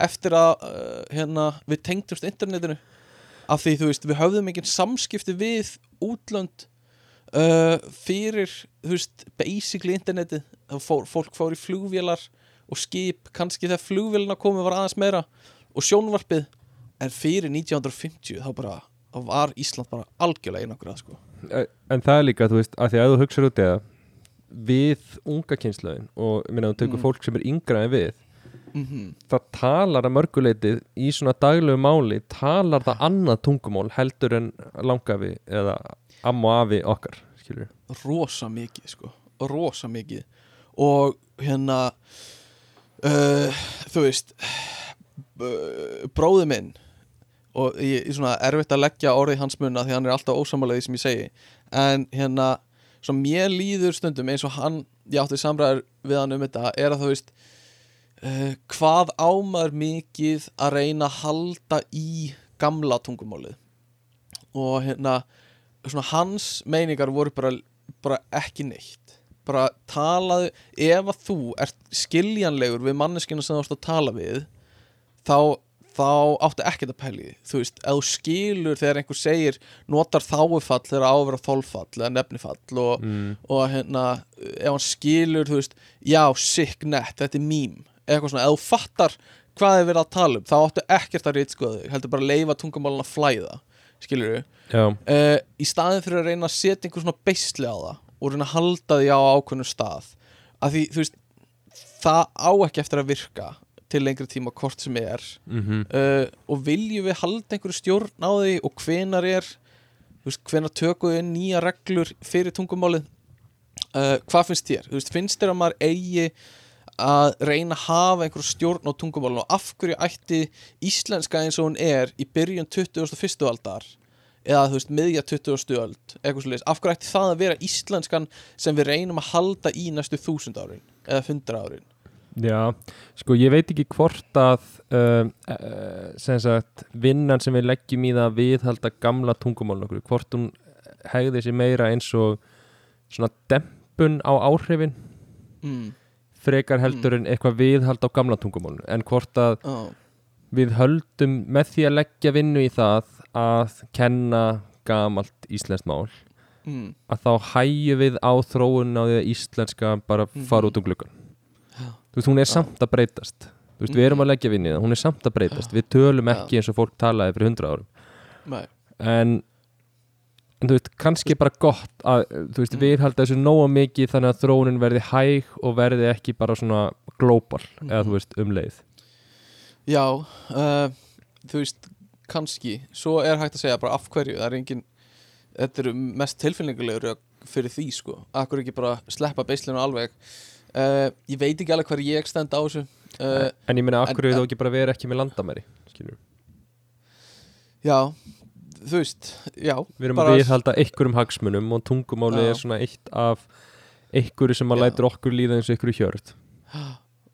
eftir að uh, hérna, við tengdumst internetinu af því, þú veist, við höfðum engin samskipti við útlönd uh, fyrir, þú veist, basically internetið, þá fór, fólk fór í flugvélar og skip, kannski þegar flugvélina komið var aðeins meira og sjónvarpið, en fyrir 1950 þá bara, þá var Ísland bara algjörlega einagrað, sko en það er líka, þú veist, að því að þú hugsaður út í það við unga kynslaðin og ég meina, þú tökur Mm. fólk sem er yngra en við mm það talar að mörguleitið í svona daglegu máli talar það annað tungumál heldur en langafi eða amma og afi okkar skilur. rosa mikið sko rosa mikið og hérna uh, þú veist uh, bróði minn og ég er svona erfitt að leggja orðið hans munna því hann er alltaf ósamalegið sem ég segi en hérna svo mér líður stundum eins og hann ég átti samræður við hann um þetta er að þú veist uh, hvað ámar mikið að reyna að halda í gamla tungumálið og hérna svona hans meiningar voru bara, bara ekki neitt bara talaðu, ef að þú ert skiljanlegur við manneskina sem þú ert að tala við þá, þá áttu ekkert að pæli þú veist, ef þú skilur þegar einhver segir notar þáufall þegar á að vera þolfall eða nefnifall og, Mm. og hérna, ef hann skilur þú veist, já, sick net, þetta er mím eitthvað svona, ef þú fattar hvað er verið að tala um, þá áttu ekkert að rýtskoða þig heldur bara að leifa tungumálun að flæða skilur við já, uh, í staðin fyrir að reyna að setja einhver svona beisli á það og reyna að halda því á ákveðnum stað af því, þú veist, það á ekki eftir að virka til lengri tíma hvort sem er mm -hmm. uh, og viljum við halda einhverju stjórn á því og hvenar er þú þú veist, hvenær tökum við inn nýja reglur fyrir tungumálið uh, hvað finnst þér? Þú veist, finnst þér að maður eigi að reyna að hafa einhverju stjórn á tungumálinu og af hverju ætti íslenska eins og hún er í byrjun 21. aldar eða þú veist, miðja 20. öld eitthvað svo af hverju ætti það að vera íslenskan sem við reynum að halda í næstu þúsund árin eða hundra árin Já, sko ég veit ekki hvort að um, uh, sem sagt, vinnan sem við leggjum í það að viðhalda gamla tungumálun okkur, hvort hún hegði sér meira eins og svona dempun á áhrifin mm. frekar heldur en eitthvað viðhald á gamla tungumálun en hvort að oh. við höldum með því að leggja vinnu í það að kenna gamalt íslenskt mál mm. að þá hægjum við á þróun á því að íslenska bara fara út um gluggan Já. þú veist, hún er samt að breytast þú veist, við erum að leggja vinnið, hún er samt að breytast við tölum ekki eins og fólk talaði fyrir hundra árum Nei, en, en þú veist, Mhm. kannski bara gott að, þú veist, við haldum þessu nóga mikið þannig að þróunin verði hæg og verði ekki bara svona global eða Mhm. þú veist, um leið Já, uh, þú veist, kannski Svo er hægt að segja bara af hverju Það er engin, þetta eru mest tilfinningulegur fyrir því sko Akkur ekki bara sleppa beislinu alveg uh, Ég veit ekki alveg hver ég stend á þessu uh, en ég meina, en- af hverju þú ekki bara verið ekki með landamæri skilur. Já, þú veist, já við erum bara- að viðhalda einhverjum hagsmunum og tungumáli Já. er svona eitt af einhverju sem að Já. lætur okkur líða eins og einhverju hjörð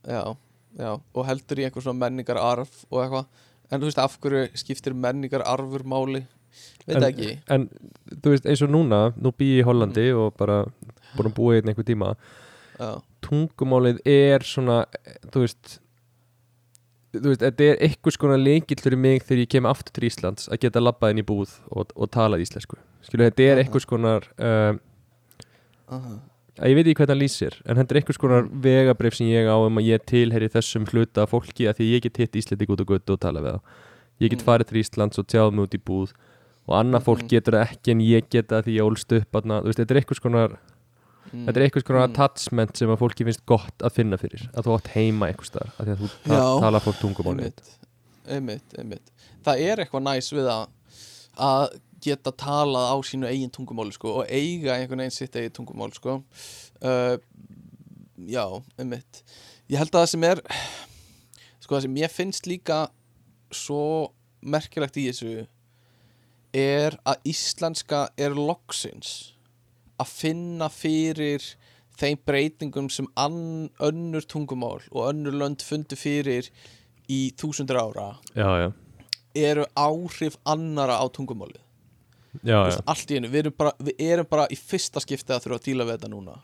Já, já, og heldur í einhver svona menningararf og eitthvað En þú veist, af hverju skiptir menningararfur máli Veit En- það ekki en þú veist eins og núna, nú býi ég í Hollandi Mm. og bara búin að búa í einhver tíma Já, tungumálið er svona eh, þú veist þú veist, þetta er einhvers konar lengill fyrir mig þegar ég kem aftur til Íslands að geta labbað inn í búð og, og talað íslensku skilu, þetta er Aha. einhvers konar um, aha, að ég veit ekki hvernig hann lýsir en þetta er einhvers konar vegabrif sem ég á um að ég tilheyri þessum hluta af fólki að því ég get hitt Íslanding út og göttu og tala við það ég get Mm. farið til Íslands og tjáð mig út í búð og annað fólk Mhm. getur það ekki en ég geta því ég ólst upp aðna, veist, þetta er einhvers konar, mm. þetta er einhvers konar Mm. attachment sem að fólki finnst gott að finna fyrir að þú átt heima einhvers staðar að því að þú ta Já. tala fólk tungumáli einmitt, einmitt, einmitt. það er eitthvað næs við að að geta talað á sínu eigin tungumáli sko, og eiga einhvern veginn sitt eigin tungumáli sko. uh, já, einmitt ég held að það sem er sko það sem ég finnst líka svo merkilegt í þessu er að íslenska er loksins að finna fyrir þeim breytingum sem ann, önnur tungumál og önnur lönd fundu fyrir í þúsundur ára já, já, eru áhrif annara á tungumálið já, Þú já. veist, allt í einu, við erum, bara, við erum bara í fyrsta skipti að þurfa að díla við þetta núna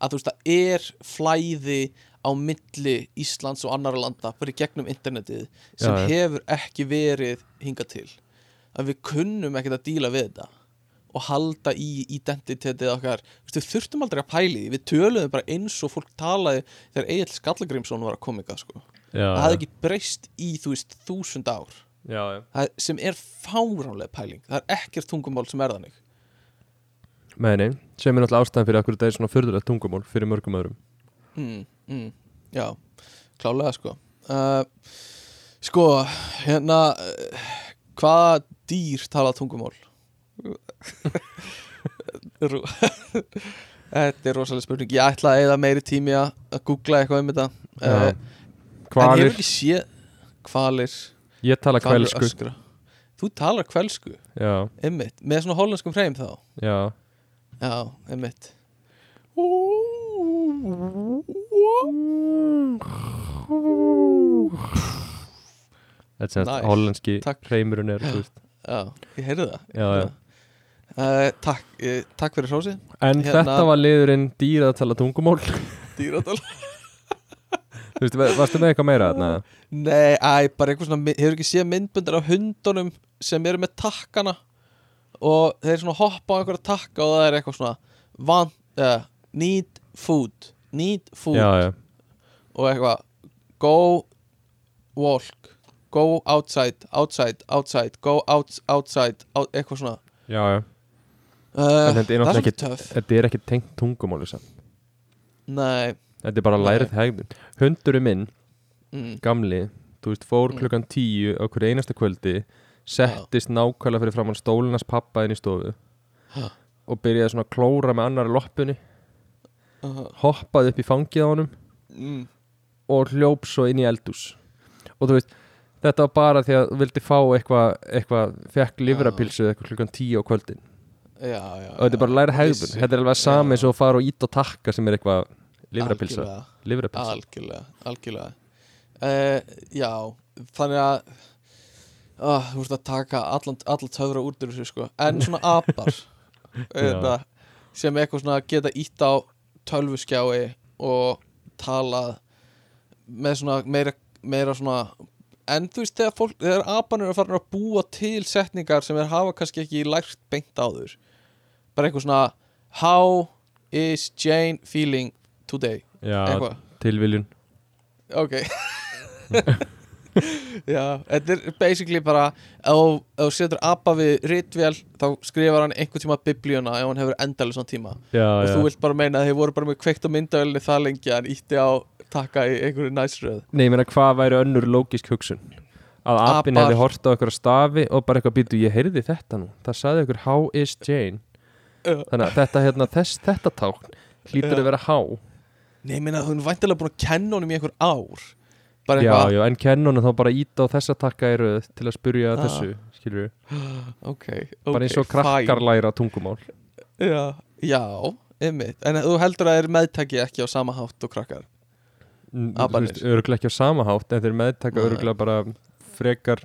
að þú veist, það er flæði á milli Íslands og annara landa bara í gegnum internetið sem Já, já. hefur ekki verið hingað til að við kunnum ekkert að díla við þetta og halda í identitetið okkar Þú veist, við þurftum aldrei að pæli því við töluðum bara eins og fólk talaði þegar Egil Skallagrimsson var að koma ykkar sko. Já, það hefði ekki breyst í þú veist, þúsund ár já, já. Það er- sem er fáránlega pæling það er ekkert tungumál sem er þannig Nei, nei, sem er náttúrulega ástæðan fyrir akkur þetta er svona fyrðulegt tungumál fyrir mörgum öðrum mm, mm, Já, klálega sko uh, Sko, hérna uh, Hvaða dýr tala tungumál? Rú- [LAUGHS] Þetta er rosalega spurning Ég ætla að eða meiri tími að að googla eitthvað um þetta uh, Já. En ég Hvalir, hef ekki séð Hvalir, ég tala hvalir kvelsku öskra Þú talar kvelsku, Já, einmitt Með svona hollenskum hreim þá já Já, einmitt Þetta sem nice. Nice. hollenski Takk. reymurinn er þú veist. Já, ég heyrði það já, já. Uh, takk, uh, takk fyrir hrósið En Hérna- þetta var liðurinn dýra að tala tungumál [LAUGHS] Þú Dýradal veist, var- varstu með eitthvað meira þarna? Nei, æ, bara eitthvað svona, mi- hefur ekki séð myndbundir af hundunum sem eru með takkana og þeir svona hoppa á einhverja takka og það er eitthvað svona van, uh, need food need food Já, já, og eitthvað go walk go outside, outside, outside go out, outside, out, eitthvað svona já, já uh, En þetta er það náttúrulega svolítið ekki, töff þetta er ekki tengt tungumáli samt Nei, Þetta er bara Nei. lærið hegðun Hundurinn minn, mm, gamli, þú veist, fór Mm. klukkan tíu á hverju einasta kvöldi settist nákvæmlega fyrir framann stólinas pappa inn í stofu og byrjaði svona að klóra með annar loppunni Aha. hoppaði upp í fangið á honum Uh-huh. Mm. og hljóp svo inn í eldús og þú veist, þetta var bara því að þú vildi fá eitthvað, eitthvað fekk livrapilsu eitthvað klukkan tíu á kvöldin Já, já, og þetta er bara að læra hegðun, þetta er alveg sami eins og að fara og ít og takka sem er eitthvað livrapilsa, Algjörlega. livrapilsa. Algjörlega, algjörlega uh, Já, þannig að uh, Þú veist að taka allan, allan töfra út úr þessu sko En svona apar eða, Sem eitthvað svona geta ítt á tölvuskjái Og talað Með svona meira, meira svona En þú veist þegar, fólk, þegar apan eru að fara að búa til setningar sem þeir hafa kannski ekki lært beint áður Bara eitthvað svona How is Jane feeling today? Já, Eitthvað tilviljun Ok [LAUGHS] Já, þetta er basically bara ef þú- ef þú setur apa við ritvél þá skrifar hann einhvern tíma biblíuna ef hann hefur endalega svona tíma já, og Ah, já. þú vilt bara meina að þið voru bara með kveikt á myndavélni það lengi að hann ítti á takka í einhverju næsröð Nei, ég meina hvað væri önnur lógisk hugsun að apinn Apar. hefði hort á einhverja stafi og bara eitthvað býtu, ég heyrði þetta nú það sagði ykkur how is Jane Já. þannig að þetta, hérna, þess, þetta tákn hlýtur Já. að vera how Nei, ég meina hún er væntalega búin að kenna honum í einhver ár bara já, eitthvað, já, en kennunum þá bara ít á þessa takka í röð til að spurja Ah. þessu, skilur við ok, ok bara eins og fine. krakkar læra tungumál Já, já, einmitt En þú heldur að þeir meðtaki ekki á sama hátt og krakkar N- þú Aparnir. veist, öruglega ekki á sama hátt en þeir meðtaka Nei. öruglega bara frekar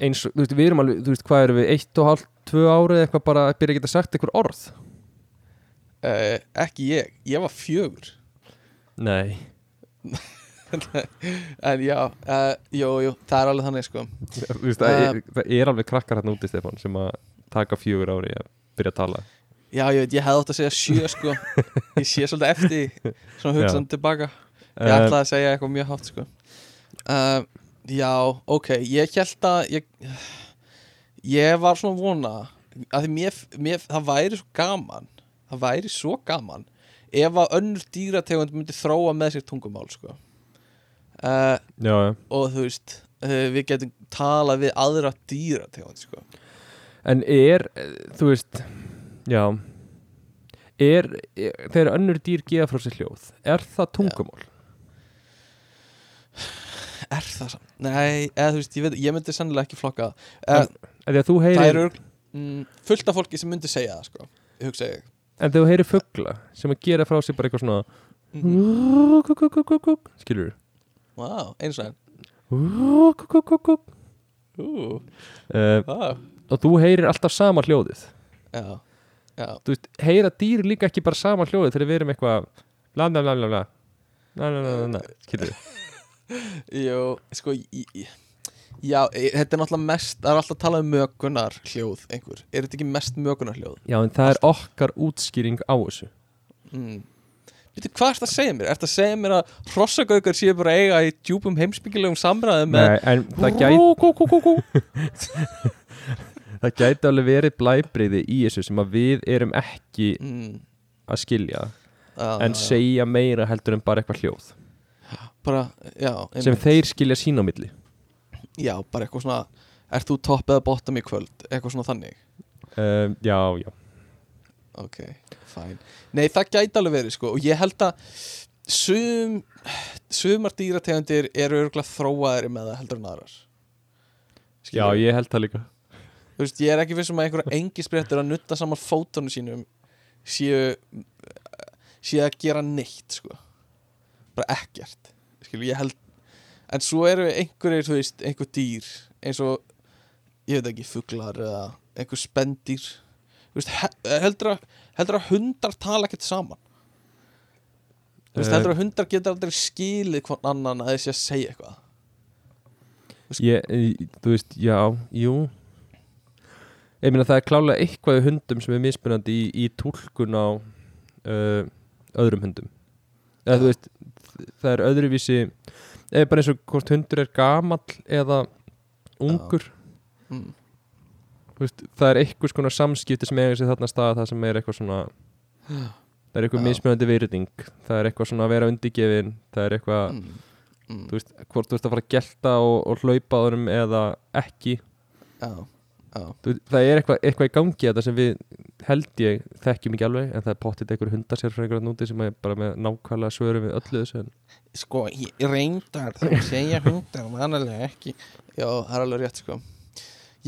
eins og, þú veist, við erum alveg, þú veist, hvað erum við eitt og hálft, tvö árið eitthvað bara að byrja að geta sagt einhver orð uh, Ekki ég, ég var fjögur nei, En já, uh, jú, jú, það er alveg þannig sko [LAUGHS] þú veist, það, Ah. er, það er alveg krakkar hérna úti, Stefán, sem að taka fjögur ári að byrja að tala Já, ég veit, ég hefði átt að segja sjö sko Ég sé svolítið eftir því, Svona hugsaðan tilbaka Ég Eh, ætlaði að segja eitthvað mjög hátt sko uh, Já, ok, ég held að ég, ég var svona að vona að því mér, mér, það væri svo gaman Það væri svo gaman Ef að önnur dýrategund myndi þróa með sér tungumál sko já, Eh, uh, já Og þú veist, uh, við getum talað við aðra dýrategund sko En er, eh, þú veist, já, er, er þegar önnur dýr gefa frá sér hljóð, er það tungumál? Er það samt? Nei, eða þú veist, ég, veit, ég myndi sennilega ekki flokka það. En En þegar þú Það heyrir, eru mm, fullt af fólki sem myndi segja það, sko Ég hugsa ég en þegar þú heyrir fuggla sem að gera frá sér bara eitthvað svona Mhm. skilur Vá, wow, eins og enn þú? Ú, Uh, vá og þú heyrir alltaf sama hljóðið Já, já, þú veist, heyra dýr líka ekki bara sama hljóðið þegar við erum eitthvað la la la la la la la la la skilur jú, sko í, í, Já, e, þetta er náttúrulega mest Það er alltaf að tala um mögunar hljóð einhver Er þetta ekki mest mögunar hljóð? já en það er okkar útskýring á þessu Mm. Býttu, hvað er þetta að segja mér? Er þetta að segja mér að hrossagaukar séu bara að eiga í djúpum heimsbyggilegum samræðum með Nei, en það gæti kú, kú, kú, kú. [LAUGHS] það gæti alveg verið blæbriði í þessu sem að við erum ekki Mm, að skilja já, en Ah, já, já. segja meira heldur en bara eitthvað hljóð bara, já, sem einmitt. þeir skilja sín á milli já, bara eitthvað svona ert þú topp eða bottom í kvöld, eitthvað svona þannig um, já, já, ok, fæn nei, það gæti alveg verið sko og ég held að sum, sumar dýrategundir eru örgulega þróaðari með það heldur en aðrar já, Skilurðu? ég held það líka þú veist, ég er ekki vissum að einhverja engisbrettur að nutta saman fótunum sínum séu séu að gera neitt sko. bara ekkert Skilu, ég held en svo eru einhverjir, þú veist, einhver dýr eins og, ég veit ekki, fuglar eða einhver spendýr þú veist, he- heldur að heldur að hundar tala ekkert saman þú veist, Eh. heldur að hundar geta aldrei skilið hvern annan að þessi að segja eitthvað ég, í- þú veist, já, jú ég meina það er klálega eitthvað í hundum sem er mismunandi í, í tólkun á uh, öðrum hundum eða þú veist, það er öðruvísi eða bara eins og hvort hundur er gamall eða ungur mm. Þú veist, það er einhvers konar samskipti sem eiga sér þarna stað það sem er eitthvað svona það er eitthvað Já. mismunandi virðing það er eitthvað svona að vera undirgefin það er eitthvað, Mm. Mm. þú veist, hvort þú ert að fara að gelta og, og hlaupa á þeim eða ekki Já, Já. Þú veit, það er eitthvað, eitthvað í gangi þetta sem við held ég þekkjum ekki alveg en það er pottit einhver hundasérfræðingur að núti sem er bara með nákvæmlega svörum við öllu þessu en Sko, ég reyndar þá segja hundar vanalega ekki Já, það er alveg rétt sko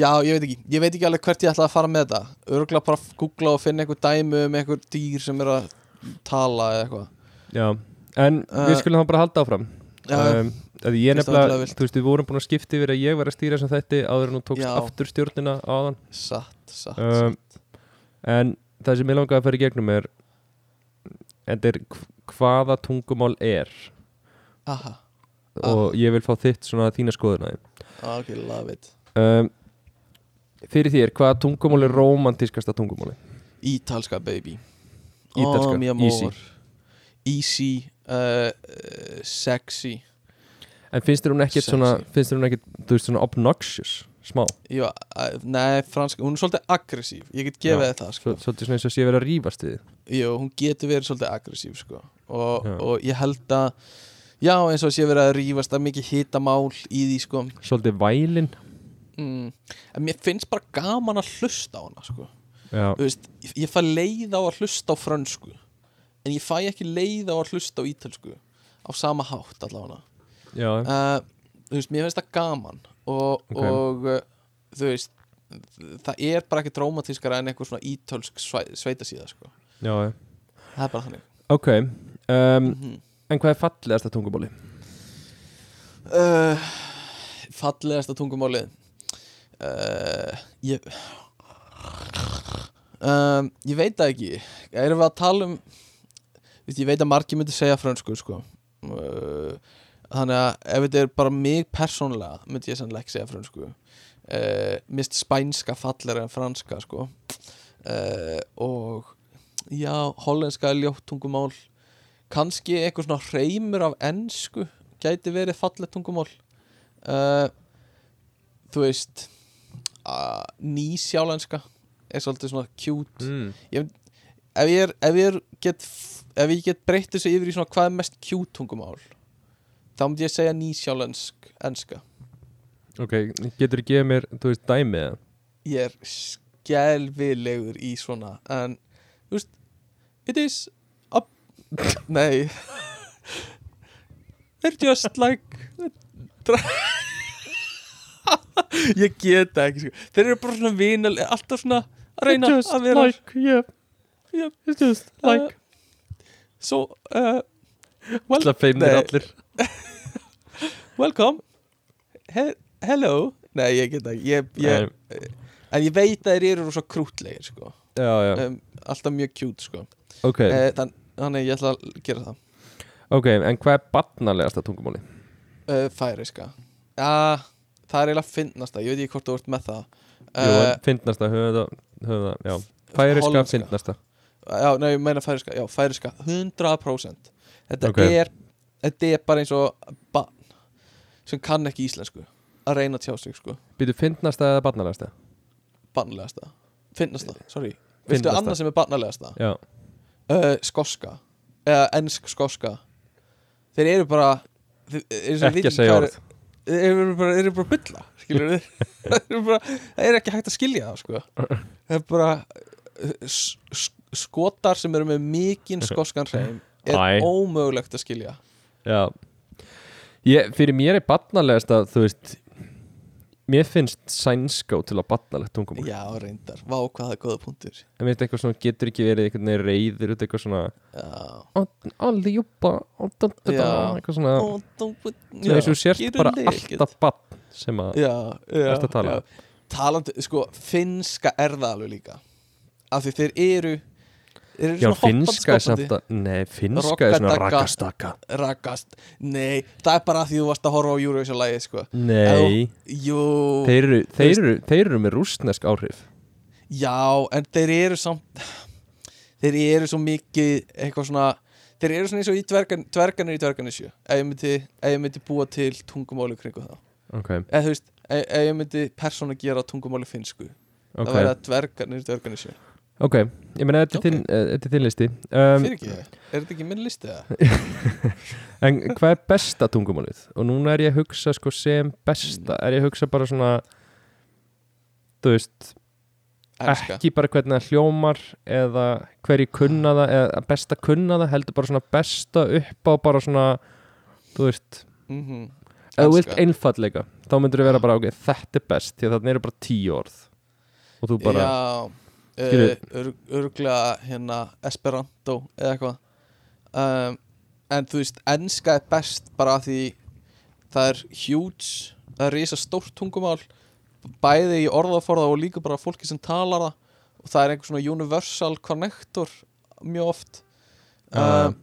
Já, ég veit ekki, ég veit ekki alveg hvert ég ætla að fara með þetta Örgulega bara að googla og finna einhver dæmi um einhver dýr sem er að tala eða eitthvað Já, en Uh, við skulum þá bara halda áfram Já, um, að Ég Finnst það nefnilega, ótrúlega vilt. þú veist, við vorum búin að skipta yfir að ég var að stýra sem þetta áður en þú tókst Já. aftur stjórnina áðan satt, satt, um, En það sem ég langaði að fara í gegnum er en þetta er hv- hvaða tungumál er satt Aha, Ah. og ég vil fá þitt svona þína skoðuna ok, love it um, Fyrir þér, hvaða tungumál er romantískasta tungumáli? Ítalska baby Ítalska, oh, mio easy. amor. Easy uh, uh, Sexy En finnst þér hún ekkert Sexy. svona, finnst þér hún ekkert, þú veist, svona obnoxious, smá Já, uh, nei, fransk, hún er svolítið aggressív Ég get gefið Já, þér það sko Svo- Svolítið svona eins og sé verið að rífast við þig. Jú, hún getur verið svolítið aggressív sko. og, Já. og ég held að já, eins og sé verið að rífast að mikið hitamál í því sko. Svolítið vælin mm. en mér finnst bara gaman að hlusta á hana sko. Já, Þú veist, ég, ég fæ leið á að hlusta á frönsku en ég fæ ekki leið á að hlusta á ítölsku á sama hátt allavega já uh, þú veist, mér finnst það gaman og, Ok. og uh, þú veist það er bara ekki drómatískara en einhver svona ítölsk svæ- sveitasíða sko. Já, já. það er bara þannig ok um, Mhm. En hvað er fallegasta tungumáli? uh, fallegasta tungumálið uh, ég um, ég veit það ekki erum við að tala um veist, ég veit að margir myndi segja frönsku sko. uh, þannig að ef þetta er bara mig persónlega myndi ég sannlega ekki segja frönsku uh, mist spænska fallegra en franska sko. uh, og já, hollenska er ljótt tungumál kannski eitthvað svona hreimur af ensku gæti verið fallet tungumál uh, þú veist uh, nýsjálenska er svolítið svona cute Mm. ef ég, er, ef, ég er get, ef ég get breytt þessu yfir í svona hvað er mest cute tungumál þá myndi ég segja nýsjálensk enska Ok, getur þú gefið mér, þú veist, dæmið það? ég er skelvilegur í svona en þú veist it is up [LAUGHS] nei they're just like [LAUGHS] ég get það ekki sko. þeir eru bara svona vinal alltaf svona að reyna að vera yeah, Yep. it's just like. so uh, well, Það feignir Nei. allir welcome He hello nei ég get það ekki ég, ég, Nei. en ég veit að þeir eru svo krútlegir sko. Já, já, um, alltaf mjög cute sko. ok Eh, þann- Þannig ég ætla að gera það Ok, en hvað er barnalegasta tungumáli? uh, Færiska ja, Það er eiginlega finnast það Ég veit ekki hvort þú ert með það Jú, uh, en fyndnasta, höfum við það, höfum við það, já Færiska, Hollenska. fyndnasta Já, nei, ég meina færiska Já, færiska 100% Þetta Ok. er Þetta er bara eins og Bann Sem kann ekki íslensku Að reyna að tjá sig sko Býtu fyndnasta eða barnalegasta? Bannlegasta Finnast það, sorry Veistu Fyndnasta. annað sem er bannlegasta? Já, Uh, skoska Eða ensk skoska Þeir eru bara eh, þeir, eru svo ekki vitið að segja hvað orð þeir eru bara, þeir eru bara að bulla skilur [LAUGHS] við þeir eru bara, það er ekki hægt að skilja það sko það er bara uh, s- s- skotar sem eru með [LAUGHS] mikinn skoskan hreim Æ. er ómögulegt að skilja Já ég, Fyrir mér er barnalegast að þú veist Mér finnst sænska til að barnalegt tungumál já reyndar, vá hvað það er góða punktur En minnst eitthvað svona getur ekki verið einhvern veginn reyður út eitthvað svona já Allir júpa Já. Eitthvað svona Ó, dú- bú- Svona eins og þú já, sért gerðu bara leikið. alltaf bann sem að já, já, Ertu að tala? já. talandi, sko, finnska er það alveg líka af því þeir eru þeir eru Já, svona hoppandi, finnska er skoppandi. samt að Nei, finnska er svona Rokkadagga. rakastaka rakast Nei, það er bara af því þú varst að horfa á Eurovision lagið sko. Nei, Ef þú- Jú, þeir eru, þeir, veist- eru, þeir eru með rústnesk áhrif já, en þeir eru samt Þeir eru svo mikið eitthvað svona Þeir eru svona eins og í dvergan, dverganir í dverganisju ef ég myndi, ef ég myndi búa til tungumáli kringu það Ok, Eða þú veist, ef, ef ég myndi persóna gera tungumáli finnsku Það ok, væri að dverganir í dverganisju ok Ég meina, þetta er þinn- eh, þetta er þinn listi um, Fyrir ekki, er þetta ekki minn listi það? En hvað er besta tungumálið? Og núna er ég að hugsa sko sem besta Er ég að hugsa bara svona þú veist, Elska. ekki bara hvernig það hljómar eða hverju kunna það eða besta kunna það, heldur bara svona besta upp á bara svona þú veist, Mm ef þú vilt Elska. einfallega þá myndur þú vera bara, ok, þetta er best því að þarna eru bara tíu orð og þú bara, Já, Skilur- uh, örglega hérna Esperanto eða eitthvað um, En þú veist, enska er best bara af því það er huge, það er risa stórt tungumál bæði í orðaforða og líka bara fólki sem talar það og það er einhver svona universal connector mjög oft Já, um,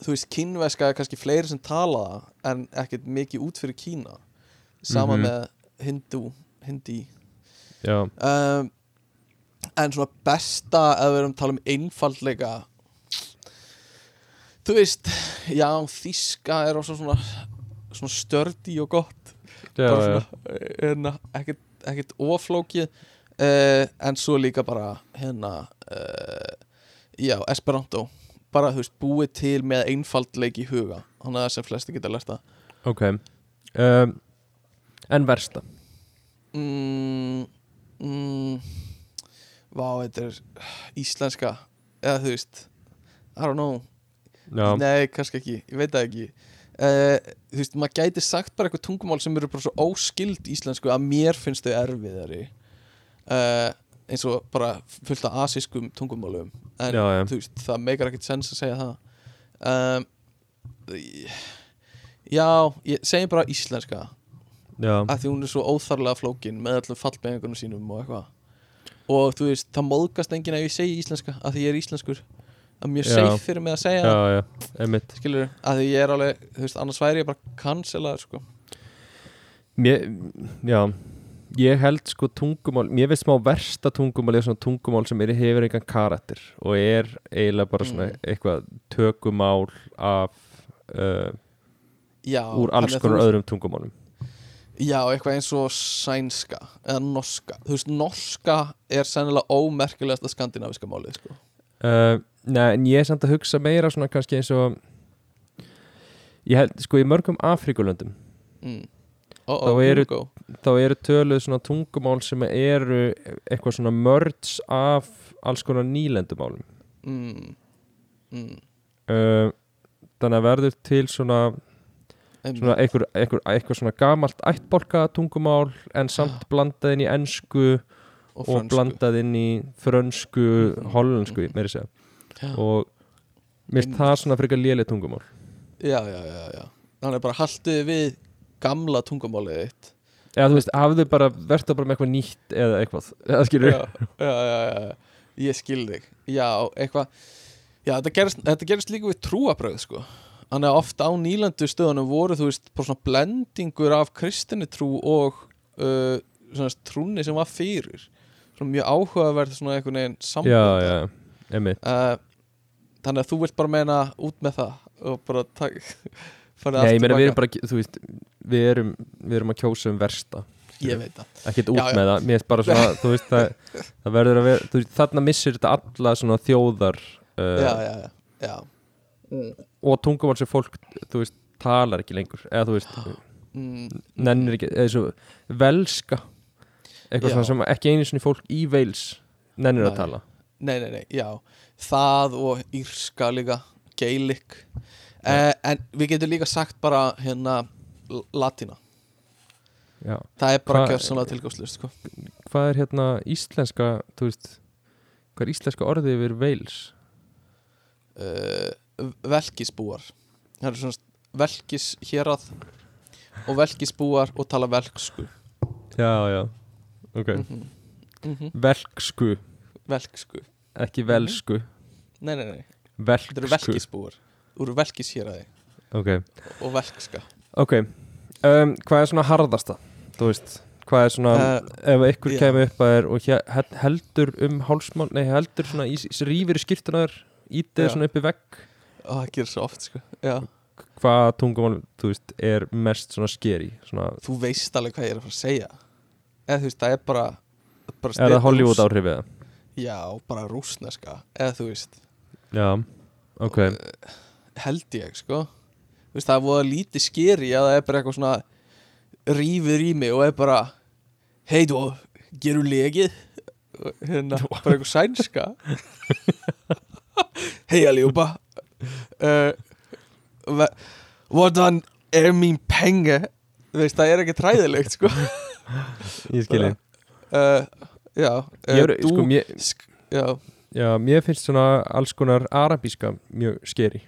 Þú veist, kínveska er kannski fleiri sem tala það en ekkert mikið út fyrir Kína saman Mhm. með hindú, hindi já, um, en svona besta að við erum að tala um einfaldleika þú veist já, þíska er rosa svona svona stördi og gott já, bara já, svona, hérna, ekkert, ekkert oflókið uh, en svo líka bara hérna uh, já, Esperanto bara þú veist, búið til með einfaldleik í huga þannig að sem flesti geta lært það ok um, en versta mm, mm, Vá, þetta er íslenska eða þú veist I don't know, já, nei, kannski ekki ég veit það ekki uh, þú veist, maður gæti sagt bara eitthvað tungumál sem eru bara svo óskild íslensku að mér finnst þau erfiðari uh, eins og bara fullt af asískum tungumálum en já, já, þú veist, það meikar ekkert sens að segja það um, Já, ég segi bara íslenska já, að því hún er svo óþarlega flókin með allum fallbeigingunum sínum og eitthvað og þú veist, það móðgast enginn ef ég segi íslenska að því ég er íslenskur það er mjög Já. safe fyrir mig að segja já, það já einmitt skilur, að því ég er alveg, þú veist, annars væri ég bara cancelaður, sko Mér, já Ég held sko tungumál, mér finnst smá versta tungumál er svona tungumál sem er, hefur engan karakter og er eiginlega bara svona Mm. eitthvað tökumál af uh, já, úr alls þannig að konar þú- öðrum tungumálum já, eitthvað eins og sænska eða norska, þú veist, norska er sennilega ómerkilegasta skandinaviska málið, sko uh, Nei, en ég er samt að hugsa meira svona kannski eins og ég held, sko í mörgum Afrikulöndum mm. oh, Þá oh, here eru- we go. þá eru töluð svona tungumál sem eru eitthvað svona mörds af alls konar nýlendumálum mm. Mm. uh, þannig að verður til svona einmitt. svona einhver, einhver, einhver svona gamalt ættbólka tungumál en samt blandað inn í ennsku og, Ah. og, frönsku. Mm. blandað inn í frönsku, hollensku meira að segja Já. og mér finnst það svona frekar léleg tungumál já, já, já, já þannig bara haldið við gamla tungumálið þitt eða þú veist, hafðu bara, verður bara með eitthvað nýtt eða eitthvað, [LAUGHS] eða skilur já, já, já, já, ég skil þig já, eitthvað já, þetta, gerist, þetta gerist líka við trúabröð sko. þannig að oft á nýlandu stöðunum voru þú veist, bara svona blendingur af kristinni trú og uh, svona trúni sem var fyrir svona mjög áhugaverð svona einhvern veginn samband já, já, emitt Uh, þannig að þú vilt bara meina út með það og bara takk [LAUGHS] Nei, ég meina við erum bara, þú veist við erum, við erum að kjósa um versta ég veit það ekkert út Já, já. með það, mér finnst bara [LAUGHS] svona þú veist, það, það verður að vera þú veist, þarna missir þetta alla svona þjóðar uh, já, já, já, já. og tungumál sem fólk þú veist, talar ekki lengur eða þú veist, Mm, nennir ekki eða svo velska eitthvað Já. svona sem ekki einu sinni fólk í veils nennir Nei. að tala nei, nei, nei, já það og írska líka geilik uh, en við getum líka sagt bara hérna l- latína Já. það er bara Hvað- gjörsanlega tilgjóðslust sko. hvað er hérna íslenska þú veist, hvað er íslenska orðið yfir veils uh, velkisbúar það eru svona velkis hérað og velkisbúar og tala velksku já, já, ok mm -hmm. velksku, velksku, ekki velsku nei, nei, nei þetta eru velksku, velkisbúar úr velkishéraði ok og velkska Ok, um, hvað er svona harðasta? Þú veist, hvað er svona ef ykkur Eh, já. kemur upp að þér og he- he- heldur um hálsmál, nei heldur svona í, í- rýfur í skýrtunar, ítið Já. svona upp í vegg og það gerir svo oft sko. já hvað tungumál, þú veist, er mest svona skeri, svona, þú veist alveg hvað ég er að fara að segja eða þú veist, það er bara, er bara það snill- Hollywood áhrifið það? já, bara rúsneska eða þú veist, Já, ok held ég sko þú veist, það er voða lítið skeri að það er bara eitthvað svona rýfið í mig og er bara hey du, gerum legið hérna, bara eitthvað sænska heia ljúpa uh, ve- vodan er mín penge þú veist, það er ekki træðilegt sko Ég skilji uh, já, uh, Ég er, sko, mér, sk já, já, mér finnst svona alls konar arabíska mjög skeri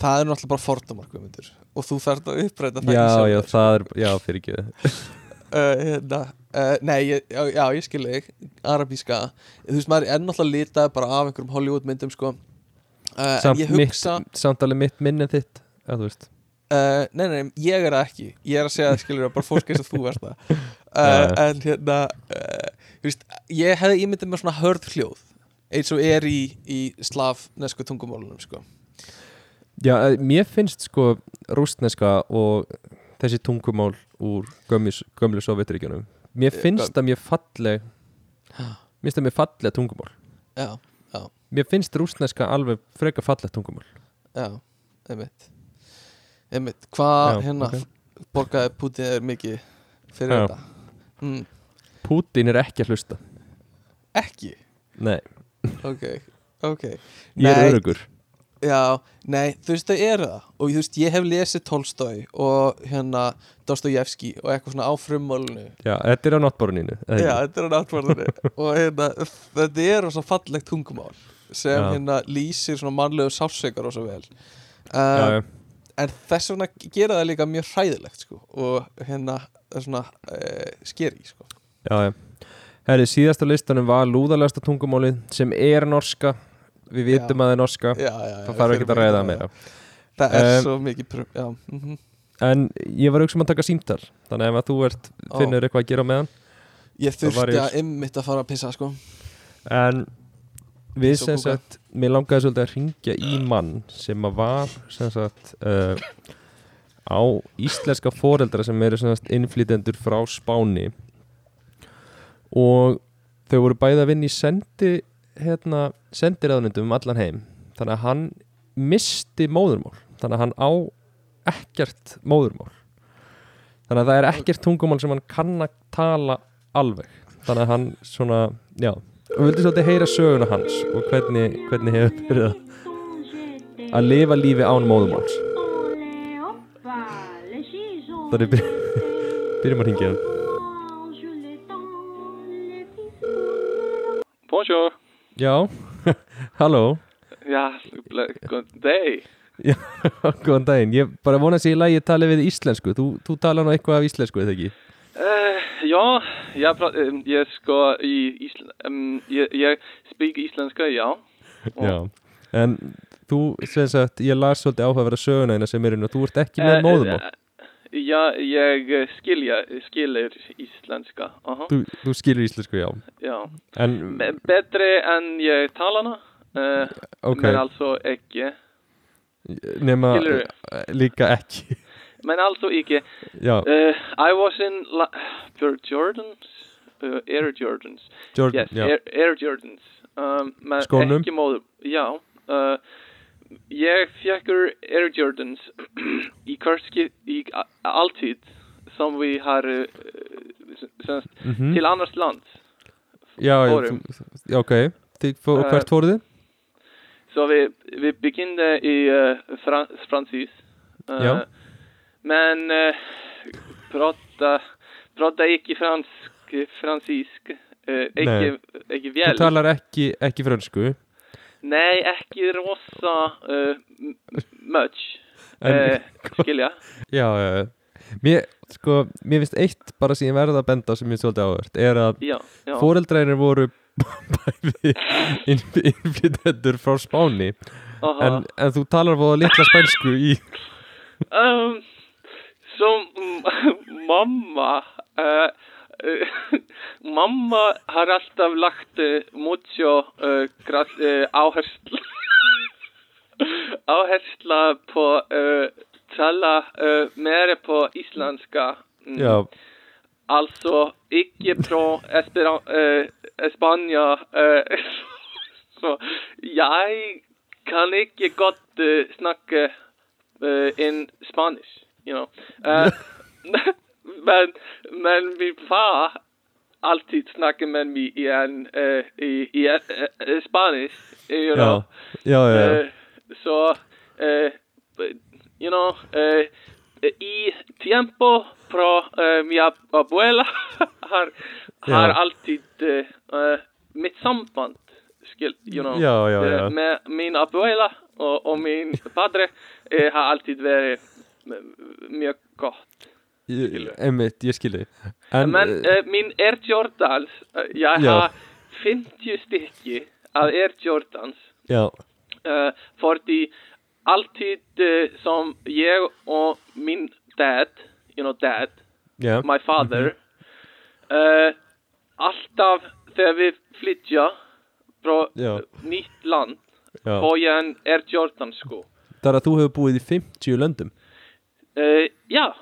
það er náttúrulega bara fordómarkvömyndur og þú þarf að uppræta það í Já, sjálfur. já, það er, já, fyrir ekki uh, hérna, uh, nei, ég, já, já, ég skil þig arabíska, þú veist maður er náttúrulega litað bara af einhverjum Hollywood myndum sko. uh, en Samt ég hugsa mitt, samt alveg mitt minn en þitt að þú veist uh, nei, nei, nei, ég er það ekki ég er að segja það skilur bara fólk eins og þú verð það [LAUGHS] uh, Já, já. en hérna uh, þú veist, ég hefði ímyndið mér svona hörð hljóð eins og er í, í slavnesku tungumálunum sko. Já, eh, mér finnst sko rústneska og þessi tungumál úr gömlu, gömlu sovjeturíkjunum Mér Eh, finnst það mjög falleg Mér finnst það mjög falleg tungumál já, Mér finnst rústneska alveg freka falleg tungumál já, einmitt einmitt, hvað Já, hérna ok. borgaði Putin er mikið fyrir Já. þetta mm, Pútín er ekki að hlusta ekki Nei, ok, ok ég er Nei, örugur já, nei, þú veist þau eru það og þú veist, ég hef lesið Tolstói og hérna Dostojevski og eitthvað svona á frummálinu Já, þetta er á náttboruninu já, þetta er hann [LAUGHS] átvarðinu og hérna, þetta er svona fallegt tungumál sem Já. hérna lýsir svona mannlegu sálsveikar og svo vel já, uh, já. en þess vegna gera það líka mjög hræðilegt sko, og hérna það er svona uh, skeri sko. Já, já. Herri, síðasta listanum var lúðalegasta tungumálið sem er norska Við vitum Já. að það er norska já, já, já, Það þarf ekki að ræða meira það er Eh, svo mikið prum, já, mm En ég var að hugsa um að taka símtal Þannig ef að þú ert, Ó. finnur eitthvað að gera á meðan ég Það var þurfti ég- að ymmit að fara að pissa sko En við Svo sem kúka. sagt Mér langaði svolítið að ringja í mann sem að var sem sagt uh, á íslenska foreldra sem eru sem sagt innflytendur frá Spáni og þau voru bæði að vinna í sendi hérna, sendiræðunundum um allan heim þannig að hann misti móðurmál þannig að hann á ekkert móðurmál þannig að það er ekkert tungumál sem hann kann að tala alveg þannig að hann svona, já við vildum svolítið heyra söguna hans og hvernig, hvernig hefur verið að- að lifa lífi án móðurmáls Það þannig byrjum, byrjum að ringja hann Bonjour. Já, [LAUGHS] halló Ja, ble- good day. Já, [LAUGHS] Góðan daginn, ég bara vona að sé í lagi að tala við íslensku Þú, þú tala nú eitthvað af íslensku, eða ekki? Eh, ja, jag, pra- eh, jag ska i Island... Um, jag, jag speak isländska, ja. Ó. Já En þú, sem sagt, ég las svolítið áhugaverða söguna eina sem er inn og þú ert ekki með Eh, móðumál eh, Ja, jag skiljer, skiljer isländska. Aha, þú, þú skilur íslensku, já ja. En, B- bättre än jag talarna. Eh, ok, Men alltså icke. nema skilurðu? eh, líka ekki [LAUGHS] Men alltså icke. Já, Eh, I was in... La- Air Jordans? Eh, Air Jordans. Jordan, Yes, já Air, Air Jordans. Um, men Skónum? Ekki móður, já. Uh, ég fekkur Air Jordans [CLEARS THROAT] í hverski, í a- alltíð sem við har uh, semst, Mhm. til annars land. Já, já, fórum. þú- já, ok Þið, fó, Eh, Hvert fóruð þið? Så vi, vi begynde i uh, Fran Francis. Uh, Ja. Men uh, prata, prata icke fransk, fransisk. Uh, icke, Nej. icke Þú väl. talar ekki, ekki frönsku Nei, ekki rosa uh, m- much, En, uh, skilja. [LAUGHS] já, já, já Mér, sko, mér finnst eitt bara sem ég verða að benda á sem ég er svolítið áhört er að Já, já. Fóreldrænir voru [LAUGHS] bæði innf- innflytendur frá Spáni aha. en, en þú talar fóða litla spænsku í um, så m- mamma, eh, eh, mamma har alltaf lagt uh, mucho uh, gras, uh, áhersla, áhersla på uh, tala uh, mer på isländska. Mm. Já, Alltså, icke från Espera, eh, Espanja. Eh, [LAUGHS] så jag kan icke gott eh, snacka eh, in [LAUGHS] Spanish, you know. Eh, men, men min far, alltid snakker med mig i en, øh, i, i en, øh, øh, spanisk, you know. Já, já, já, já. Eh, så, eh, you know, eh, i tiempo pro eh, mi ab- abuela [LAUGHS] har, har Ja. alltid eh, eh, mitt samband, skil, you know, Ja, ja, eh, ja. med min abuela och, och min padre eh, har alltid varit eh, mjög gott. Ég- einmitt, ég skil þig en, Men eh, eh, min Air Jordans, eh, jag Ja. har 50 stycken av Air Jordans já, uh, fordi alltid eh, som jag och min dad, you know dad, já, my father, eh, alltaf þegar við flytja frá Já. nýtt land, já. fá ég en Air Jordan sko. það er að þú hefur búið í 50 löndum Eh, já,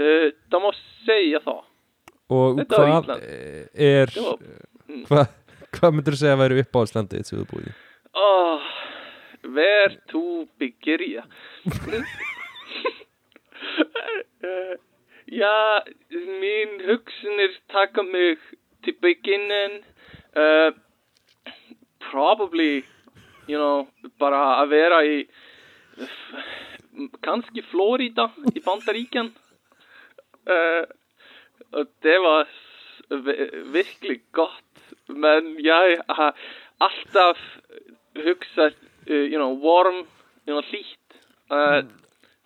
uh, það má segja það. og Þetta var hvað Ísland. eh, er Já. hvað hva myndur þú segja að væri uppáhaldslandið þitt sem þú hefur búið í Åh, where Ah, to begin? Eh, ja, min hugsanir taka mig til beginnen. Uh, probably, you know, bara að vera í kannski Florida í Bandaríkjan. Uh, og det var s- vi- virkelig gott, men jeg har alltaf hugsað, eh, you know, warm, you know, hlýtt uh,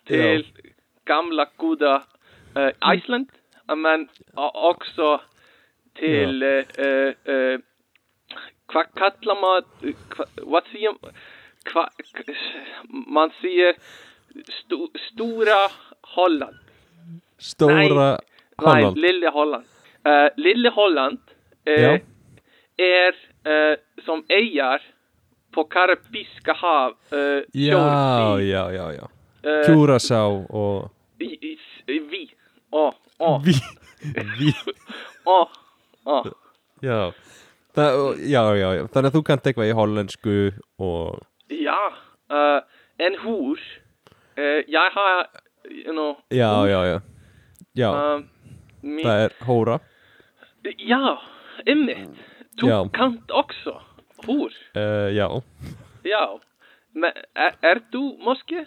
til gamla góða uh, Iceland, men o- också till, uh, uh, uh, hvað kallar maður, hva- hvað séum, hvað, man sér stú, stúra Holland. stóra Holland. Holland Nej, Lille Holland. Eh, Lille Holland eh, Ja. är eh, som öar på Karibiska hav. Uh, já, já, já, já Kjúrasá og eh, I, i, vi. Åh, åh, Ví, ví, åh, åh. já. Það, og- já, já, já, þannig að þú kannt eitthvað í hollensku og Ja, eh, en hor. Eh, jag har, you know, já, já, já, já, eh, min, það er hóra, ja, Emmett. Du Ja. kan också hor. uh, já, Ja. Men är, är du moske?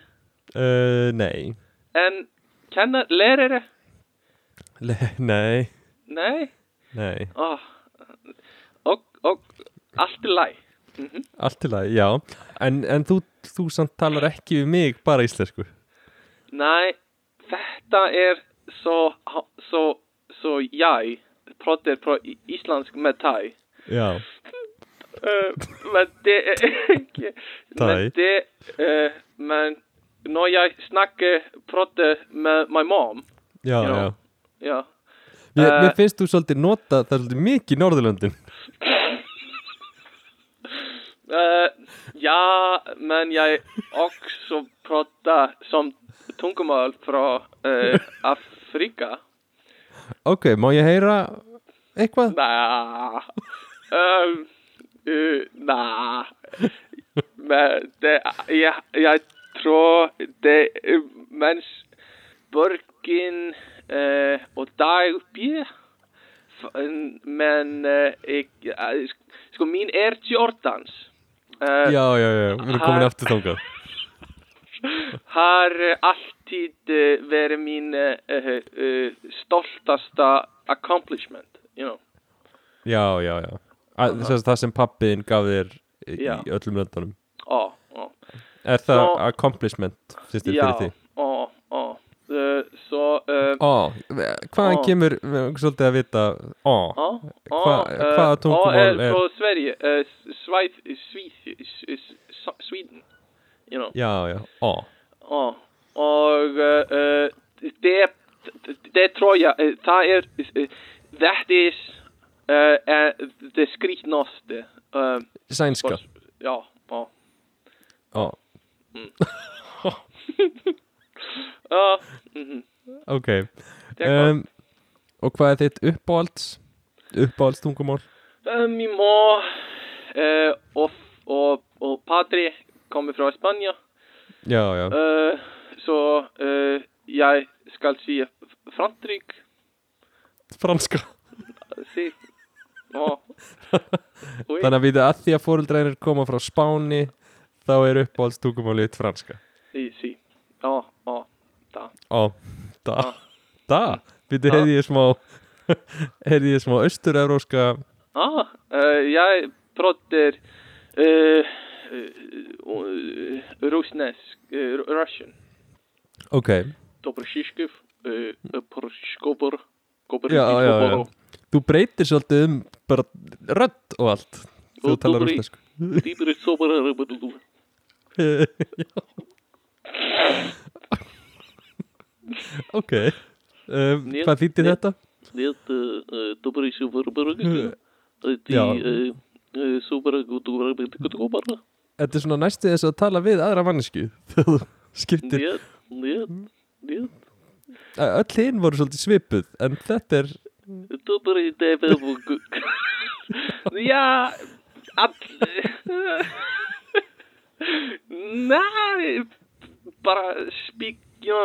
uh, nei, En kenner lärare? Le, nei, Nei, nei, oh. og, og allt í læg. allt til að, já, en, en þú, þú samt talar ekki við mig bara íslensku, Nei, þetta er svo, svo, svo ég pratar på í- íslensk með tæ. já, Uh, men det er ekki, Thai. men det, uh, men når jeg snakker pratar med my mom, já, Já. já. ja, Mér, Eh, mér finnst þú svolítið nota, það er svolítið mikið í Norðurlöndin, uh, ja, men jeg också pratar som tungumal fra uh, Afrika. ok, má ég heyra eitthvað? Nah. Um, uh, nah. Men det, jeg, jeg tror det eh, Mens Børgen eh, og Dagby f- en- Men eh, jeg, jeg Sko, min er Jordans. Eh, Já, já, já, við erum komin Hæ. aftur þangað, Har eh, alltid eh, vært min eh, eh, eh, stoltasta accomplishment, you know. já, já, já, að, þess að það sem pappiðin gaf þér í, Já. í öllum löndunum. Ó, ó. Er það Svo- accomplishment, finnst þér fyrir því? Ó, ó. Uh, svo, uh, Ó, hvaðan Ó. kemur, við erum svolítið að vita, ó, ó, ó. Hva- eh, hvaða tungumál ó, eh, er- Frá Sverige, uh, Svæð, Svíð, Svíðin, you know. já, já, ó, Ó, og uh, det, det tror jeg, eh, það er, eh, þetta er, uh, uh, det skrítnaste. Uh, sænska, já, ó. ó, Uh, mm, ok. det er um, Um, og hvað er þitt uppáhalds, uppáhaldstungumál? Uh, min mor eh, och, och, och Patri kommer från Spanien. Já, já, Eh, så eh, jag ska se Frankrike. franska, Se, Ó. Új. Þannig að við að því að fóruldreinir koma frá Spáni þá er uppáhalds tungumálið franska Easy. Já, já, da. Ó, da Da, við þið hefði ég smá [LAUGHS] hefði ég smá austur-euróska Ja, eh, jag pratar eh, eh, rusnesk, eh, russian. Ok, Dobrosjikov, eh, Porskobor, Já, já, já. þú breytir svolítið um bara rödd og allt þegar þú Og talar dúbri. rúsnesku Dobrosjikov, Ok um, Né, Hvað þýtti né. þetta? Нет, Dobrosjikov, Já. Ты Суперагутубар, Þetta er svona næstu þess að tala við aðra mannesku [LAUGHS] þegar þú skiptir нет, нет, нет. Ö- Öll hinn voru svolítið svipuð en þetta er Добрый день, Facebook. [LAUGHS] Я... [LAUGHS] От... Nei, bara spíkja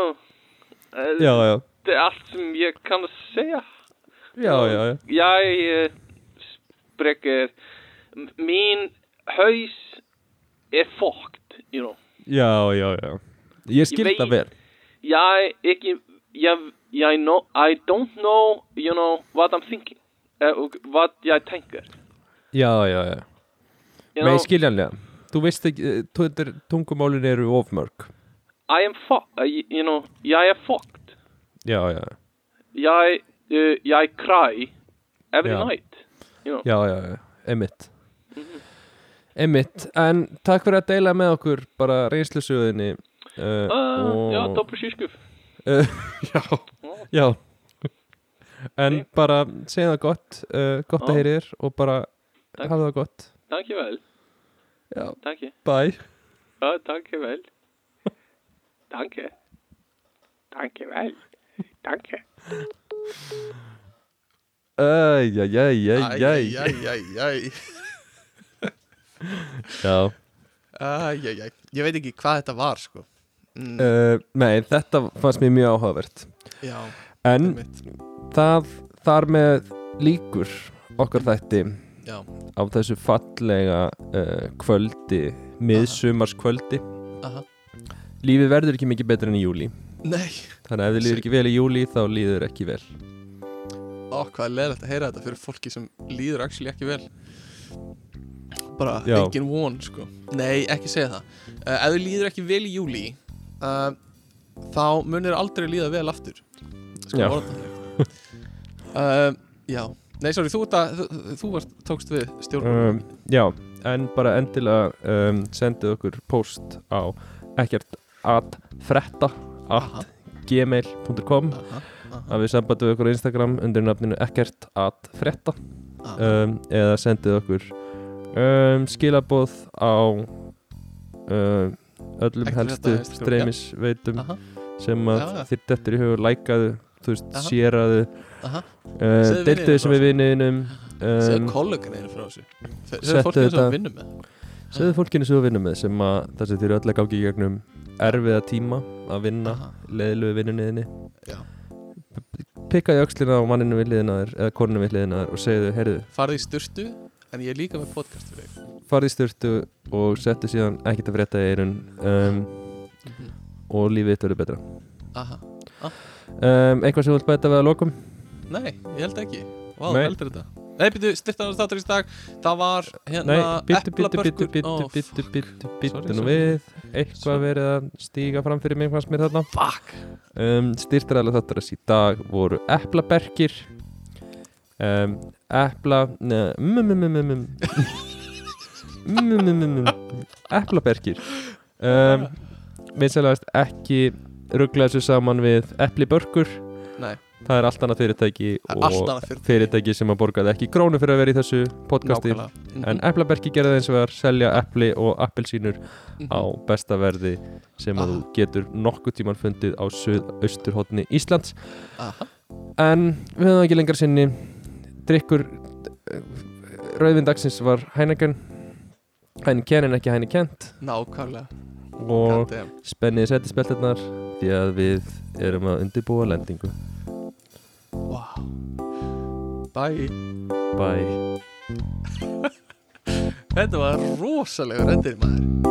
Eh, Já, já, Þetta er allt sem ég kann að segja já, já, já. Ég sprekir Mín haus er fókt, you know já, já, já. Ég skil veit- það vel Jeg ekki Ég, ég know, I don't know, you know, what I'm thinking Eh, og Hvað ég tenker Já, já, já You Nei, know, skiljanlega Þú veist ekki, eh, tu- þetta er- tungumálin eru ofmörg I am fucked, you know, jeg er fucked. Já, já, Jeg, uh, jeg cry every Ja. night, you know. já, já, já, emitt Emitt, en takk fyrir að deila með okkur bara reynslusöðinni uh, Uh, og- Ja, toppur sískuf. Eh, [LAUGHS] já, já En bara segja það gott uh, gott Já. að heyri þér og bara Takk. hafa það gott Takk ég vel. Já, Takk ég. bye Ja, takk ég [LAUGHS] vel. Takk ég. Takk ég vel. Takk ég. Æjæjæjæjæj Æ, æ, æ, æ. Já Æ, æ, æ. Ég veit ekki hvað þetta var sko mm, uh, Nei, þetta fannst mér mjög áhugavert Já, En mitt það þar með líkur okkar þætti Já, á þessu fallega uh, kvöldi, miðsumarskvöldi aha Lífið verður ekki mikið betur enn í júli Nei, Þannig að ef þið líður ekki vel í júli þá líður ekki vel ó, hvað er leðilegt að heyra þetta fyrir fólki sem líður actually ekki vel Bara Já. engin von sko Nei, ekki segja það uh, Ef þú líður ekki vel í júli uh, Þá munir aldrei líða vel aftur Sko, Já. orða þannig uh, Já, nei, sorry, þú, ert að, þú, þú varst, tókst við stjórnum um, Já, en bara endilega um, sendið okkur post á ekkert at fretta at gmail.com Aha, aha, að við sambandum við okkur á Instagram undir nafninu ekkert at fretta aha. um, eða sendið okkur um, skilaboð á um, öllum Ekkert helstu Frétta á Instagram, streymisveitum aha, sem að Já, já. þér dettur í hug lækaðu, þú veist, Aha. séraðu aha uh, Segðu deildu vininum þessu við vinninum Segðu um, kollegan einu frá þessu Se- Segðu settu fólk eins og þetta- við vinnum með Segðu fólkinu sem þú vinnum með sem að þessi þér öll að gangi í gegnum erfiða tíma að vinna Aha. leiðilegu vinnunniðinni Já. Pikkaði öxlina á manninu við liðina þér eða koninu við liðina þér og segðu, heyrðu, Farði í sturtu En ég er líka með podcast fyrir þig farði í styrtu og settu síðan ekkert að frétta í eirun um, og lífið þitt verður betra Aha um, Eitthvað sem þú vilt bæta við að lokum? Nei, ég held ekki Vá, Nei. heldur þetta Nei, býttu, styrta hans þáttur í dag Það var hérna Nei, bittu, bittu, eplabörkur- bittu, bittu, Ó, bittu, bittu, bittu Sorry, nú sorry. við Eitthvað verið að stíga fram fyrir mig fannst mér þarna Fuck um, Styrtaræðlega þáttarins í dag voru eplaberkir um, Epla neða, mm, mm, mm, mm, mm. Mm, mm, mm, mm, mm. Eplaberkir um, Vinsalegast ekki ruggla þessu saman við eplibörkur Nei. Það er allt annað fyrirtæki Það er og allt annað fyrirtæki. fyrirtæki sem að borgaði ekki krónu fyrir að vera í þessu podcasti Nákvæmlega En eplaberki gerði eins og vegar selja epli og appelsínur Mhm. á besta verði sem að þú getur nokkuð tíman fundið á suðausturhóttni Íslands Aha. En við höfum það ekki lengra sinni Drykkur eh, Rauðvin dagsins var Heineken Heineken en ekki Heinekent Nákvæmlega Og Goddamn. spenniði settispeltirnar Því að við erum að undirbúa lendingu Vá Bye bye Þetta var rosalegur endir maður